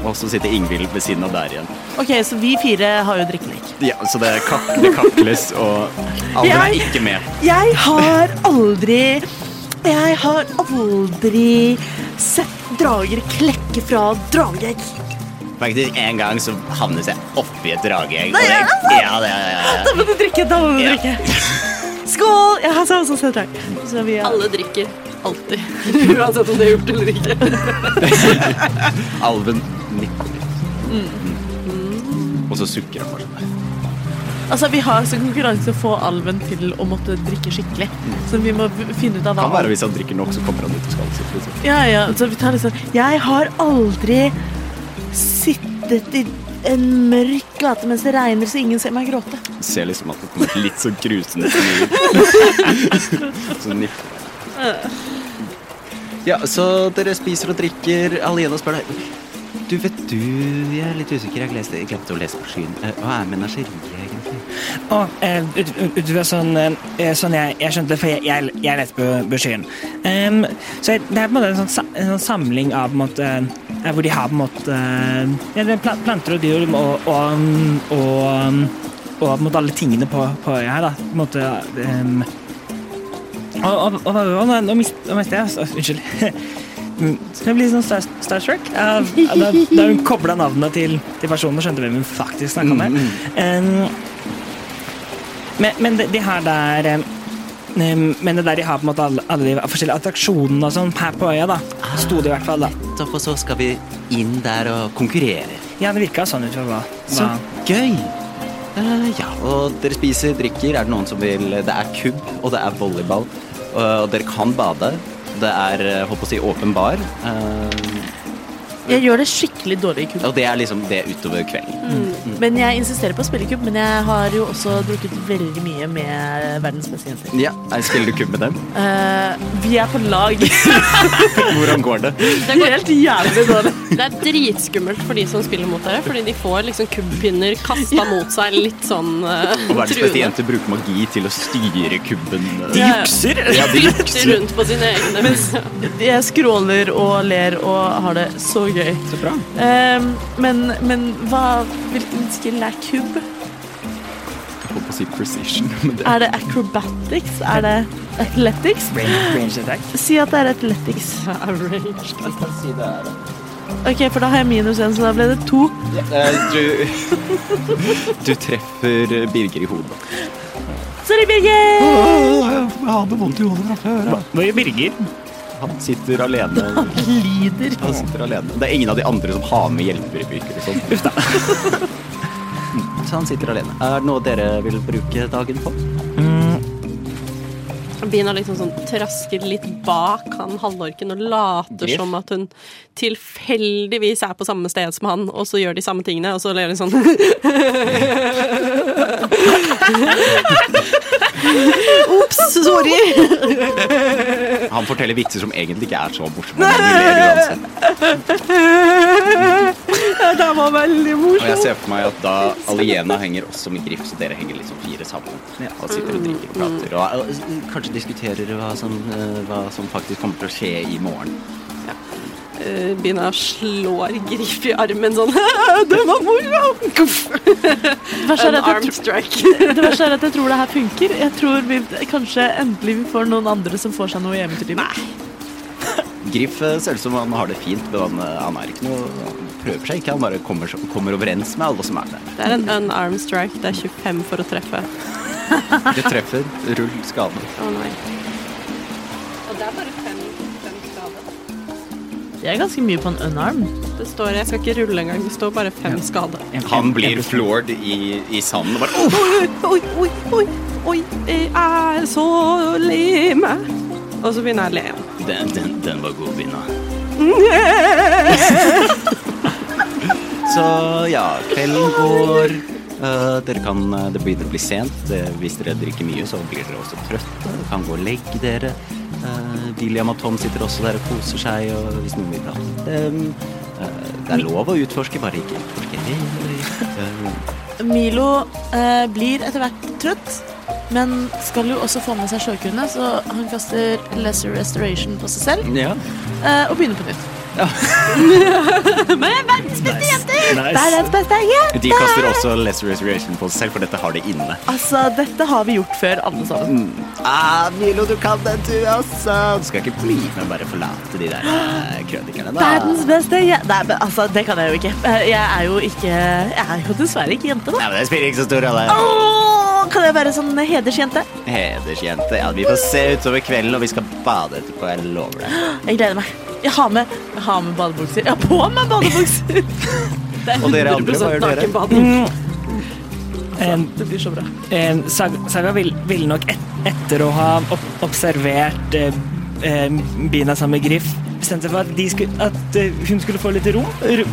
S5: Og så sitter Ingvild ved siden av der igjen.
S4: Ok, så vi fire har jo drikkelek.
S5: Ja, så det, kak det kakles, og Alden er ikke med.
S4: Jeg har aldri Jeg har aldri sett drager klekke fra drageegg.
S5: Faktisk, en gang så havnet jeg oppi et drageegg.
S4: Nei,
S5: og det-
S4: er det sant?
S5: Ja, det er
S4: Da må du drikke! da må du
S5: Ja.
S4: drikke. Skål! Jeg har sånn sett drag. Så vi er
S3: Alle drikker. Alltid. Uansett om det er gjort eller ikke.
S5: Alven nikker litt. Mm. Og så sukker han bare sånn.
S4: Altså, vi har så konkurranse å få alven til å måtte drikke skikkelig. Så vi må v- finne ut av hva
S5: Kan være hvis han drikker nok, så kommer han ut og skal sitte. Liksom.
S4: Ja, ja, så vi tar det sånn. Jeg har aldri sittet i en mørk gate mens det regner, så ingen ser meg gråte.
S5: Ser liksom at det kommer litt så grusende smil. så nikker Ja, så dere spiser og drikker. Alene spør deg Du, vet du, jeg er litt usikker. Jeg leste, jeg glemte å lese på skyen. Eh, Hva er menasjeriet, egentlig?
S2: Og eh, ut ut fra sånn, eh, sånn jeg, jeg skjønte det, for jeg, jeg, jeg leste på, på skyen. Em, så jeg, det er på en måte en sånn, sa- en sånn samling av på en måte eh, Hvor de har på en måte eh, ja, det er pla- planter og dyr og, og, og, og, på en måte alle tingene på, på øya her. Da. På en måte em, og, og, og, og, og, nå mist- nå mister jeg altså, Unnskyld. Skal jeg bli sånn Star, Star Trek? Ja, Da, da hun kobla navnene til, til personen og skjønte hvem hun faktisk snakka med. Em, men, men de, de har der em, em, Men det der de har på en måte alle, alle de forskjellige attraksjonene og sånn her på øya, da. Sto det i hvert fall, da.
S5: Nettopp, og så skal vi inn der og konkurrere.
S2: Ja, det virka sånn ut fra hva,
S5: Så
S2: hva
S5: gøy! Eh, ja, og dere spiser, drikker. Er det noen som vil Det er kubb, og det er volleyball. Eh, Og dere kan bade. Det er, eh, håper å si, åpen bar. Eh,
S4: Jeg gjør det skikkelig dårlig i kubb.
S5: og det er liksom det utover kvelden.
S4: Men jeg insisterer på å spille kubb, men jeg har jo også drukket veldig mye med verdens beste jenter.
S5: Ja, eh, Spiller du kubb med dem?
S4: Eh, vi er på lag.
S5: Hvordan går det?
S4: Det går helt jævlig dårlig.
S3: Det er dritskummelt for de som spiller mot dere, fordi de får liksom kubbpinner kasta mot seg litt sånn eh,
S5: Og verdens beste
S3: truende.
S5: jenter bruker magi til å styre kubben.
S2: De
S5: eh,
S3: Ja, ja.
S2: jukser!
S5: Ja, de
S3: Flytter rundt på sine egne.
S4: Jeg skråler og ler og har det så gøy.
S5: Så bra.
S4: Eh, men men hva, hvilken skill er kubb?
S5: Jeg holdt på å si precision, men det
S4: Er det acrobatics? Er det athletics?
S2: Range, range attack.
S4: Si at det er athletics.
S3: Arranged.
S5: Jeg kan si det er det.
S4: Ok, For da har jeg minus én, så da ble det to.
S5: Eh, Du, du treffer Birger i hodet.
S4: Sorry, Birger!
S6: Åh, Jeg hadde vondt i hodet fra før. ja.
S2: Hva gjør Birger?
S5: Han sitter alene.
S4: Lider.
S5: Han sitter alene. Det er ingen av de andre som har med hjelpere, virker det som. liksom. Mm, Så han sitter alene. Er det noe dere vil bruke dagen på?
S3: Bina liksom sånn trasker litt bak han halvorken og later
S5: Griff.
S3: som at hun tilfeldigvis er på samme sted som han, og så gjør de samme tingene, og så ler hun sånn Ops! Sorry!
S5: Han forteller vitser som egentlig ikke er så morsomme. Men du ler uansett.
S4: Det var veldig
S5: Og
S4: morsomt.
S5: jeg ser for meg at da Aliena henger også med Griff, så dere henger liksom fire sammen. Og sitter og drikker og prater Mm. og og s- kanskje diskuterer hva som, eh, hva som faktisk kommer til å skje i morgen.
S3: Eh, Bina slår Griff i armen sånn Den var moro! Kuff.
S4: Det verste er
S3: En
S4: at jeg
S3: arm
S4: tr-
S3: strike.
S4: det verste er at jeg tror det her funker. Jeg tror vi kanskje endelig vi får noen andre som får seg noe hjemme til livet.
S5: Griff eh, ser ut som han har det fint, men han, eh, han er ikke noe prøver seg ikke, han bare kommer, kommer overens med alle som er der.
S3: Det er en unarmed strike. Det er 25 for å treffe.
S5: Det treffer, rull skaden.
S3: Å nei. Og det er bare fem, fem skader.
S4: Det er ganske mye på en unarm.
S3: Det står Jeg skal ikke rulle engang. Det står bare fem skader.
S5: Han blir floored i, i sanden og bare «Åh!»
S3: Oi, oi, oi, oi, oi, jeg er så lei meg. Og så begynner jeg å le igjen.
S5: den, den, den var god, Bina. Så ja, kvelden går. Eh, dere kan, eh, det begynner å bli sent. Det, hvis dere drikker mye, så blir dere også trøtte. Dere kan gå og legge dere. Eh, William og Tom sitter også der og koser seg, og hvis noen vil prate med dem eh, Det er lov å utforske, bare ikke utforske heller. Eh,
S4: Milo eh, blir etter hvert trøtt, men skal jo også få med seg sjøkuene, så han kaster lesser restoration på seg selv
S5: Ja.
S4: eh, og begynner på nytt. Men verdens beste jenter!
S2: Nice.
S4: Verdens beste jenter!
S5: De kaster også Lesser Restoration på seg selv, for dette har de inne.
S4: Altså, dette har vi gjort før, alle sammen.
S5: Ah, Milo, du kan den, du også. Du skal ikke bli med og bare forlate de der eh, krønikerne, da.
S4: Verdens beste jenter Nei, men altså, det kan jeg jo ikke. Eh, Jeg er jo ikke Jeg er jo dessverre ikke jente, da.
S5: Nei, men Det spiller ikke så stor rolle.
S4: Åh, kan jeg være sånn hedersjente?
S5: Hedersjente. Ja, vi får se utover kvelden, og vi skal bade etterpå. Jeg lover deg.
S4: Jeg gleder meg. Jeg har med, jeg har med badebukser. Jeg har på meg badebukser! Det er
S5: Og dere andre, hva
S4: 100%
S5: gjør dere?
S4: nakenbading.
S2: Mm. En,
S4: Det blir så bra.
S2: Eh, Sag- Saga vil, vil nok et, etter å ha ob- observert eh, eh, Bina sammen med Griff bestemte seg for at, de skulle, at eh, hun skulle få litt ro. ro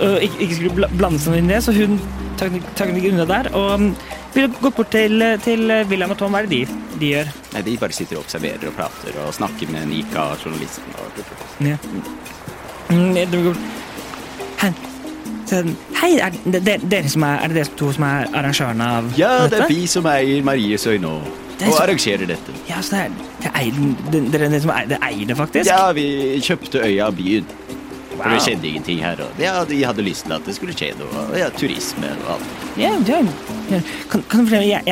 S2: og ikke, ikke skulle bla- blande seg inn i det, så hun tok tok den ikke unna der. Og mm, ville gått bort til, til William og Tom. Hva er det de, de gjør?
S5: Nei, De bare sitter og observerer og prater og snakker med Nika og journalisten. Og...
S2: Ja. Mm, det går- Hei, så- hei, er det dere, dere som er, er det dere to som er arrangørene av
S5: Ja, det er
S2: dette?
S5: vi som eier Maries øyne og,
S2: Det er
S5: og
S2: så-
S5: arrangerer dette.
S2: Ja, så det er, det er, det, det er dere som eier det, eier det faktisk?
S5: Ja, vi kjøpte øya av byen. For
S2: Wow.
S5: det skjedde ingenting her. Og ja, de hadde lyst til at det skulle skje noe. og Ja, turisme og alt.
S2: Ja, ja, ja. Kan, kan du fortelle meg- jeg,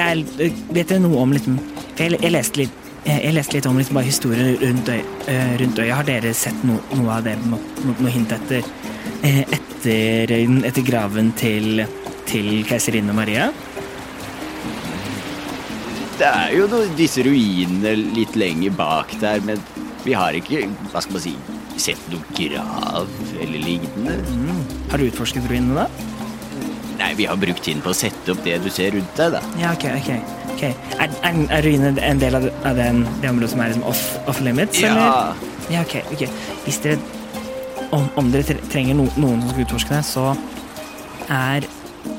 S2: jeg Vet dere noe om liksom, for jeg, jeg leste litt jeg, jeg leste litt om liksom, bare historien rundt, øy, eh, rundt øya. Har dere sett no, noe av det? No, no, noe hint etter, eh, etter, etter graven til, til keiserinne Maria?
S5: Det er jo noe, disse ruinene litt lenger bak der, men vi har ikke, hva skal man si, sett noe grav eller lignende.
S2: Har du utforsket ruinene da?
S5: Nei, vi har brukt tiden på å sette opp det du ser rundt deg, da.
S2: Ja, ok. ok, ok. Er, er, er ruinene en del av, det- av den, det området som er liksom off, off limits? eller?
S5: Ja,
S2: Ja, ok. ok. Hvis dere Om, om dere tre- trenger no, noen som skal utforske det, så er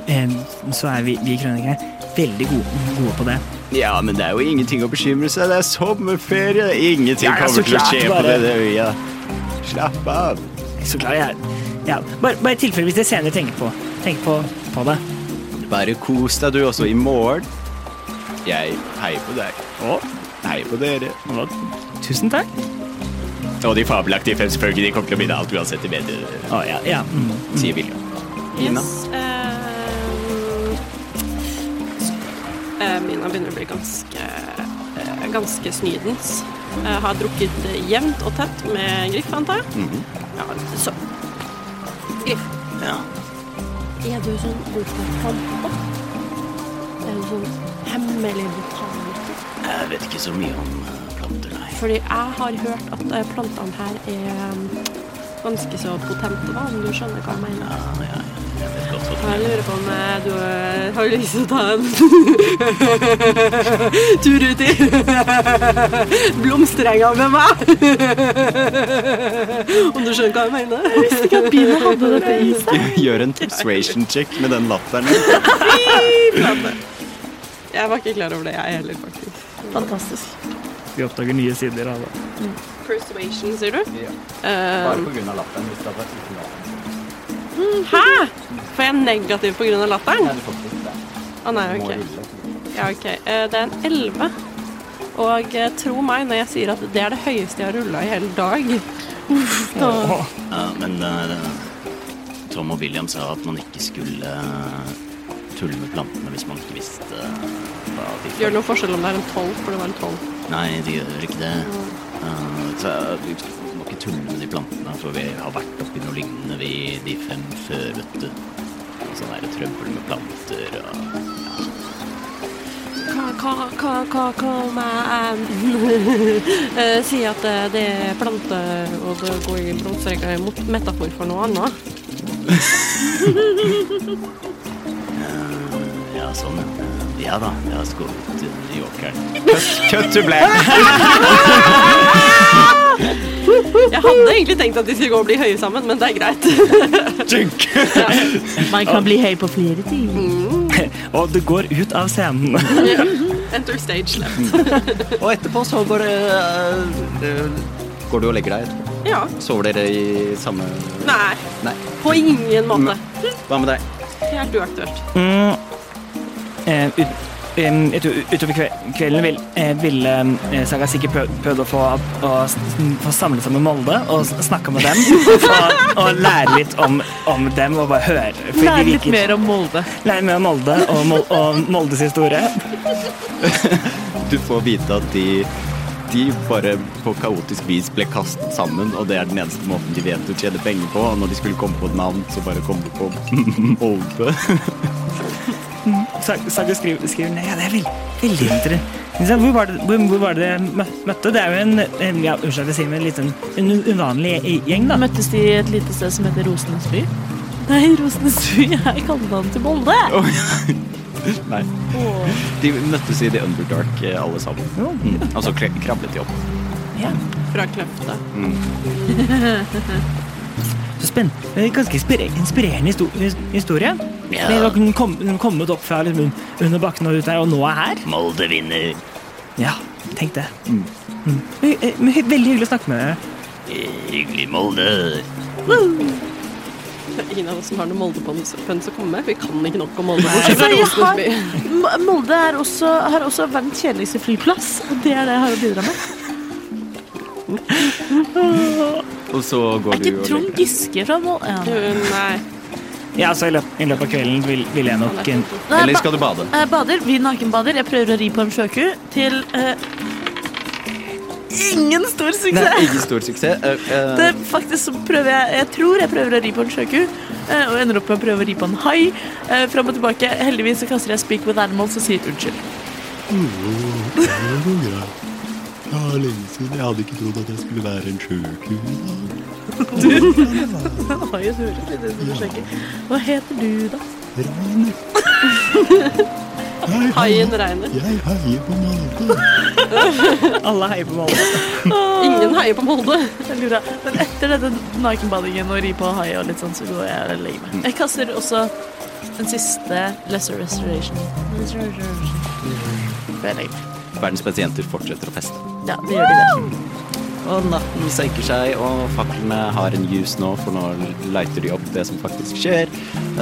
S2: eh, Så er vi, vi krønikere veldig gode, gode på det.
S5: ja, men det er jo ingenting å bekymre seg. Det er sommerferie. Ingenting
S2: Ja, ja, så
S5: kommer til å
S2: klart,
S5: skje på
S2: bare-
S5: denne øya. Slapp av.
S2: Så klar, jeg, ja. Bare bare i tilfelle hvis dere senere tenker på, tenker på, på det.
S5: Bare kos deg du også i morgen. Jeg heier på deg. Og heier på dere.
S2: Og Tusen takk.
S5: Og de fabelaktige fem, selvfølgelig. De kommer til å vinne alt uansett i bedre,
S2: Å, ja, ja. Mm.
S5: sier William. Ina?
S3: Yes. eh, eh, Mina begynner å bli ganske eh, ganske snydens. Eh, har drukket eh, jevnt og tett med Griff, antar jeg. Ja, så Griff,
S5: Mhm. Ja.
S3: er du sånn god på kamper? Er du sånn hemmelig botaniker?
S5: Jeg vet ikke så mye om eh, planter, nei.
S3: Fordi jeg har hørt at eh, plantene her er mm, ganske så potente, da, om du skjønner hva jeg mener.
S5: Ja, ja, jeg vet godt hva du
S3: Jeg
S5: mener.
S3: lurer på om eh, du eh, har lyst til å ta en tur ut i blomsterenga med meg? Om du skjønner hva jeg mener? Jeg visste ikke at biene hadde dette i seg.
S5: Gjør en persuasion check med den latteren. din.
S3: Jeg var ikke klar over det, jeg heller, faktisk.
S4: Fantastisk.
S2: Vi oppdager nye sider av det.
S3: Persuasion, sier du?
S5: Ja.
S3: Eh, mm,
S5: på grunn av latteren. Hvis det hadde vært uten latteren.
S3: hæ? Får jeg negativ på grunn av latteren?
S5: du får ikke det.
S3: Å nei, ok. Ja, ok. Eh, Det er en 11. Og eh, tro meg når jeg sier at det er det høyeste jeg har rulla i hele dag.
S5: Ja, men eh, Tom og William sa at man ikke skulle eh, tulle med plantene hvis man ikke visste eh, hva de
S3: Gjør det noen forskjell om det er en 12, for det var en 12.
S5: Nei, det gjør ikke det. Eh, Så jeg- vi må ikke tulle med de plantene, for vi har vært oppi noe lignende, vi de fem før, vet du. Sånn der trøbbel med planter og
S3: Hva, hva, hva, hva, hva om jeg eh, eh, sier at eh, det er plante og det går i blodstreker er mot metafor for noe annet?
S5: Ja, sånn, ja. Ja da, jeg har skåret eh, i åkeren. Cut, cut to black!
S3: Jeg hadde egentlig tenkt at de skulle gå og bli høye sammen, men det er greit.
S4: Man kan bli høy på flere ting.
S2: Og det går ut av scenen.
S3: Enter stage left.
S5: Og etterpå så går det eh, eh, Går du og legger deg etterpå?
S3: Ja.
S5: Sover dere i samme
S3: Nei,
S5: Nei.
S3: på ingen måte.
S5: Hva med deg?
S3: Helt uaktuelt.
S2: Mm. Eh, ut, em, jeg tror utover kve- kvelden vil, eh, ville eh, Saga sikkert prøv- prøvd å få, å, s- få samle sammen Molde og s- snakke med dem. og, og lære litt om, om dem og bare høre. for de
S4: Lær litt
S2: virker-
S4: mer om Molde.
S2: lære mer om Molde og, Mol, og Moldes historie.
S5: Du får vite at de de bare på kaotisk vis ble kastet sammen, og det er den eneste måten de vet å tjene penger på. Og når de skulle komme på et navn, så bare kom de på Molde.
S2: Sa- Saga skriver, skriver ned. Ja, det er veld, veldig interessant. Ikke sant? Hvor var det, hvor, hvor var det dere mø- møtte? Det er jo en, en ja, unnskyld at jeg sier, men en liten en uvanlig gjeng,
S4: Da
S2: da.
S4: møttes de i et lite sted som heter Rosenes by. Nei, Rosenes by er kallenavnet til Molde.
S5: Nei. De møttes i The Underdark, eh, alle sammen. Mm. Og så kre- krablet de opp.
S4: Ja.
S3: Fra kløfta.
S2: Så spenn- det er en Ganske inspire- inspirerende histo- his- historie.
S5: Ja.
S2: Den har kun kom, den kommet opp fra liksom, un- under bakken og ut der, og nå er her.
S5: Molde vinner.
S2: Ja, tenk det. Mm. Men- eh, men hy- Veldig hyggelig å snakke med dere.
S5: Hyggelig, Molde.
S3: Ingen av oss som har noe Molde-pønns å komme med. Vi kan ikke nok om Molde. bortsett fra
S4: Altså, jeg har,
S3: Rosenborg.
S4: M- Molde er også, har også verdens kjedeligste flyplass. Og det er det jeg har å bidra med.
S5: Og så går
S4: Er
S5: du
S4: ikke
S5: og
S4: Trond Giske fra Molde? Ja.
S3: Uh, Nei.
S2: Ja, så i løpet, i løpet av kvelden vil, vil jeg nok eh,
S4: Nei,
S5: Eller
S4: ba-
S5: skal du bade?
S4: Jeg bader. Vi nakenbader. Jeg prøver å ri på en sjøku til eh, Ingen stor
S5: Det er
S4: suksess!
S5: ikke stor suksess. Eh, eh,
S4: Det er faktisk så prøver jeg Jeg tror jeg prøver å ri på en sjøku, eh, og ender opp med å prøve å ri på en hai. eh, Fram og tilbake. Heldigvis så kaster jeg 'speak with animals' og sier unnskyld.
S1: Det går greit. Ja, det er lenge siden. Jeg hadde ikke trodd at jeg skulle være en sjøku i dag.
S4: Han har jo et høre til det som er sjøku. Hva heter du, da?
S1: Rainer. Jeg,
S3: Haien regner.
S1: jeg heier på Molde.
S2: alle heier på Molde.
S3: Ingen heier på Molde.
S4: Veldig bra. Men etter denne nakenbadingen og ri på hai og litt sånn, så går jeg og legger
S5: Mm.
S4: meg. Jeg kaster også en siste lesser restoration. Lesser restoration. Før jeg legger meg.
S5: Verdens beste jenter fortsetter å feste.
S4: Ja, det gjør de det.
S5: Og natten senker seg, og faklene har en ljus nå, for nå lighter de opp det som faktisk skjer.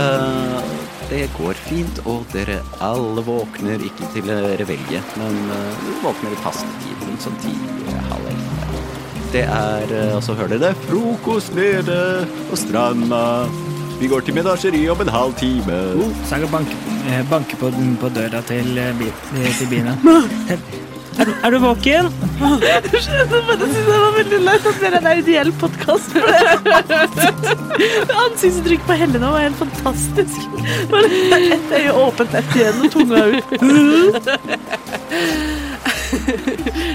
S5: Eh, det går fint, og dere alle våkner, ikke til eh, revelje, men eh, dere våkner i passe tid, rundt sånn ti, eh, halv elleve. Det er, eh, og så hører dere frokost nede på stranda. Vi går til menasjeri om en halv time.
S2: Saga banker banke på, på døra til, eh, bi- eh, til biene. Er, er du våken?
S4: Jeg skjønner, men jeg synes det var veldig leit at dere er en ideell podkast. Ansiktsuttrykk på Helene var helt fantastisk. Bare Ett øye åpent, ett igjen, og tunga ut.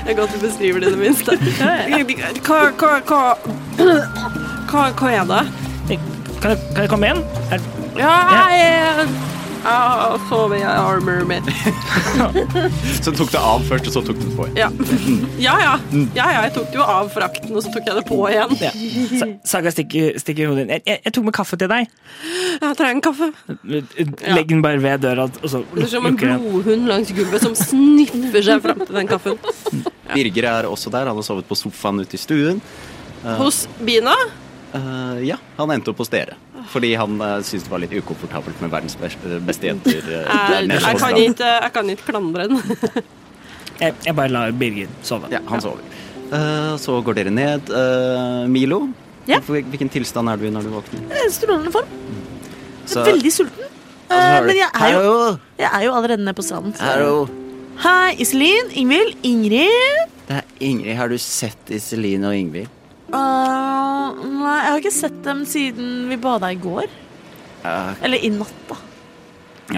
S3: Det er godt du beskriver det i det minste. Hva, hva, hva Hva, hva er det?
S2: Kan jeg, kan jeg komme inn? Er,
S3: Ja, jeg ah, Så vil jeg armor mitt.
S5: Så tok det av først, og så tok det på igjen.
S3: Ja. Ja, ja. ja, ja. Jeg tok det jo av frakten, og så tok jeg det på igjen.
S2: ja. Sa- Saga stikker, stikker hodet inn. Jeg, jeg, jeg tok med kaffe til deg.
S3: Jeg trenger en kaffe.
S2: Eh, Legg den bare ved døra, og så
S3: Det er som en
S2: lukker den.
S3: blodhund langs gulvet som sniffer seg fram til den kaffen.
S5: Birger er også der. Han har sovet på sofaen ute i stuen.
S3: Hos Bina?
S5: Eh, ja, han endte opp hos dere. Fordi han eh, syntes det var litt ukomfortabelt med verdens bes- beste jenter. eh, der
S3: Jeg,
S5: nede
S2: sånn
S3: jeg,
S5: på
S3: kan
S5: stranden.
S3: ikke, jeg kan ikke klandre den.
S2: Jeg, jeg bare lar Birger sove.
S5: Ja, han sover. Eh, så går dere ned. Eh, Milo,
S4: Ja.
S5: hvorfor- hvilken tilstand er du i når du våkner?
S4: Jeg er i Strålende form.
S5: Så-
S4: Veldig sulten.
S5: og så hører
S4: Eh,
S5: du,
S4: Men jeg er jo,
S5: Hallo!
S4: jeg er jo allerede nede på stranden. så-
S5: Hallo!
S4: Hei, Iselin, Ingvild, Ingrid
S5: Det er Ingrid, har du sett Iselin og Ingvild?
S4: Ah, Eh, nei, jeg har ikke sett dem siden vi bada i går.
S5: Ja.
S4: Eller i natt, da.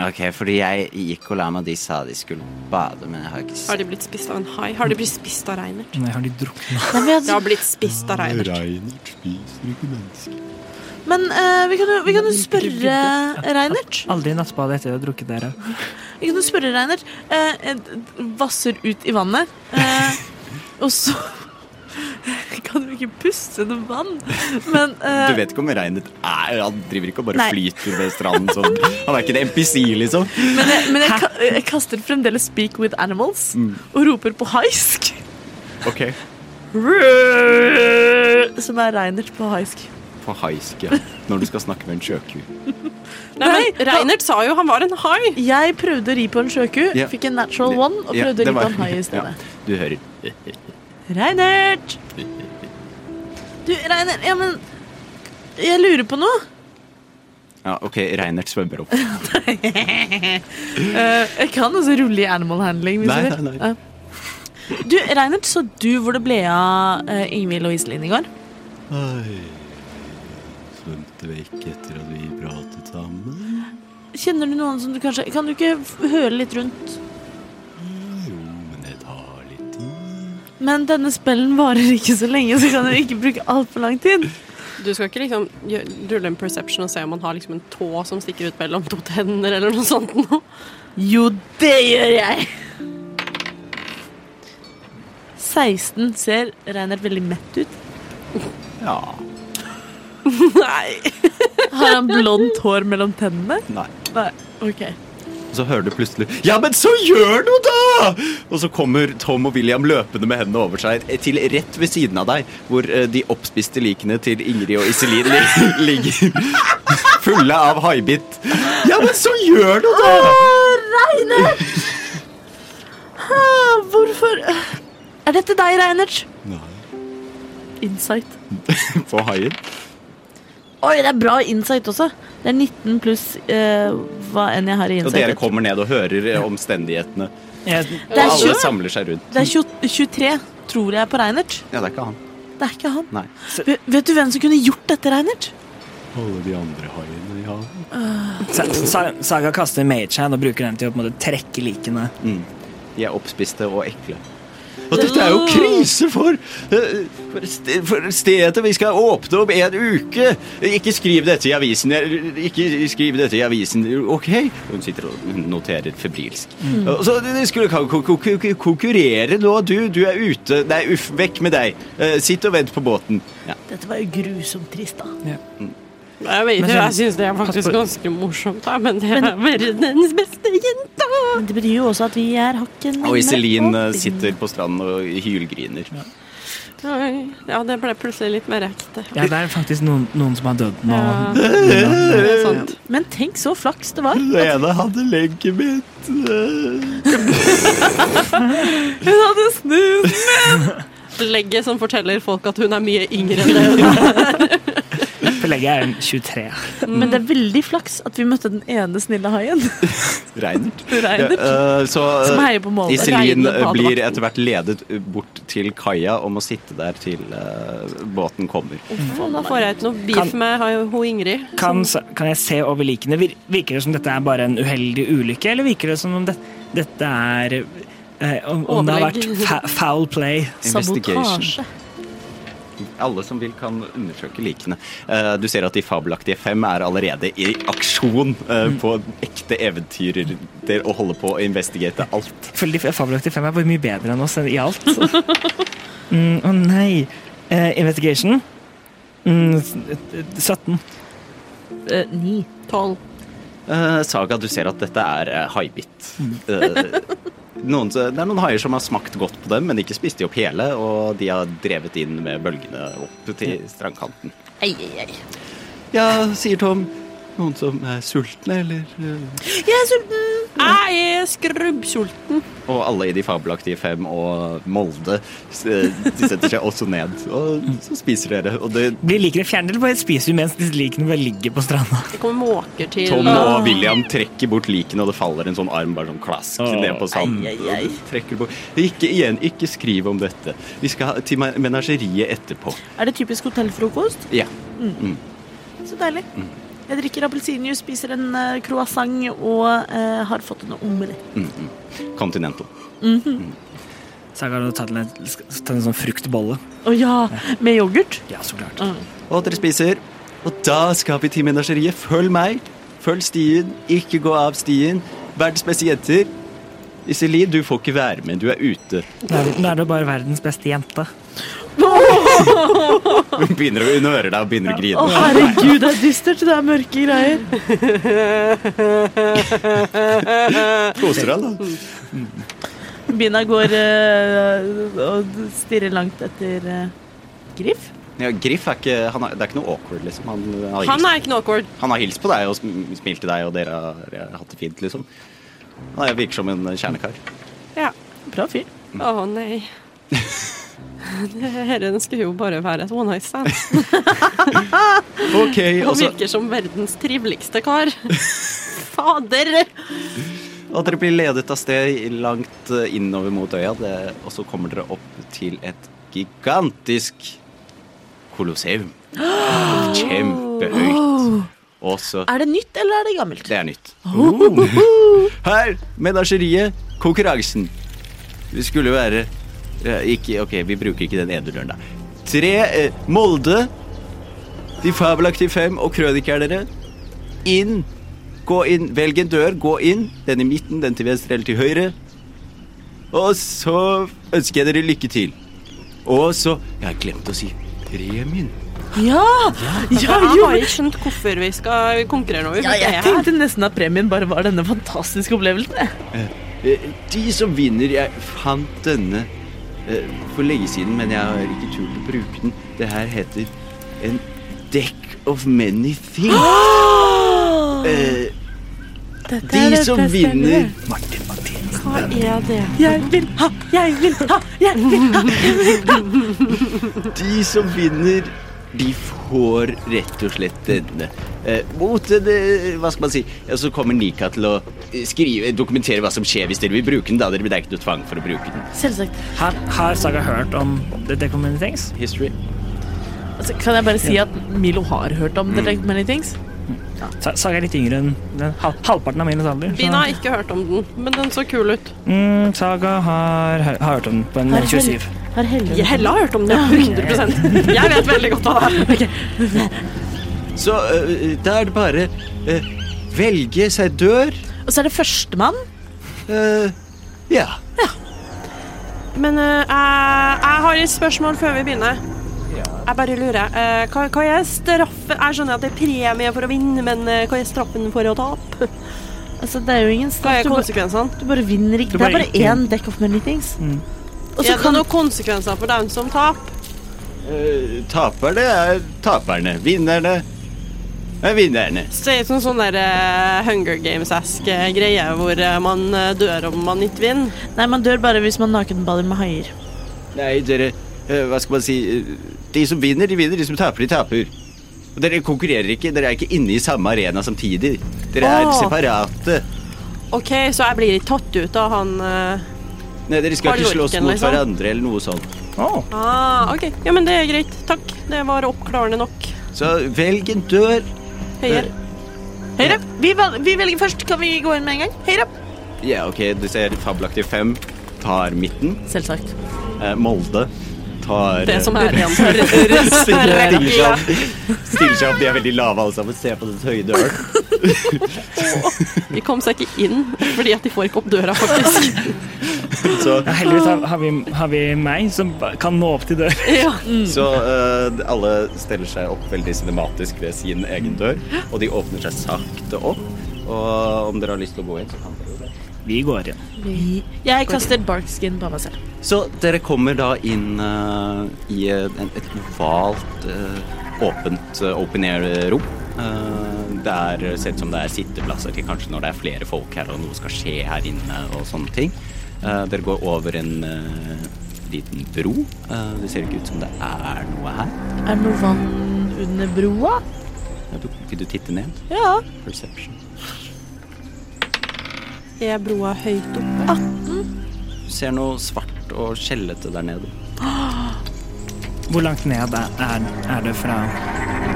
S5: Ok, fordi jeg gikk og la meg, og de sa de skulle bade, men jeg har ikke
S3: Har
S5: sett
S3: de blitt spist av en hai? Har de blitt spist av Reinert?
S2: Nei, har de drukna?
S4: Nei, men jeg,
S3: De har blitt spist av Reinert.
S1: Reinert spiser ikke mennesker.
S4: Men eh, vi kan jo, vi kan jo spørre Reinert.
S2: Aldri nattbad etter å ha drukket dere.
S4: Vi kan jo spørre Reinert. Eh, eh, vasser ut i vannet, eh, og så kan du ikke puste under vann, men eh,
S5: Du vet ikke om Reinet er Han driver ikke og bare
S4: Nei.
S5: flyter ved stranden sånn. Han er ikke en MPC, liksom.
S4: Men, jeg, men jeg, ka- jeg kaster fremdeles 'Speak with Animals'
S5: Mm.
S4: og roper på haisk.
S5: Ok.
S4: Som er Reinert på haisk.
S5: På haisk, ja. Når du skal snakke med en sjøku.
S3: Nei,
S4: Nei,
S3: men Reinert sa jo han var en hai.
S4: Jeg prøvde å ri på en sjøku,
S5: Ja.
S4: fikk en natural one og
S5: Ja,
S4: prøvde å
S5: det
S4: ri på
S5: var-
S4: en hai i stedet.
S5: Ja, du hører.
S4: Reinert! Du, Reinert, ja, men Jeg lurer på noe.
S5: Ja, ok, Reinert svømmer opp.
S4: Eh, jeg kan også rulle i animal handling. Hvis
S5: Nei,
S4: du vil.
S5: nei, nei.
S4: Ja. Du, Reinert, så du hvor det ble av eh, Ingvild og Iselin i går?
S1: Nei, svømte vekk etter at vi pratet sammen.
S4: Kjenner du noen som du kanskje Kan du ikke f- høre litt rundt?
S1: Jo, men det tar litt tid.
S4: Men denne spellen varer ikke så lenge, så kan du ikke bruke altfor lang tid.
S3: Du skal ikke liksom gjø- rulle en perception og se om han har liksom en tå som stikker ut mellom to tenner eller noe sånt noe.
S4: Jo, det gjør jeg! 16 ser Reinert veldig mett ut.
S5: Ja,
S3: Nei.
S4: Har han blondt hår mellom tennene?
S5: nei.
S4: Nei, ok.
S5: Og så hører du plutselig Ja, men så gjør du da! Og så kommer Tom og William løpende med hendene over seg eh, til rett ved siden av deg, hvor eh, de oppspiste likene til Ingrid og Iselin li- ligger fulle av haibitt. Ja, men så gjør du da!
S4: Reinert! Ah, Hvorfor Er dette deg, Reinert?
S1: Nei,
S4: Insight.
S5: På haien.
S4: Oi, det er bra insight også. Det er 19 pluss eh, hva enn jeg har i
S5: Og
S4: insight.
S5: dere kommer ned og hører eh, omstendighetene.
S2: Jeg,
S5: Og
S4: er
S5: alle
S4: tjue.
S5: samler seg rundt.
S4: Det er 20, 23, tror jeg, på Reinert.
S5: Ja, det er ikke han.
S4: Det er ikke han.
S5: Nei.
S4: Ve- Vet du hvem som kunne gjort dette, Reinert?
S1: alle de andre haiene vi har.
S2: Sa- Sa- Saga kaster mage hand og bruker den til å på en måte trekke likene.
S5: De er oppspiste og ekle. Og dette er jo krise for, eh, for, st- for stedet vi skal åpne om en uke! Ikke skriv dette i avisen. jeg- Ikke skriv dette i avisen, OK? Hun sitter og noterer febrilsk.
S4: Mm.
S5: Og Så de skulle kan- kon- kon- kon- konkurrere nå, du. Du er ute. Nei, uff, vekk med deg. Eh, Sitt og vent på båten. Ja.
S4: Dette var jo grusomt trist, da.
S3: Jeg vet
S2: Men
S3: ikke,
S2: sånn-
S3: jeg syns det er
S2: Pass på-
S3: faktisk ganske morsomt, da, men det er verdens beste jenta.
S4: Men det betyr jo også at vi er hakken
S5: Og Iselin eh,
S4: og-
S5: sitter på stranden og hylgriner.
S3: Oi. Ja, det ble plutselig litt mer ekte.
S2: Ja, det er faktisk noen, noen som har dødd nå.
S3: Ja.
S2: Ja.
S3: Det er sant.
S4: Men tenk så flaks det var.
S1: Den ene hadde lenket mitt. eh,
S4: Hun hadde snus!
S3: Legget som forteller folk at hun er mye yngre enn det hun er.
S2: Forlegget er en 23.
S4: Men
S5: Mm.
S4: det er veldig flaks at vi møtte den ene snille haien.
S5: Reinert.
S4: Reinert.
S5: Ja, eh, så, eh,
S4: Som heier på Molde.
S5: Iselin
S4: Regnet på
S5: eh, blir
S4: Hadebakken.
S5: etter hvert ledet eh, bort til kaia og må sitte der til eh, båten kommer.
S3: Ja, Da får jeg ikke noe beef
S2: Kan-
S3: med ha- hun Ingrid.
S2: Kan, Sa- kan jeg se over likene? Vir- Virker det som dette er bare en uheldig ulykke, eller virker det som om det, dette er eh, om, om det har vært
S3: Overlegg.
S2: fa foul play?
S5: Investigation.
S4: Sabotasje.
S5: Alle som vil, kan undersøke likene. Eh, du ser at de fabelaktige fem er allerede i aksjon eh, på ekte eventyrer der og holder på å investigate alt.
S2: Føler de fabelaktige fem er bare mye bedre enn oss enn i alt. Å mm, å nei. Eh, investigation? Mm, s- eh, 17.
S4: Eh, Ni.
S3: Tolv.
S5: Eh, saga, du ser at dette er eh, haibitt. Eh, noen, det er noen haier som har smakt godt på dem, men ikke spist de opp hele, og de har drevet inn med bølgene opp til strandkanten.
S4: Ei, ei, ei.
S5: Ja, sier Tom. Noen som er sultne, eller eh,
S4: Jeg er sulten!
S3: Jeg er skrubbsulten.
S5: Og alle i de fabelaktige fem og Molde s- eh, de setter seg også ned. Og så spiser dere. Og det,
S2: Blir likene fjernet, eller bare spiser vi mens disse likene bare ligger på stranda?
S3: Det kommer måker til
S5: Tom og William trekker bort likene, og det faller en sånn arm bare sånn klask
S2: Åh,
S5: ned på sanden.
S4: ai, ai, ai.
S5: Mm, Trekker bort. Ikke igjen, ikke skriv om dette. Vi skal til men- menageriet etterpå.
S4: Er det typisk hotellfrokost?
S5: Ja.
S4: Så deilig.
S5: Mm.
S4: Jeg drikker appelsinjuice, spiser en eh, croissant og eh, har fått en omelett.
S5: Continental.
S2: Saga har tatt en, tatt en sånn fruktbolle.
S4: Å ja, med yoghurt?
S2: Ja, så klart.
S5: Og dere spiser. Og da skal vi til menageriet. Følg meg. Følg stien. Ikke gå av stien. Verdens beste jenter. Iselin, du får ikke være med. Du er ute.
S2: Nå er, nå er det bare verdens beste jente.
S5: Hun begynner å hun hører deg og begynner å
S4: Å,
S5: grine.
S4: herregud, det er dystert. Det er mørke greier.
S5: Koser deg, da.
S4: Bina går eh, og stirrer langt etter eh, Griff.
S5: Ja, Griff er ikke han er, Det er ikke noe awkward, liksom. Han, har
S3: Han
S5: hilst-
S3: er ikke noe awkward.
S5: han har hilst på deg og sm- smilt til deg, og dere har, dere har hatt det fint, liksom. Han er- virker som en kjernekar.
S3: Ja.
S4: Bra fyr.
S3: Å nei. Dette skulle jo bare være et one night stand.
S5: Ok,
S3: Han
S5: og, så,
S3: virker som verdens triveligste kar. Fader!
S5: og dere blir ledet av sted langt eh, innover mot øya, det, og så kommer dere opp til et gigantisk kolosseum. Kjempehøyt. Og så
S4: Er det nytt, eller er det gammelt?
S5: Det er nytt. Her, menageriet, konkurransen. Vi skulle jo være eh, ikke, Ok, vi bruker ikke den ene døren, da. Tre eh, Molde, De fabelaktige fem og krønikerne. Inn. Gå inn. Velg en dør, gå inn. Den i midten, den til venstre eller til høyre. Og så ønsker jeg dere lykke til. Og så Jeg har glemt å si premien.
S4: Ja! ja,
S3: Jeg
S4: jo.
S3: har ikke skjønt hvorfor vi skal konkurrere nå. Vi
S4: ja,
S3: vet
S4: jeg
S3: det her.
S4: tenkte nesten at premien bare var denne fantastiske opplevelsen. jeg.
S5: Eh, De som vinner Jeg fant denne eh, for lenge siden, men jeg har ikke turt å bruke den. Det her heter en deck of many things. Eh, de som vinner
S3: Hva er det?
S4: Jeg vil ha, jeg vil ha, jeg vil ha.
S5: De som vinner, de får rett og slett denne. Eh, mot en eh, Hva skal man si? Og så kommer Nika til å eh, skrive, dokumentere hva som skjer hvis dere vil bruke den. da dere Det er ikke noe tvang for å bruke den.
S4: Selvsagt.
S2: Har, har Saga hørt om The Decommunity Things?
S5: History.
S4: Altså, kan jeg bare si at Milo har hørt om The Like Many Things?
S2: Sa- Saga er litt yngre enn den, hal, halvparten av min alder. så-
S3: Bina har ikke hørt om den, men den så kul ut.
S2: Mm, Saga har, hø- har hørt om den på en 27.
S4: Har Helle
S3: Hella har hørt om den, 100 Jeg vet veldig godt hva det er.
S5: Så eh, da er det bare eh, velge seg dør.
S4: Og så er det førstemann.
S5: Eh, ja.
S3: Men eh, jeg, jeg har et spørsmål før vi begynner. Jeg bare lurer. eh, hva, hva er straffen Jeg skjønner at det er premie for å vinne, men eh, hva er straffen for å tape?
S4: Altså, det er jo ingen
S3: Hva
S4: straff.
S3: er
S4: Du, bare-
S3: konsekvensene?
S4: du bare vinner ikke.
S2: Du
S4: Det er
S2: bare
S4: bare Mm.
S2: ikke-
S4: én Deck of Many Things. Og så
S3: Er det
S4: kan
S3: noen konsekvenser for dem som taper?
S5: Eh, taperne er taperne. Vinnerne er vinnerne.
S3: Ser ut som sånn der eh, Hunger Games-esk eh, greie hvor eh, man eh, dør om man ikke vinner.
S4: Nei, man dør bare hvis man nakenballer med haier.
S5: Nei, dere eh, Hva skal man si eh, De som vinner, de vinner. De som taper, de taper. Og dere konkurrerer ikke. Dere er ikke inne i samme arena samtidig. Dere er
S3: Åh.
S5: separate.
S3: OK, så jeg blir ikke tatt ut av han eh,
S5: Nei, dere skal ikke slåss
S3: Halvorken,
S5: mot
S3: liksom.
S5: hverandre eller noe sånt.
S2: Oh.
S3: Ah, OK. Ja, men det er greit. Takk. Det var oppklarende nok.
S5: Så velg en dør.
S3: Høyere.
S4: Høyre. Vi, vel, vi velger først. Kan vi gå inn med en gang? Høyre.
S5: Ja, OK, du ser fabelaktig fem tar midten.
S4: Selvsagt.
S5: Eh, Molde tar eh,
S3: Det som er igjen.
S5: stiller,
S3: Rekke,
S5: stiller, seg
S3: ja.
S5: opp, stiller seg opp. De er veldig lave alle sammen. Se på den høye døren.
S3: De kom seg ikke inn fordi at de får ikke opp døra, faktisk.
S5: Så,
S2: Ja, heldigvis har, har, vi, har vi meg, som ba- kan nå opp til dør.
S3: Ja.
S5: så eh, alle stiller seg opp veldig cinematisk ved sin egen dør, og de åpner seg sakte opp. Og om dere har lyst til å gå inn, så kan dere.
S2: Vi går inn.
S4: Jeg kaster barkskin på meg selv.
S5: Så dere kommer da inn eh, i en, et ovalt, eh, åpent eh, open air-rom. Eh, Det er, ser ut som det er sitteplasser til kanskje når det er flere folk her og noe skal skje her inne og sånne ting. Eh, dere går over en eh, liten bro. Eh, det ser ikke ut som det er noe her.
S4: Er det noe vann under broa?
S5: Ja, Du, vil du titte ned?
S4: Ja.
S5: Perception.
S3: Er broa høyt oppe?
S5: Du ser noe svart og skjellete der nede.
S2: Hvor langt ned er, er, er det fra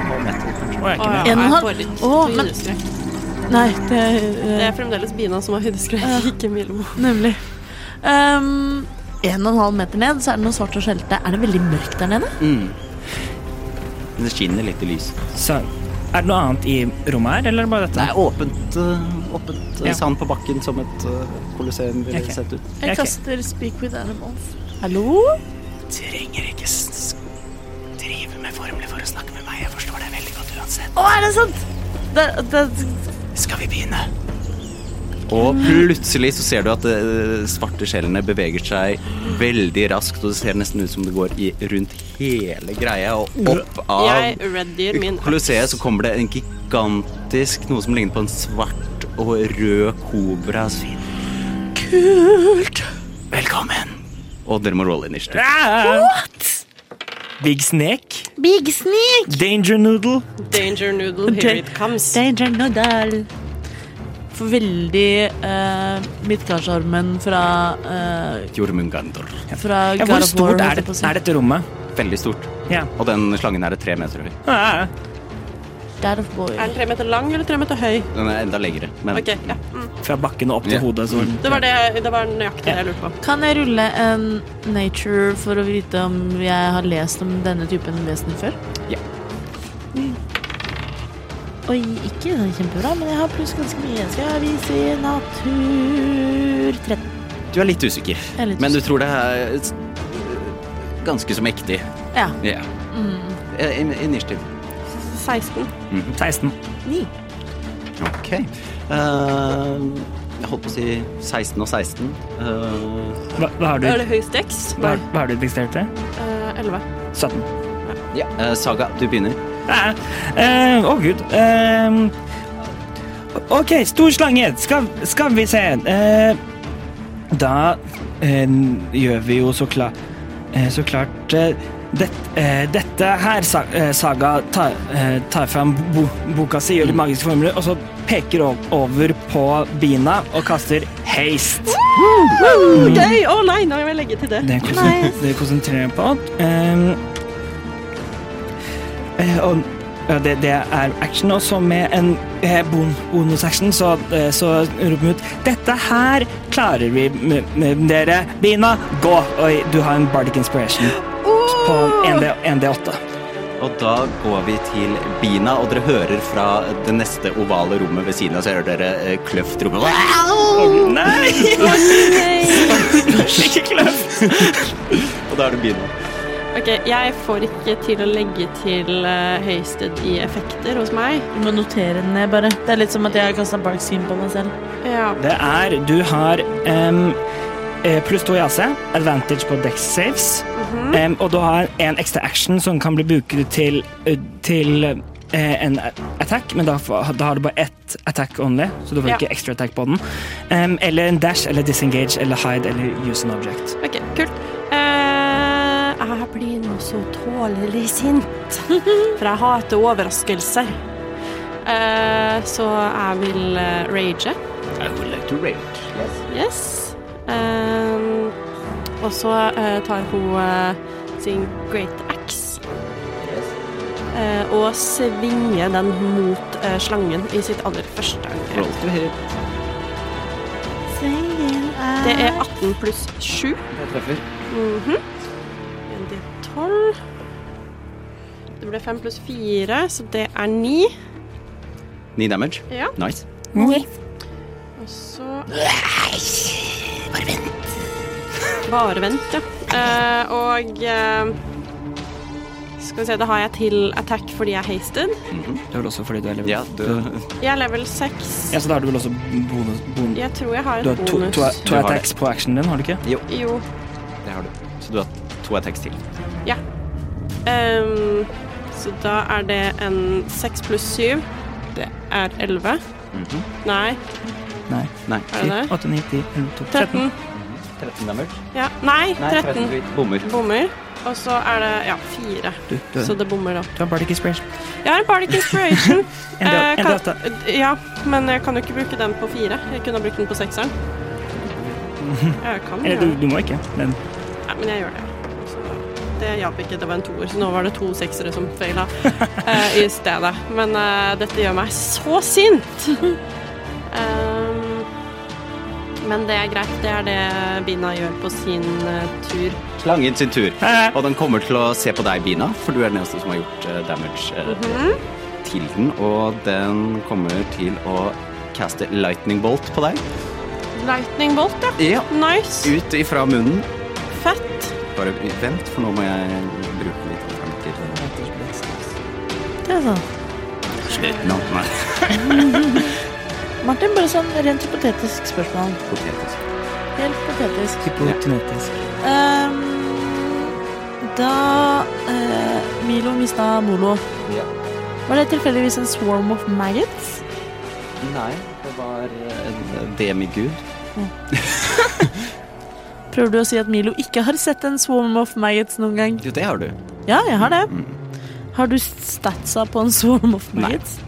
S5: På nettet, kanskje.
S2: Å, jeg er ikke ned.
S4: En og en
S3: jeg
S4: halv.
S3: får litt
S4: Å, men-
S3: høydeskrekk.
S4: Nei, det
S3: Det
S4: er eh,
S3: er fremdeles Bina som har høydeskrekk, ikke Milmo.
S4: Nemlig. Um, en og en halv meter ned, så er det noe svart og skjelte. Er det veldig mørkt der nede?
S5: Mm. Det skinner litt i lyset.
S2: Så er det noe annet i rommet her, eller er det bare
S5: Det
S2: dette?
S5: er åpent, eh, åpent eh,
S2: Ja.
S5: sand på bakken som et eh, kolosseum ville
S2: Ok.
S5: sett ut.
S4: Jeg
S2: Ok.
S4: kaster speak with animals. Hallo?
S2: trenger ikke drive med formler for å snakke med meg. Jeg forstår deg veldig godt uansett.
S4: Å, er det sant? Det, det,
S2: Skal vi begynne?
S5: Og plutselig så ser du at de svarte skjellene beveger seg veldig raskt, og det ser nesten ut som det går i, rundt hele greia, og opp
S3: Jeg
S5: av
S3: readier min
S5: kolosseet så kommer det en gigantisk, noe som ligner på en svart og rød kobra. Kult! Velkommen. Og dere må rolle initiativ.
S2: What? Big Snake?
S4: Big sneak!
S2: Danger Noodle?
S3: danger noodle, here it comes.
S4: Danger Nodal. For veldig uh, midtgardsarmen fra eh,
S5: Jormungandor.
S4: Fra
S2: Ja,
S4: God
S2: hvor
S4: of War,
S2: stort er,
S4: holdt jeg
S2: det,
S4: på å si.
S2: er dette rommet?
S5: Veldig stort.
S2: Ja.
S5: Og den slangen her er tre meter høy.
S2: Ah,
S4: God of War.
S3: Er den tre meter lang eller tre meter høy?
S5: Den er enda lengre, men
S3: Ok, ja. Mm.
S2: Fra bakken og opp til
S5: Ja. Mm.
S2: hodet. Så.
S3: Det var, det, det var nøyaktig det jeg lurte på.
S4: Kan jeg rulle en nature for å vite om jeg har lest om denne typen vesener før? Mm.
S5: Ja.
S4: Oi, ikke sånn kjempebra, men jeg har pluss ganske mye. Skal vi si natur 13.
S5: du er litt usikker.
S4: Jeg er litt
S5: Men du
S4: usikker.
S5: tror det er s- ganske så mektig.
S4: Ja.
S5: Ja.
S3: Mm.
S5: Eh, in- Initiativ.
S3: 16.
S2: 16.
S4: Ni.
S5: Ok. Eh, jeg holdt på å si 16 og 16. Eh,
S2: Hva, hva har du?
S3: Da er det høyest dex.
S2: Hva, hva har du registrert til?
S3: Eh, 11.
S2: 17.
S5: ja. eh, Saga, du begynner.
S2: Ah, eh, Å, gud. Eh, OK, stor slange. Skal, skal vi se. Eh, da eh, gjør vi jo så klart eh, Så klart eh, det, eh, Dette her, sa, eh, Saga, tar, eh, tar fram bo, boka si, gjør litt magiske formler, og så peker o- over på bina og kaster haste.
S3: Gøy! Å nei, nå må jeg legge til det.
S2: Det, konsen det konsentrerer jeg på. Ehm, eh, og ja, det, det er action, og så med en eh, bon bonusaction så, eh, så roper vi ut Dette her klarer vi med, med dere. Bina, gå! Oi, du har en bardic inspiration på 1D, 1D8.
S5: Og da går vi til Bina, og dere hører fra det neste ovale rommet ved siden av, så hører dere eh, kløft rope
S2: Nei! Ikke kløft!
S5: Og da er det Bina.
S3: Ok, jeg får ikke til å legge til eh, høyested i effekter hos meg.
S4: Du må notere den ned, bare. Det er litt som at jeg har kasta bark skin på meg selv.
S3: Ja.
S2: Det er Du har em, eh, pluss to i AC, advantage på dex saves,
S3: Mhm.
S2: em, og du har en ekstra action som kan bli brukt til, til eh, en attack, men da, får- da har du bare ett attack only, så du får
S3: Ja.
S2: ikke extra attack på den. Em, eller en dash eller disengage eller hide eller use an object.
S3: Ok, kult. Eh, jeg blir nå så tålelig sint, for jeg hater overraskelser. Eh, så jeg vil eh, rage.
S5: I would like to rage.
S3: Yes. Um, og så eh, tar hun eh, sin great axe eh, og svinger den mot eh, slangen i sitt aller første
S5: Roll
S3: angrep.
S5: to hit.
S3: Det er 18 pluss 7.
S5: Jeg treffer.
S3: Mhm. En til 12. Det ble 5 pluss 4, så det er 9.
S5: Ni damage.
S3: Ja.
S5: Nice.
S3: Og så Bare vent. Bare vent, ja. Eh, og eh, Skal vi se, da har jeg til attack fordi jeg er hasted.
S2: Det er vel også fordi du er level
S5: Ja, du,
S3: Jeg er level 6.
S2: Ja, så da har du vel også bonus, bonus.
S3: Jeg tror jeg har en
S2: Du har to,
S3: bonus.
S2: to, to
S5: Du har
S2: attacks på actionen din, har du ikke?
S3: Jo.
S5: det har du. Så du har to attacks til.
S3: Ehm, så da er det en 6 pluss 7. Det er 11.
S2: Mhm.
S3: Nei,
S2: Nei.
S5: Nei.
S3: er det det?
S2: 8, 9, 10, 11, 12,
S3: 13.
S5: 13 damage.
S3: Ja. Nei,
S5: Nei, 13
S3: 13
S5: vi bommer.
S3: bommer. Og så er det ja, 4.
S2: Du, du,
S3: Så det bommer, da.
S2: du har Bardic Inspiration.
S3: Jeg har en Bardic Inspiration.
S2: Enda-
S3: Eh,
S2: enda
S3: kan- Ja, men jeg kan jo ikke bruke den på fire. Jeg kunne ha brukt den på sekseren. Jeg kan
S2: Eller
S3: gjøre
S2: du,
S3: det.
S2: du må ikke, men
S3: Nei, men jeg gjør det. Så det hjalp ikke. Det var en toer, så nå var det to seksere som feila eh, i stedet. Men eh, dette gjør meg så sint! Ehm, men det er greit. Det er det Bina gjør på sin eh, tur.
S5: Slangen sin tur. Og den kommer til å se på deg, Bina, for du er den eneste som har gjort eh, damage eh,
S3: Mhm.
S5: til den. Og den kommer til å caste lightning bolt på deg.
S3: Lightning bolt, ja.
S5: Ja.
S3: Nice.
S5: Ut ifra munnen.
S3: Fett.
S5: Bare vent, for nå må jeg bruke litt alternativ.
S4: Det er sånn.
S5: Slutt nå. Nei.
S4: Martin, bare sånn rent hypotetisk spørsmål.
S5: Potetis.
S4: Helt hypotetisk.
S2: hypotenetisk.
S4: Ehm, da eh, Milo mista Molo,
S5: Ja.
S4: var det tilfeldigvis en swarm of maggots?
S5: Nei, det var eh, en demigud.
S4: Prøver du å si at Milo ikke har sett en swarm of maggots noen gang?
S5: Jo, det har du. Mm.
S4: Ja, jeg har det. Har du statsa på en swarm of maggots?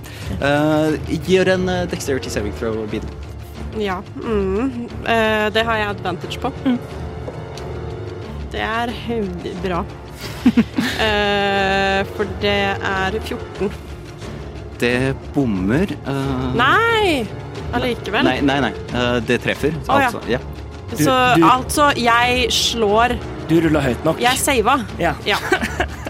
S5: Eh, gjør en eh, dexterity saving throw, Bina.
S3: Ja. Mm. Eh, det har jeg advantage på. Det er høvdig bra. Eh, for det er 14.
S5: Det bommer. eh,
S3: Nei! Allikevel.
S5: Nei, nei, nei. Eh, det treffer.
S3: Å, ja.
S5: altså, ja.
S3: Så
S2: du-
S3: altså, jeg slår
S2: Du rulla høyt nok.
S3: Jeg sava.
S2: Ja.
S3: Ja.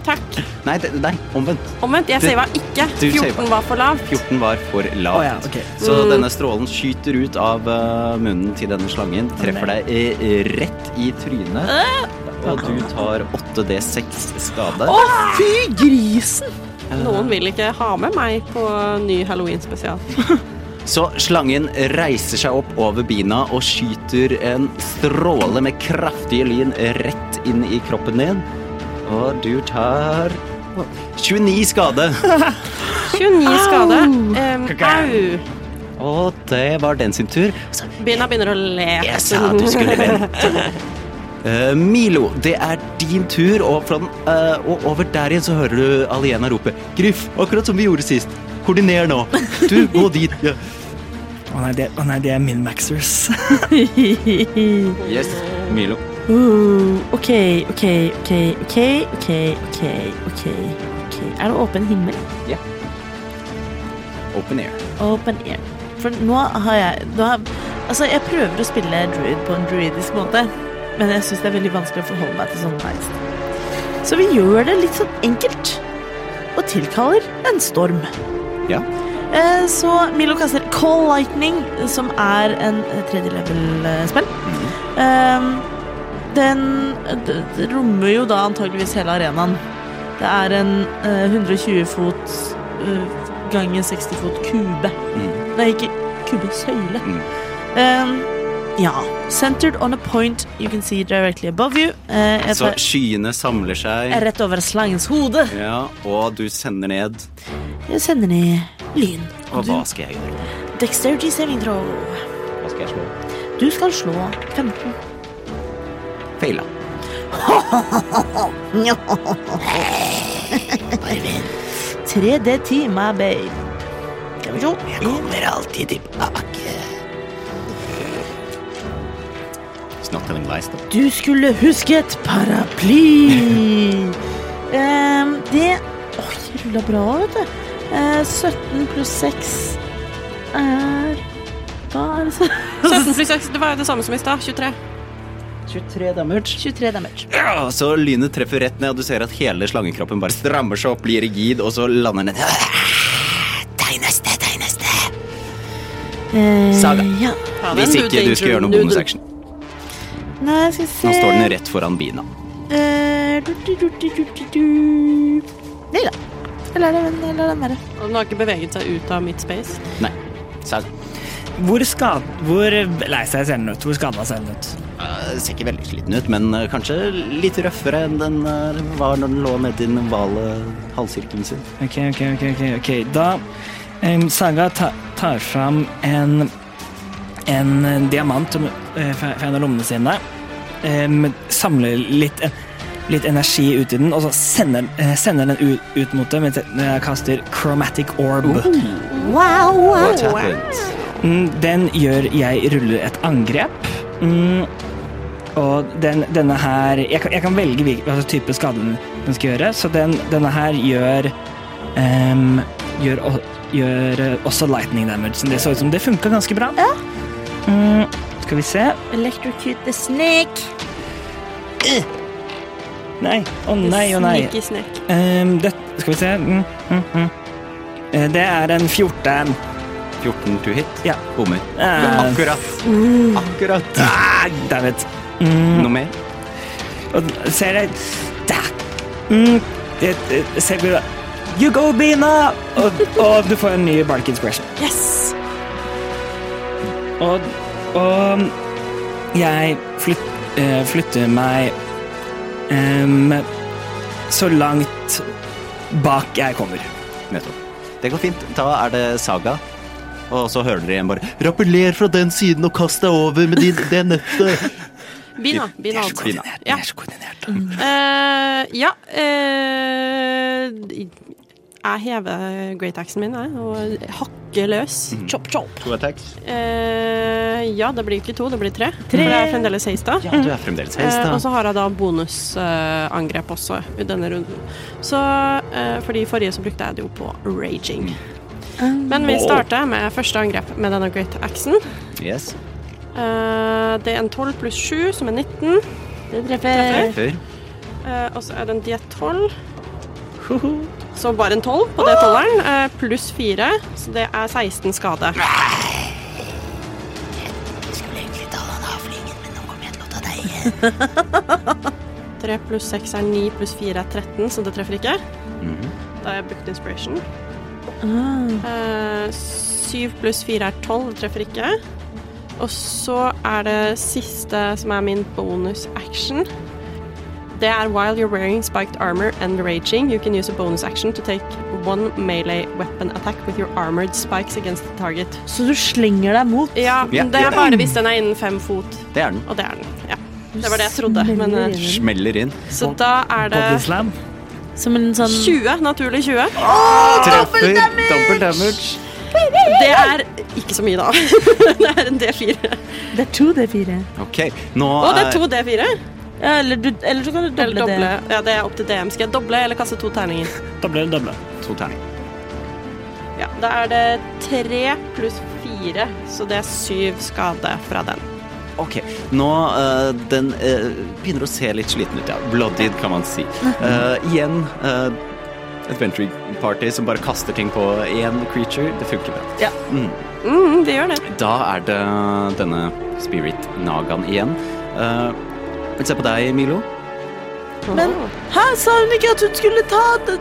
S3: Takk.
S5: Nei, det, nei, omvendt.
S3: Omvendt, jeg
S5: Du-
S3: sava ikke.
S5: du
S3: 14
S5: sava.
S3: var for lavt.
S5: 14 var for
S2: Å
S5: lavt.
S2: ja, ok.
S5: Så
S3: Mm.
S5: denne strålen skyter ut av eh, munnen til denne slangen, treffer deg eh, rett i trynet, og du tar 8D6 skade.
S4: Fy grisen!
S3: Noen vil ikke ha med meg på ny halloween-spesial.
S5: Så slangen reiser seg opp over bina og skyter en stråle med kraftige lyn rett inn i kroppen din. Og du tar 29 skade.
S3: 29 skade. Em, au.
S5: Og det var den sin tur. Så
S3: Bina begynner å le.
S5: jeg sa du skulle vente. Eh, Milo, det er din tur, og, fra den, eh, og over der igjen så hører du Aliena rope Griff, akkurat som vi gjorde sist. Koordiner nå. Du, gå dit. Ja.
S2: Å nei, det, å nei, det er min maxers.
S4: Mm.
S5: Yes, Milo.
S4: Uh, OK, OK, OK, OK, OK, OK, OK. ok. Er det åpen himmel?
S5: Open air.
S4: Open air. For nå har jeg nå har, Altså, jeg prøver å spille druid på en druidisk måte, men jeg syns det er veldig vanskelig å forholde meg til sånn sånne nights. Så vi gjør det litt sånn enkelt og tilkaller en storm.
S5: Ja.
S4: Eh, Så Milo kaster Call Lightning, som er en eh, tredje level-spill.
S5: Mhm.
S4: Den eh, d- d- rommer jo da antageligvis hele arenaen. Det er en eh, 120 fot eh, ganger 60 fot kube.
S5: Mm.
S4: Nei, ikke kube, søyle.
S5: Mm.
S4: Ehm, ja. Centered on a point you can see directly above you. Eh, jeg
S5: Så
S4: tar
S5: skyene samler seg.
S4: rett over slangens hode.
S5: Ja, og du sender ned.
S4: Jeg sender ned lyn.
S5: Og hva skal jeg gjøre?
S4: Dexterity saving throw.
S5: Hva skal jeg slå?
S4: Du skal slå 15.
S5: Feila.
S4: Arvin. 3D10, my babe. Skal vi se. Jeg kommer alltid
S5: It's not telling lies, da.
S4: Du skulle huske et paraply. Ehm, det Oi, jeg rulla bra, vet du. Eh, 17 pluss 6 er Da er det sånn
S3: 17 pluss 6, det var jo det samme som i stad. 23.
S5: 23 damage.
S4: 23 damage.
S5: Ja, så lynet treffer rett ned, og du ser at hele slangekroppen bare strammer seg opp, blir rigid, og så lander den Tegneste, tegneste.
S4: Eh,
S5: Saga.
S4: Ja.
S3: Ta den,
S5: Hvis ikke du
S3: danger
S5: skal gjøre noe
S3: noodle.
S5: bonusaction.
S4: Nei, skal vi se
S5: Nå står den rett foran bina.
S4: Eh, du, du, du, du, du, du. Nei da. Jeg lar den- jeg lar den være.
S3: Og Den har ikke beveget seg ut av mitt space.
S5: Nei. Sag.
S2: Hvor, skad, hvor lei seg ser den ut? Hvor skada ser den ut?
S5: Eh, ser ikke veldig sliten ut, men eh, kanskje litt røffere enn den eh, var når den lå nedi den ovale halvsirkelen sin.
S2: Ok, ok, ok. ok, ok. Da Em, Saga ta, tar fram en, en eh, diamant eh, fra fra en av lommene sine. Em, samler litt, eh, litt energi ut i den, og så sender, eh, sender den ut, ut mot det mens jeg jeg kaster Chromatic Orb.
S5: What happened?
S2: Mm, Den gjør jeg ruller et angrep. Mm, og den, denne her Jeg kan, jeg kan velge hvil- hva slags type skade den, den skal gjøre, så den, denne her gjør em, gjør, o- gjør eh, også lightning damage. Så det så ut som det funka ganske bra. Mm, skal vi se
S4: Electrocute the snake.
S2: Nei, å nei, å nei.
S3: Sneaky snek.
S2: Em, det, skal vi se mm, mm, mm. Eh, Det er en 14.
S5: 14 to hit?
S2: Ja.
S5: Bommer. Mm.
S2: Eh,
S5: Akkurat. Akkurat.
S2: ah, damn it. Mm.
S5: Noe mer?
S2: Og den ser jeg der. Mm, det, det, ser vi da. You go, Bina! Og, og du får en ny Bark Inspiration.
S3: Yes!
S2: Og, og jeg flyt, eh, flytter meg em, så langt bak jeg kommer.
S5: Nettopp. Det går fint. Da er det Saga. Og så hører dere igjen bare Rappeller fra den siden og kast deg over med din, det nettet.
S3: Bina. Bina, altså.
S5: Bina.
S3: Ja.
S2: Jeg er så koordinert.
S3: Eh, ja eh, Jeg hever great axen min jeg, og hakker løs.
S4: Chop, chop.
S5: To attacks.
S3: Eh, ja, det blir ikke to, det blir tre. For det er fremdeles Heistad.
S5: Ja, du er fremdeles hest,
S3: Eh, og
S5: da.
S3: så har jeg da bonusangrep også i denne runden. Så eh, fordi i forrige så brukte jeg det jo på raging. Men vi starter med første angrep med denne great axen.
S5: Yes.
S3: Eh, det er en 12 pluss 7, som er 19.
S4: Det treffer.
S5: Før.
S3: Eh, og så er det en D12. Så bare en 12 på D12-eren, eh, pluss 4, så det er 16 skade. Tre pluss seks er ni, pluss fire er 13, så det treffer ikke.
S5: Mhm.
S3: Da har jeg brukt inspiration. Eh, Syv pluss fire er tolv, det treffer ikke. Og så er det siste, som er min bonus action. Det er while you're wearing spiked armor and raging, you can use a bonus action to take one melee weapon attack with your armored spikes against the target.
S4: Så du slenger deg mot.
S3: Ja,
S5: Ja,
S3: det
S5: ja.
S3: er bare hvis den er innen fem fot,
S5: Det er den.
S3: og det er den. Ja. Det var det jeg trodde, men eh,
S5: Smeller inn.
S3: Så da er
S2: Body
S3: det
S2: slam.
S4: Som en sånn
S3: 20, naturlig 20.
S5: Treffer. Dobbel damage.
S3: Det er ikke så mye, da. Det er en D4.
S4: Det er to D4.
S5: OK, nå eh,
S3: Og det er
S5: er-
S3: to D4.
S4: Ja, eller, du, eller så kan du
S3: Eller
S4: doble,
S3: doble.
S4: det.
S3: Ja, det er opp til DM. Skal jeg doble eller kaste to terninger?
S2: Doble, doble.
S5: to terning.
S3: Ja, Da er det tre pluss fire, så det er syv skade fra den.
S5: OK. Nå eh, Den eh, begynner å se litt sliten ut, ja. Bloodied, kan man si. Eh, igjen uh, Adventuring Party som bare kaster ting på én creature. Det funker bra.
S3: Mm, det gjør det.
S5: Da er det denne Spirit Nagaen igjen. Eh, men se på deg, Milo.
S4: Men hæ, sa hun ikke at hun skulle ta d-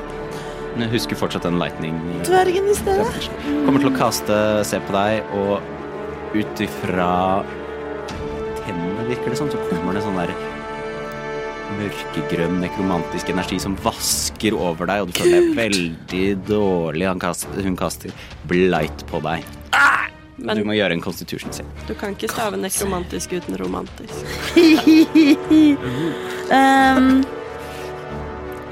S5: Men Jeg husker fortsatt den lightning
S4: dvergen i stedet?
S5: Kommer til å kaste Se på deg, og ut ifra tennene, virker det som, så kommer det sånn der mørkegrønn nekromantisk energi som vasker over deg, og du føler deg veldig dårlig. Han kaster, hun kaster blight på deg.
S4: Ah!
S3: Men
S5: Du må gjøre en constitution selv.
S3: du kan ikke stave nekromantisk uten romantisk.
S4: Ehm,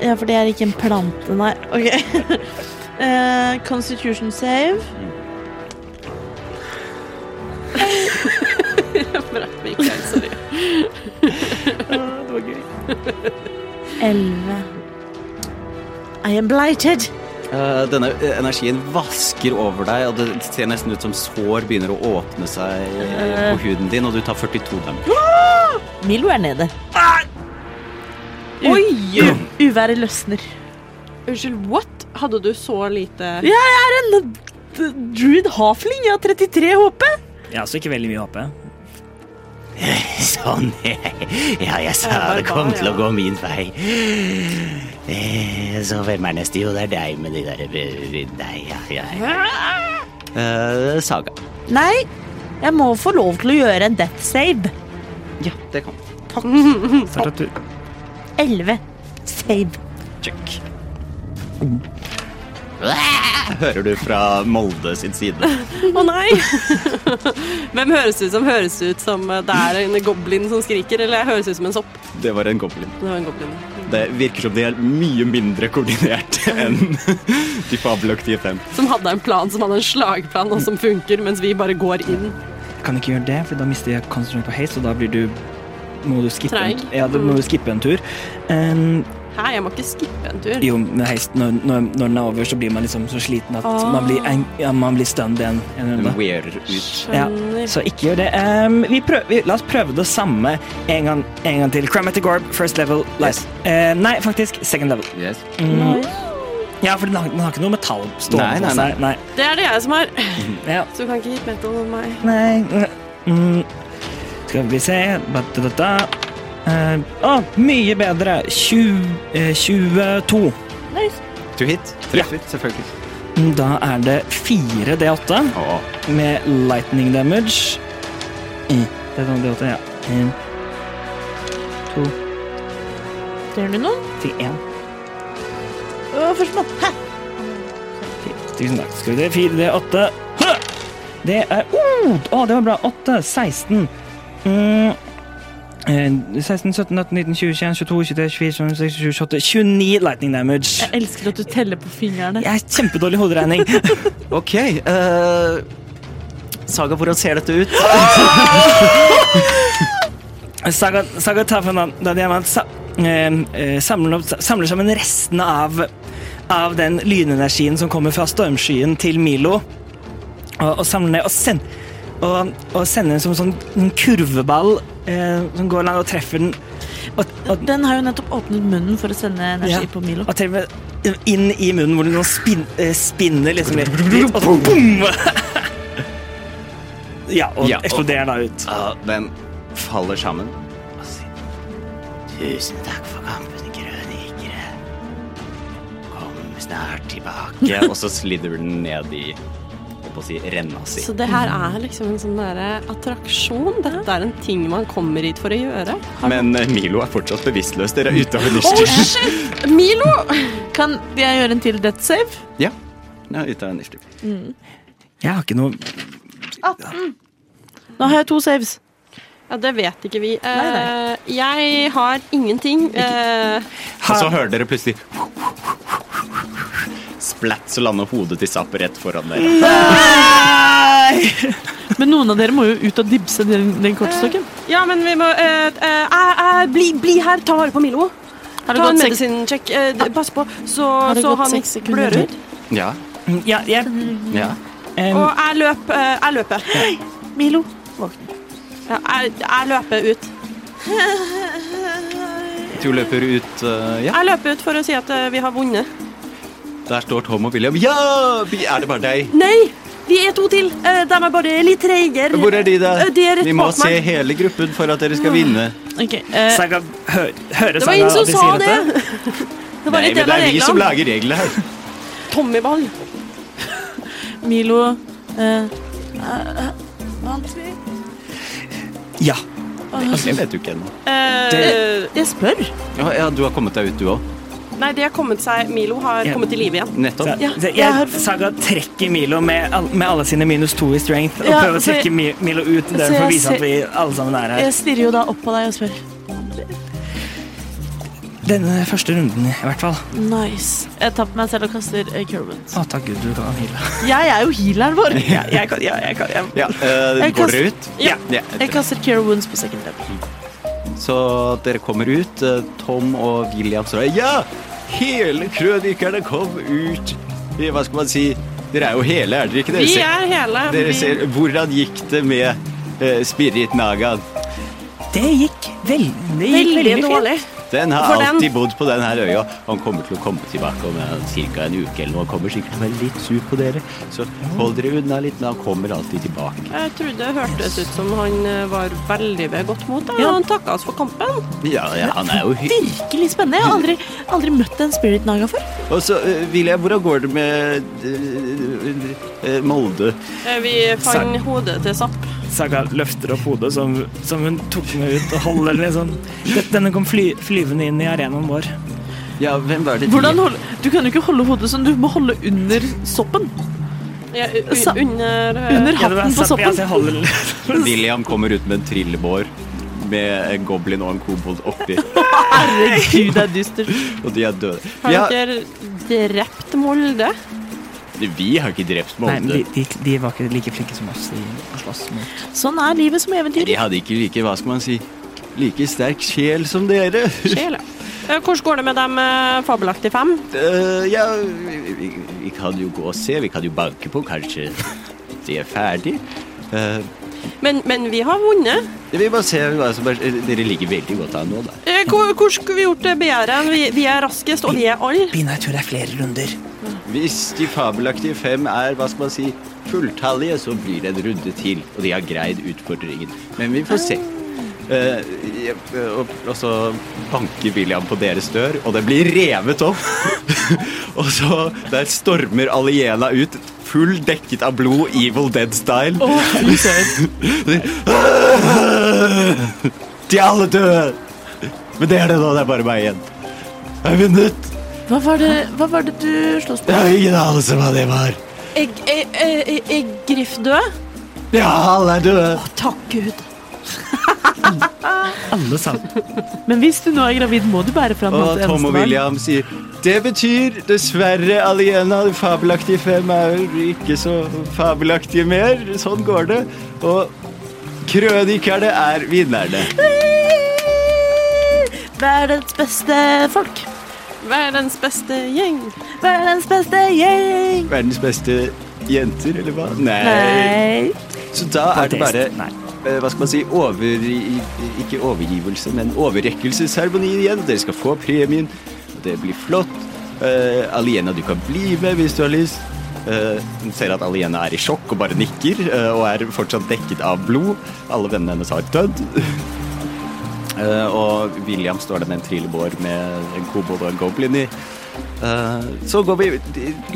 S4: ja, for det er ikke en plante, nei. Ok. Eh, Constitution save.
S3: Bra, Mikael, sorry.
S4: 11. I am blighted.
S5: Eh, denne eh, energien vasker over deg, og det ser nesten ut som sår begynner å åpne seg eh, på huden din, og du tar 42 damage.
S4: Milo er nede.
S3: Oi!
S4: Uværet løsner.
S3: Unnskyld, what? Hadde du så lite
S4: Ja, jeg er en d- druid hafling. Jeg har 33 HP.
S2: Jeg har også ikke veldig mye HP.
S5: Sånn. Ja, jeg sa
S3: det kom til å
S5: gå min vei. Eh, Så hvem er neste? Jo, det er deg med de der Nei, ja, ja. Eh, saga.
S4: Nei, jeg må få lov til å gjøre en death save.
S5: Ja, det kom.
S2: Start at du
S4: 11. Save.
S5: Check. hører du fra Molde sin side.
S3: Å nei! Hvem høres ut som høres ut som eh, det er en goblin som skriker, eller høres ut som en sopp?
S5: Det var en goblin.
S3: Det var en goblin.
S5: Det virker som de er mye mindre koordinert enn de fabelaktige fem.
S3: Som hadde en plan, som hadde en slagplan, og som funker, mens vi bare går inn.
S2: Kan ikke gjøre det, for da mister jeg concentrate på haste, og da blir du må du skippe, en,
S3: Treig.
S2: ja, da må du skippe en tur. Um,
S3: Hæ, jeg må ikke skippe en tur.
S2: jo, med haste, når, når, når den er over, så blir man liksom så sliten at
S3: Ah.
S2: man blir, en, ja, man blir stunned igjen. En runde.
S5: Den wearer ut.
S2: Ja,
S3: Skjønner.
S2: så ikke gjør det. Ehm, vi prøv, vi, la oss prøve det samme en gang, en gang til. Chromatic Orb, first level. Light.
S5: Yes.
S2: Eh, nei, faktisk second level.
S5: Yes.
S2: Mm. Ja, for den har, den har ikke noe metall
S5: Nei,
S2: stående
S5: nei,
S2: på seg. Nei.
S3: Det er det jeg som har.
S2: Ja.
S3: Så du kan ikke hit metal over meg.
S2: nei. Mm. Skal vi se ba, da, da, da. Eh, å, mye bedre. 20, eh, 22.
S5: To hit. Treffer, selvfølgelig.
S2: Mm, Da er det 4 D8
S5: Å,
S2: med lightning damage. Mm. Det er sånn D8, ja. En, to,
S4: Gjør du noe?
S2: til én.
S4: Å, Førstemann. Hæ?
S2: Tusen takk. Skal vi se. Fire, det er åtte. Hø! Det er oh, Å, det var bra. Åtte. 16. Mm. eh, 16, 17, 18, 19, 20, 21, 22, 23, 24, 25, 26, 27, 28 29 lightning damage.
S4: Jeg elsker at du teller på fingrene.
S2: Jeg er kjempedårlig i hoderegning.
S5: OK. eh, Saga, hvordan ser dette ut?
S2: Saga, Saga tar fra den- den diamant, sa, eh, eh, samler, opp, samler sammen restene av, av den lynenergien som kommer fra stormskyen til Milo, og, og samler ned og, send, og, og sender den som en sånn en kurveball eh, som går langt og treffer den. Og, og,
S4: Den har jo nettopp åpnet munnen for å sende energi
S2: Ja.
S4: på Milo.
S2: og treffer inn i munnen, hvor den sånn spin, eh, spinner liksom litt, litt og så boom! ja, og
S5: Ja, og-
S2: eksploderer da ut.
S5: Ja, den faller sammen. Tusen takk for kampen, krønikere. Kom snart tilbake. Og så slidder den ned i jeg holdt på å si, renna si.
S3: Så det her er liksom en sånn derre attraksjon. Dette er en ting man kommer hit for å gjøre.
S5: Men eh, Milo er fortsatt bevisstløs. Dere er ute av initiativ.
S3: Eh, shit! Milo!
S4: Kan jeg gjøre en til death save?
S5: Ja. Ja, ute av initiativ.
S2: Jeg har ikke noe
S4: Nå har jeg to saves.
S3: Ja, det vet ikke vi. Eh, jeg har ingenting. Eh,
S5: Og så hører dere plutselig Splatt, så lander hodet til Zapp rett foran dere.
S4: Men noen av dere må jo ut og dibse den, den kortstokken.
S3: ja, men vi må eh, eh, eh, eh, bli, bli her, ta vare på Milo.
S4: Har
S3: Ta
S4: det
S3: en
S4: gått seks-
S3: medisinsjekk. Eh, d- pass på, så,
S4: det
S3: så
S4: gått
S3: han
S4: seks
S3: ikke
S4: sekunder
S3: blør
S4: til?
S3: ut.
S5: Ja.
S2: Ja, jeg
S5: ja.
S2: em,
S3: Og jeg løp, eh, jeg løper.
S4: Milo, våkn.
S3: Ja, jeg, jeg løper ut.
S5: Du løper ut eh, Ja,
S3: Jeg løper ut for å si at eh, vi har vunnet.
S5: der står Tom og William. Ja! vi- Er det bare deg?
S3: Nei! Vi er to til. Eh, De er bare litt treigere.
S5: Hvor er de, da?
S3: Eh, De er Mm. rett
S5: Vi må
S3: bak
S5: se
S3: meg.
S5: hele gruppen for at dere skal vinne.
S4: Ok, eh,
S2: Saga hø hører
S3: Det var
S2: Saga
S3: ingen
S2: at
S3: som
S2: de
S3: sa
S2: sier
S3: det.
S2: dette.
S3: Det var
S5: Nei,
S3: litt
S5: men
S3: del
S5: det
S3: av
S5: er vi som
S3: reglene.
S5: lager reglene her.
S3: Tommyball.
S4: Milo eh, eh, Vant vi?
S2: Ja.
S5: Det vet du ikke ennå.
S3: Eh,
S2: Det-
S4: Jeg spør.
S5: Ja, ja, du har kommet deg ut, du òg.
S3: Nei, det har kommet seg Milo har
S2: Ja.
S3: kommet til live igjen.
S5: Nettopp.
S2: Så,
S3: Ja,
S2: så
S4: jeg har-
S2: jeg, Saga trekker Milo med, all- med alle sine minus to i strength og
S4: Ja,
S2: prøver å
S4: så jeg-
S2: trekke Mi- Milo ut der for
S4: jeg
S2: å vise
S4: ser-
S2: at vi alle sammen er her.
S4: Jeg stirrer jo da opp på deg og spør.
S2: Denne første runden, i hvert fall.
S4: Nice. Jeg tar på meg selv og kaster eh, Curvent.
S5: Ah.
S2: Å, takk gud du kan heale.
S4: Jeg er jo healeren vår.
S2: Jeg kan, ja, jeg kan. Jeg.
S5: Ja, eh,
S4: Jeg
S5: går
S4: kaster-
S5: dere ut?
S4: Ja.
S5: ja.
S4: Jeg kaster Cure Wounds på second level.
S5: Så dere kommer ut. eh, Tom og William står der. Ja! Hele krønikerne kom ut. Eh, Hva skal man si? Dere er jo hele, er dere ikke? Dere
S3: Vi
S5: ser,
S3: er hele.
S5: dere
S3: vi-
S5: ser, hvordan gikk det med eh, Spirit Nagan?
S2: Det gikk vel, det gikk
S3: Veldig
S2: veldig fint.
S3: dårlig.
S5: Den har
S3: For den-
S5: alltid bodd på den her øya. Han kommer til å komme tilbake om ca. en uke eller noe. Han kommer sikkert til å være litt sur på dere, så hold dere unna litt, men han kommer alltid tilbake.
S3: Jeg trodde det hørtes ut som han eh, var veldig ved godt mot. da.
S4: Ja.
S3: Han takka oss for kampen.
S5: Ja, ja, han er jo hyggelig.
S4: Virkelig spennende. Jeg har aldri, aldri møtt en Spirit Naga før.
S5: Og så, eh, William, hvordan går det med eh, eh, Molde?
S3: Eh, Vi fant hodet til Zapp.
S2: Saga løfter opp hodet som, som hun tok med ut og holder det sånn. Denne kom fly, flyvende inn i arenaen vår.
S5: Ja, hvem var det de-
S4: Hvordan hold, du kan jo ikke holde hodet sånn, du må holde under soppen.
S3: Ja, u-
S4: Sa-
S3: u- under eh,
S4: Under
S2: Ja, det var
S4: hatten på
S2: sant. Ja,
S4: soppen.
S2: så jeg holder litt.
S5: William kommer ut med en trillebår med en goblin og en kobold oppi,
S4: Herregud, det er dystert.
S5: og de er døde. Vi
S3: Har
S5: har,
S3: dere drept Molde?
S5: vi har ikke drept
S2: Nei, men de,
S5: Molde.
S2: de, de var ikke like flinke som oss i å slåss mot
S4: Sånn er livet som eventyr.
S5: De hadde ikke like, hva skal man si, like sterk sjel som dere.
S3: Sjela. Eh, Hvordan går det med dem eh, fabelaktige fem?
S5: Eh, ja, vi, vi, vi kan jo gå og se, vi kan jo banke på, kanskje de er ferdig. Eh,
S3: Men, men vi har vunnet.
S5: vi må se hva som er, dere ligger veldig godt an nå, da.
S3: Eh, Hvor, hvor skulle vi gjort det begjæret? Vi, vi er raskest, og vi er alle.
S2: Bina, jeg tror det er flere runder.
S5: Hvis de fabelaktige fem er hva skal man si, fulltallige, så blir det en runde til. Og de har greid utfordringen. Men vi får se. Eh, jep, og, og så banker William på deres dør, og den blir revet opp. og så der stormer Aliena ut, full dekket av blod, Evil Dead-style. de er alle døde! Men det er det nå, det er bare meg igjen. Jeg har vunnet!
S4: Hva var det, hva var det du sloss
S5: Jeg
S4: på?
S5: har ingen anelse hva det var.
S3: Er, er, er, er, er Griff død?
S5: Ja, alle er døde.
S3: Takk Gud.
S2: Alle sammen.
S4: Men hvis du nå er gravid, må du bære fram
S5: Og Tom og William sier Det betyr dessverre, Aliena, de fabelaktige fem er ikke så fabelaktige mer. Sånn går det. Og krønikerne er vinnerne.
S4: Verdens beste folk.
S3: Verdens beste gjeng.
S4: Verdens beste gjeng.
S5: Verdens beste jenter, eller hva? Nei.
S4: Nei.
S5: Så da er det bare
S2: Nei.
S5: eh, hva skal man si, over, i- i- ikke overgivelse, men overrekkelsesseremoni igjen. Dere skal få premien, og det blir flott. Eh, Aliena, du kan bli med hvis du har lyst. Eh, Hun ser at Aliena er i sjokk og bare nikker, eh, og er fortsatt dekket av blod. Alle vennene hennes har dødd. Eh, og William står der med en trillebår med en kobold og en goblin i. Eh, så går vi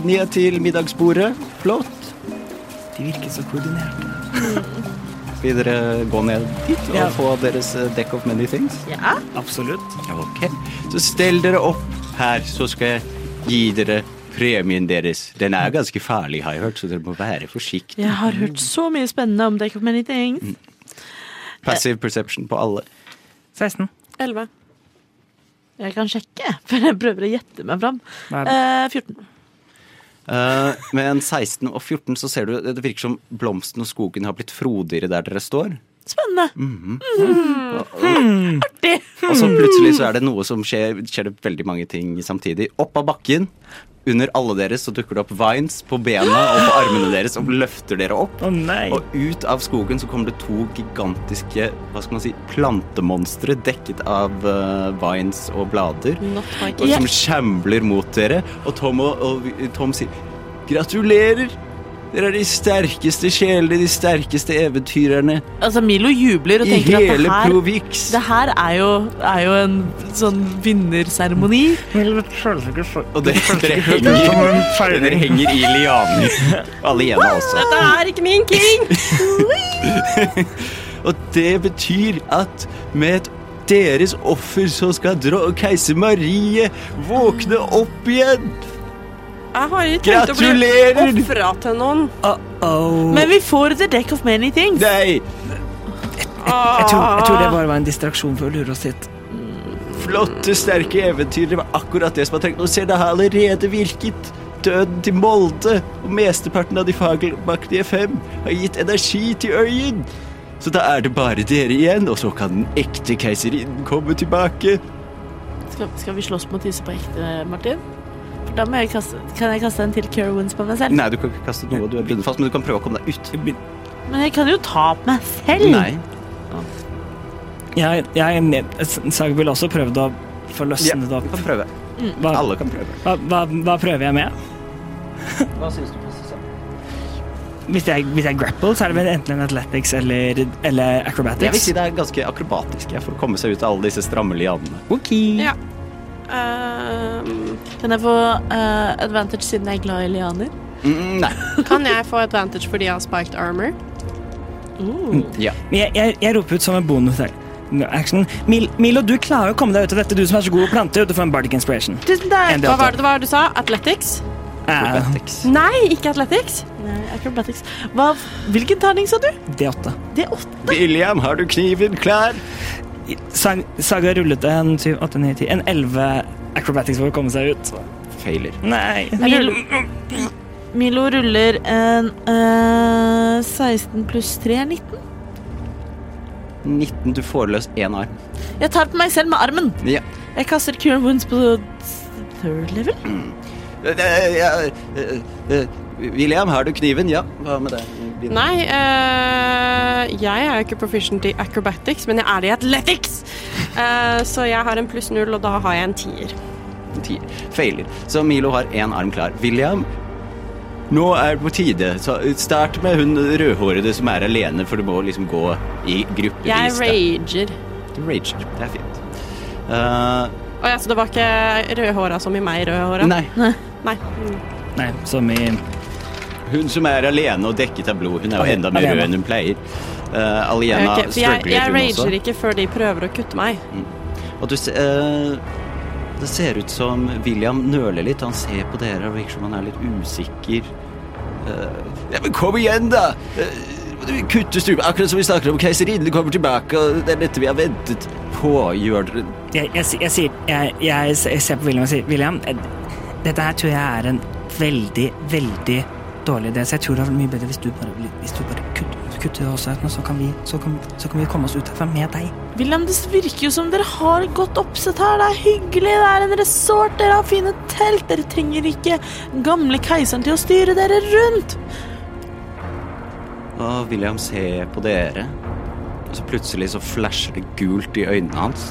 S5: ned til middagsbordet. Flott.
S2: De virket så koordinerte.
S5: Vil dere gå ned dit og
S2: Ja.
S5: få deres eh, deck of many things?
S4: Ja.
S2: Absolutt.
S5: Ok. Så stell dere opp her, så skal jeg gi dere premien deres. Den er ganske farlig, har jeg hørt, så dere må være forsiktige.
S4: Jeg har hørt så mye spennende om Deck of Many Things.
S5: Passive perception på alle.
S2: 16.
S3: Elleve.
S4: Jeg kan sjekke, for jeg prøver å gjette meg fram.
S2: Hva er det?
S4: Eh, 14.
S5: Eh, med en 16 og 14 så ser du det virker som blomsten og skogen har blitt frodigere der dere står.
S4: Spennende.
S5: Mhm.
S4: Mm.
S5: Og så plutselig så er det noe som skjer, skjer det veldig mange ting samtidig. Opp av bakken, under alle deres, så dukker det opp vines på bena og på armene deres og løfter dere opp.
S2: Å nei!
S5: Og ut av skogen så kommer det to gigantiske hva skal man si, plantemonstre dekket av eh, vines og blader.
S3: Not my
S5: Og som skjambler mot dere. Og Tom, og, og Tom sier gratulerer! Dere er de sterkeste sjelene, de sterkeste eventyrerne
S4: Altså, Milo jubler og
S5: i
S4: tenker at
S5: hele
S4: det her,
S5: Provix.
S4: det her er, jo, er jo en sånn vinnerseremoni.
S5: Og dere, dere, henger, dere henger i lianer. Alene også.
S3: Dette er ikke min king!
S5: Og det betyr at med et deres offer så skal dro- keiser Marie våkne opp igjen.
S3: Jeg har ikke tenkt å bli
S5: Gratulerer!
S3: ofra til noen.
S5: Mm.
S2: Uh-oh.
S4: Men vi får The Deck of Many Things.
S5: Nei,
S2: Jeg tror, jeg tror det bare var en distraksjon for å lure oss hit.
S5: flotte, sterke eventyr. Det var akkurat det som jeg trengte. Og se, det har allerede virket. Døden til Molde og mesteparten av de fagmaktige fem har gitt energi til øyen. Så da er det bare dere igjen, og så kan den ekte keiserinnen komme tilbake.
S4: Skal, skal vi slåss mot disse på ekte, Martin? For da må jeg kaste, kan jeg kaste en til Kerowins på meg selv.
S5: Nei, du kan ikke kaste noe, du er bundet fast, men du kan prøve å komme deg ut.
S4: Men jeg kan jo ta på meg selv.
S5: Nei.
S2: Jeg, jeg, Sag vil også prøvde å få
S5: Ja,
S2: løsnet
S5: du
S2: det opp.
S5: kan prøve.
S2: Hva,
S5: Alle kan prøve.
S2: hva, hva, hva prøver jeg med?
S5: Hva syns du passer sammen?
S2: Hvis jeg, hvis jeg grapple, så er det vel enten en athletics eller, eller
S5: Jeg vil
S2: acrobatics.
S5: si det er ganske akrobatisk jeg, for å komme seg ut av alle disse stramme lianene.
S2: Ok.
S3: Ja. Ehm,
S4: Kan jeg få eh, advantage siden jeg er glad i lianer?
S5: Mm, nei.
S3: kan jeg få advantage fordi jeg har spiked armor?
S5: Ja.
S2: Men Jeg, jeg, jeg roper ut som en bonus her. action. Mil Milo, du klarer å komme deg ut av dette, du som er så god å plante. Du får en bardic inspiration.
S4: Tusen takk!
S2: En
S3: Hva
S2: del
S3: var
S2: til.
S3: det, hva var det du sa? Athletics?
S2: Eh,
S5: Acrobatics.
S3: Nei, ikke athletics.
S4: Nei, acrobatics. Hva, hvilken terning sa du?
S2: D8.
S4: Det er åtte.
S5: William, har du kniven klar?
S2: Sag Saga rullet en 7, 8, 9, 10 En 11 acrobatics for å komme seg ut.
S5: Failer.
S2: Nei.
S4: Milo, Milo ruller en eh, 16 pluss 3 er 19.
S5: 19, du får løs én arm.
S4: Jeg tar på meg selv med armen.
S5: Ja.
S4: Jeg kaster Cure Wounds på third level.
S5: Eh, eh, ja, eh, eh, William, har du kniven? Ja, hva med det? Din-
S3: Nei, eh, jeg er jo ikke proficient i acrobatics, men jeg er i athletics! Eh, så jeg har en pluss null, og da har jeg en tier.
S5: Ti. Failer. Så Milo har én arm klar. William, nå er det på tide. Så start med hun rødhårede som er alene, for du må liksom gå i gruppevis.
S3: Jeg
S5: da.
S3: rager.
S5: Du rager. Det er fint. Eh,
S3: Å ja, så det var ikke rødhåra som i meg, rødhåra?
S5: nei.
S3: Nei. Mm.
S2: Nei, som i
S5: Hun som er alene og dekket av blod, hun er jo enda mer
S2: Alena.
S5: rød enn hun pleier. Uh, Aliena
S3: Ok, for jeg,
S5: struggler
S3: jeg
S5: hun også.
S3: rager ikke før de prøver å kutte meg.
S5: Og du se, eh, Det ser ut som William nøler litt. Han ser på dere og virker som han er litt usikker. Eh, ja, men kom igjen, da! Uh, Kutte strupen, akkurat som vi snakker om keiserinnen. Du kommer tilbake, og det er dette vi har ventet på. Gjør dere
S2: Jeg, jeg, si- jeg sier jeg, jeg, s- jeg ser på William og sier William, eh, dette her tror jeg er en veldig, veldig dårlig idé, så jeg tror det er mye bedre hvis du bare, blir- hvis du bare kutter, kutter oss ut nå, så kan, vi, så, kan, så kan vi komme oss ut herfra med deg.
S4: William, det virker jo som dere har et godt oppsett her. Det er hyggelig, det er en resort, dere har fine telt. Dere trenger ikke gamle keiseren til å styre dere rundt.
S5: Og William ser på dere, og så plutselig så flasher det gult i øynene hans.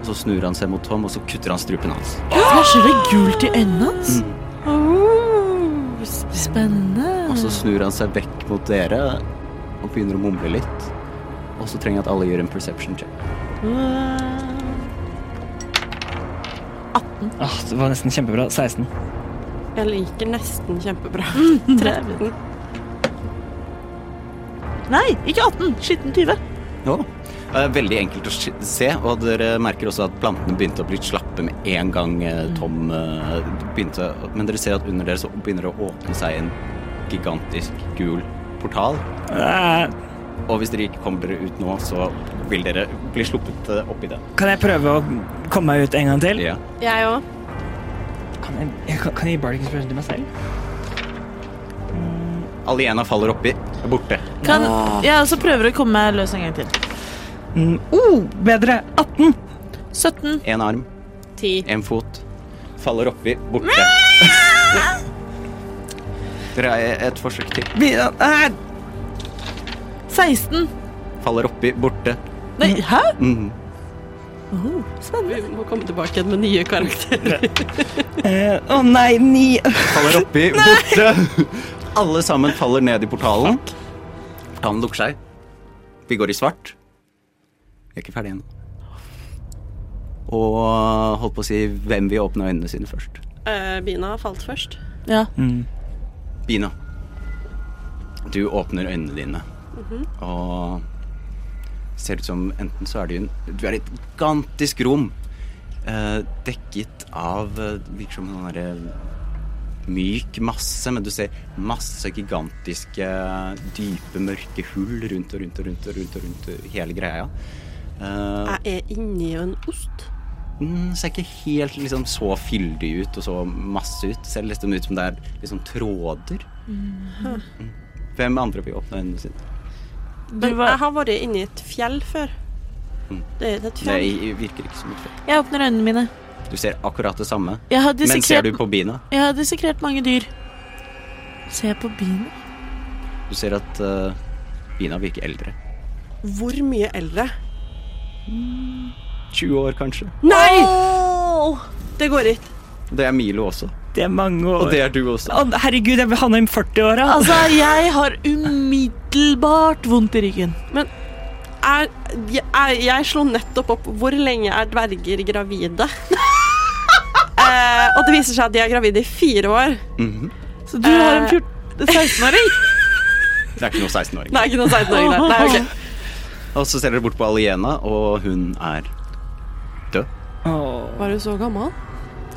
S5: Og så snur han seg mot Tom, og så kutter han strupen hans.
S4: Flasher det gult i øynene hans?
S5: Mm.
S4: Oh, sp-
S5: Og så
S4: spennende.
S5: snur han seg vekk mot dere og begynner å mumle litt. Og så trenger jeg at alle gjør en perception check.
S2: Åh, det var nesten kjempebra. 16.
S3: Jeg liker nesten kjempebra. 13.
S4: Nei, ikke 18. Skitten 20.
S5: Ja. Det er veldig enkelt å sk- se, og dere merker også at plantene begynte å bli slappe med en gang eh, Tom eh, begynte Men dere ser at under dere så begynner det å åpne seg en gigantisk gul portal.
S2: Eh,
S5: Og hvis dere ikke kommer dere ut nå, så vil dere bli sluppet eh, opp i det.
S2: Kan jeg prøve å komme meg ut en gang til?
S5: Ja.
S3: Jeg òg.
S2: Kan jeg, jeg, kan- kan jeg gi Bardic Inspiration til meg selv?
S5: Aliena faller oppi. er Borte.
S4: Kan jeg også prøver å komme meg løs en gang til.
S2: Mm, oh, bedre! 18!
S4: 17.
S5: Én arm,
S3: 10.
S5: én fot. Faller oppi. Borte. Dere har et forsøk til.
S2: Vi, eh,
S4: 16.
S5: Faller oppi. Borte.
S4: Nei, hæ?
S5: Mhm.
S4: Oh, spennende.
S3: Vi må komme tilbake igjen med nye karakterer.
S2: eh, Å nei, 9!
S5: faller oppi, borte. Alle sammen faller ned i portalen. Portalen lukker seg. Vi går i svart. Vi er ikke ferdige ennå. Og holdt på å si hvem vil åpne øynene sine først.
S3: Eh, Bina falt først.
S4: Ja.
S5: Bina. Du åpner øynene dine, og ser ut som enten så er du i en Du er i et gigantisk rom eh, dekket av eh, Virker som en sånn derre myk masse, men du ser masse gigantiske, dype, mørke hull rundt og rundt og rundt og rundt, og rundt hele greia. Eh,
S3: Jeg er inni en ost.
S5: den ser ikke helt liksom, så fyldig ut og så masse ut. Ser liksom ut som det er liksom, tråder. Mm. Hvem andre vil åpne øynene sine?
S3: Men jeg har vært inni et fjell før.
S5: Mm.
S3: Det er et fjell.
S5: Det virker ikke som et fjell.
S4: Jeg åpner øynene mine.
S5: Du ser akkurat det samme.
S4: Jeg har
S5: Men ser
S4: dissekrert,
S5: du på bina?
S4: jeg har dissekrert mange dyr. Ser jeg på biene?
S5: Du ser at eh, bina virker eldre.
S3: Hvor mye eldre?
S5: 20 år, kanskje.
S3: Nei! Det går ikke.
S5: Det er Milo også.
S2: Det er mange år.
S5: Og det er du også.
S2: Å, herregud, jeg vil havne i 40-åra.
S4: Altså, jeg har umiddelbart vondt i ryggen.
S3: Er, jeg, er, jeg slo nettopp opp hvor lenge er dverger gravide. eh, og det viser seg at de er gravide i fire år.
S5: Mhm.
S4: Så du har en
S3: Eh.
S4: 14 16-åring?
S5: Det er ikke noe 16-åring.
S3: Nei, ikke noen 16-åring der. Nei, ok.
S5: Og så ser dere bort på Aliena, og hun er død.
S2: Åh.
S3: Var du så gammel?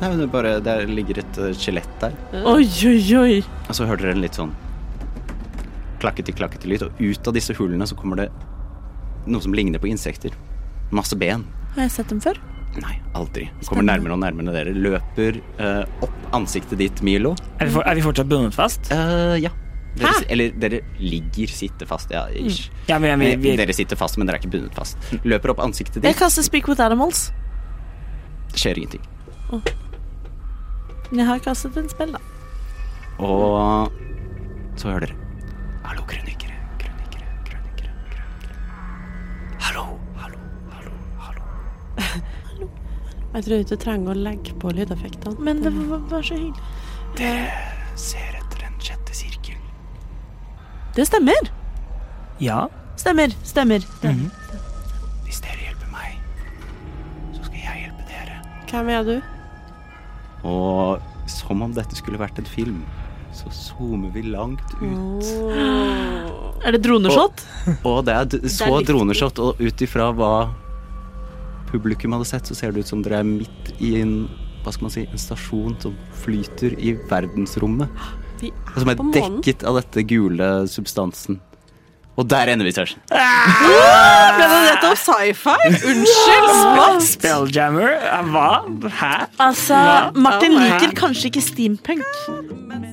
S5: Nei, men det, er bare, det ligger et eh, skjelett der.
S4: Oi, oi, oi.
S5: Og så hører dere en litt sånn klakketi-klakketi-lyd, og ut av disse hullene så kommer det noe som ligner på insekter. Masse ben.
S4: Har jeg sett dem før?
S5: Nei, aldri. Kommer nærmere og nærmere dere. Løper eh, opp ansiktet ditt, Milo.
S2: Er, vi for, er vi fortsatt bundet fast?
S5: Eh, ja. Dere, eller dere ligger, sitter fast. Ja, ish.
S2: Mm. Ja, men vi,
S5: Eh,
S2: vi, Mm.
S5: Dere sitter fast, men dere er ikke bundet fast. Løper opp ansiktet
S4: Jeg
S5: ditt,
S4: kaster Speak with Animals.
S5: skjer ingenting.
S4: Men jeg har kastet en spill, da.
S5: Og så hører dere Hallo, krønikere, krønikere, krønikere, krønikere. Hallo, hallo, hallo, hallo.
S3: Jeg tror ikke du trenger å legge på lydeffektene.
S4: Men det var, var så hyggelig.
S5: Ser etter den sjette sirkelen.
S4: Det stemmer.
S2: ja.
S4: Stemmer. Stemmer.
S5: Mhm. Hvis dere hjelper meg, så skal jeg hjelpe dere.
S3: Hvem er du?
S5: Og som om dette skulle vært en film, så zoomer vi langt
S3: Mm.
S5: ut.
S4: Er det droneshot?
S5: Og det er d- så
S3: litt-
S5: droneshot, og ut ifra hva publikum hadde sett, så ser det ut som dere er midt i en hva skal man si, en stasjon som flyter i verdensrommet.
S3: Vi
S5: Og som
S3: er
S5: er
S3: på månen.
S5: dekket av dette gule substansen. Og der ender vi, Sersen.
S3: Ble det nettopp sci-fi? Unnskyld! What?
S2: Spelljammer? Eh, Hva? Hæ?
S4: Altså, Martin
S3: Ja.
S4: liker kanskje ikke steampunk, men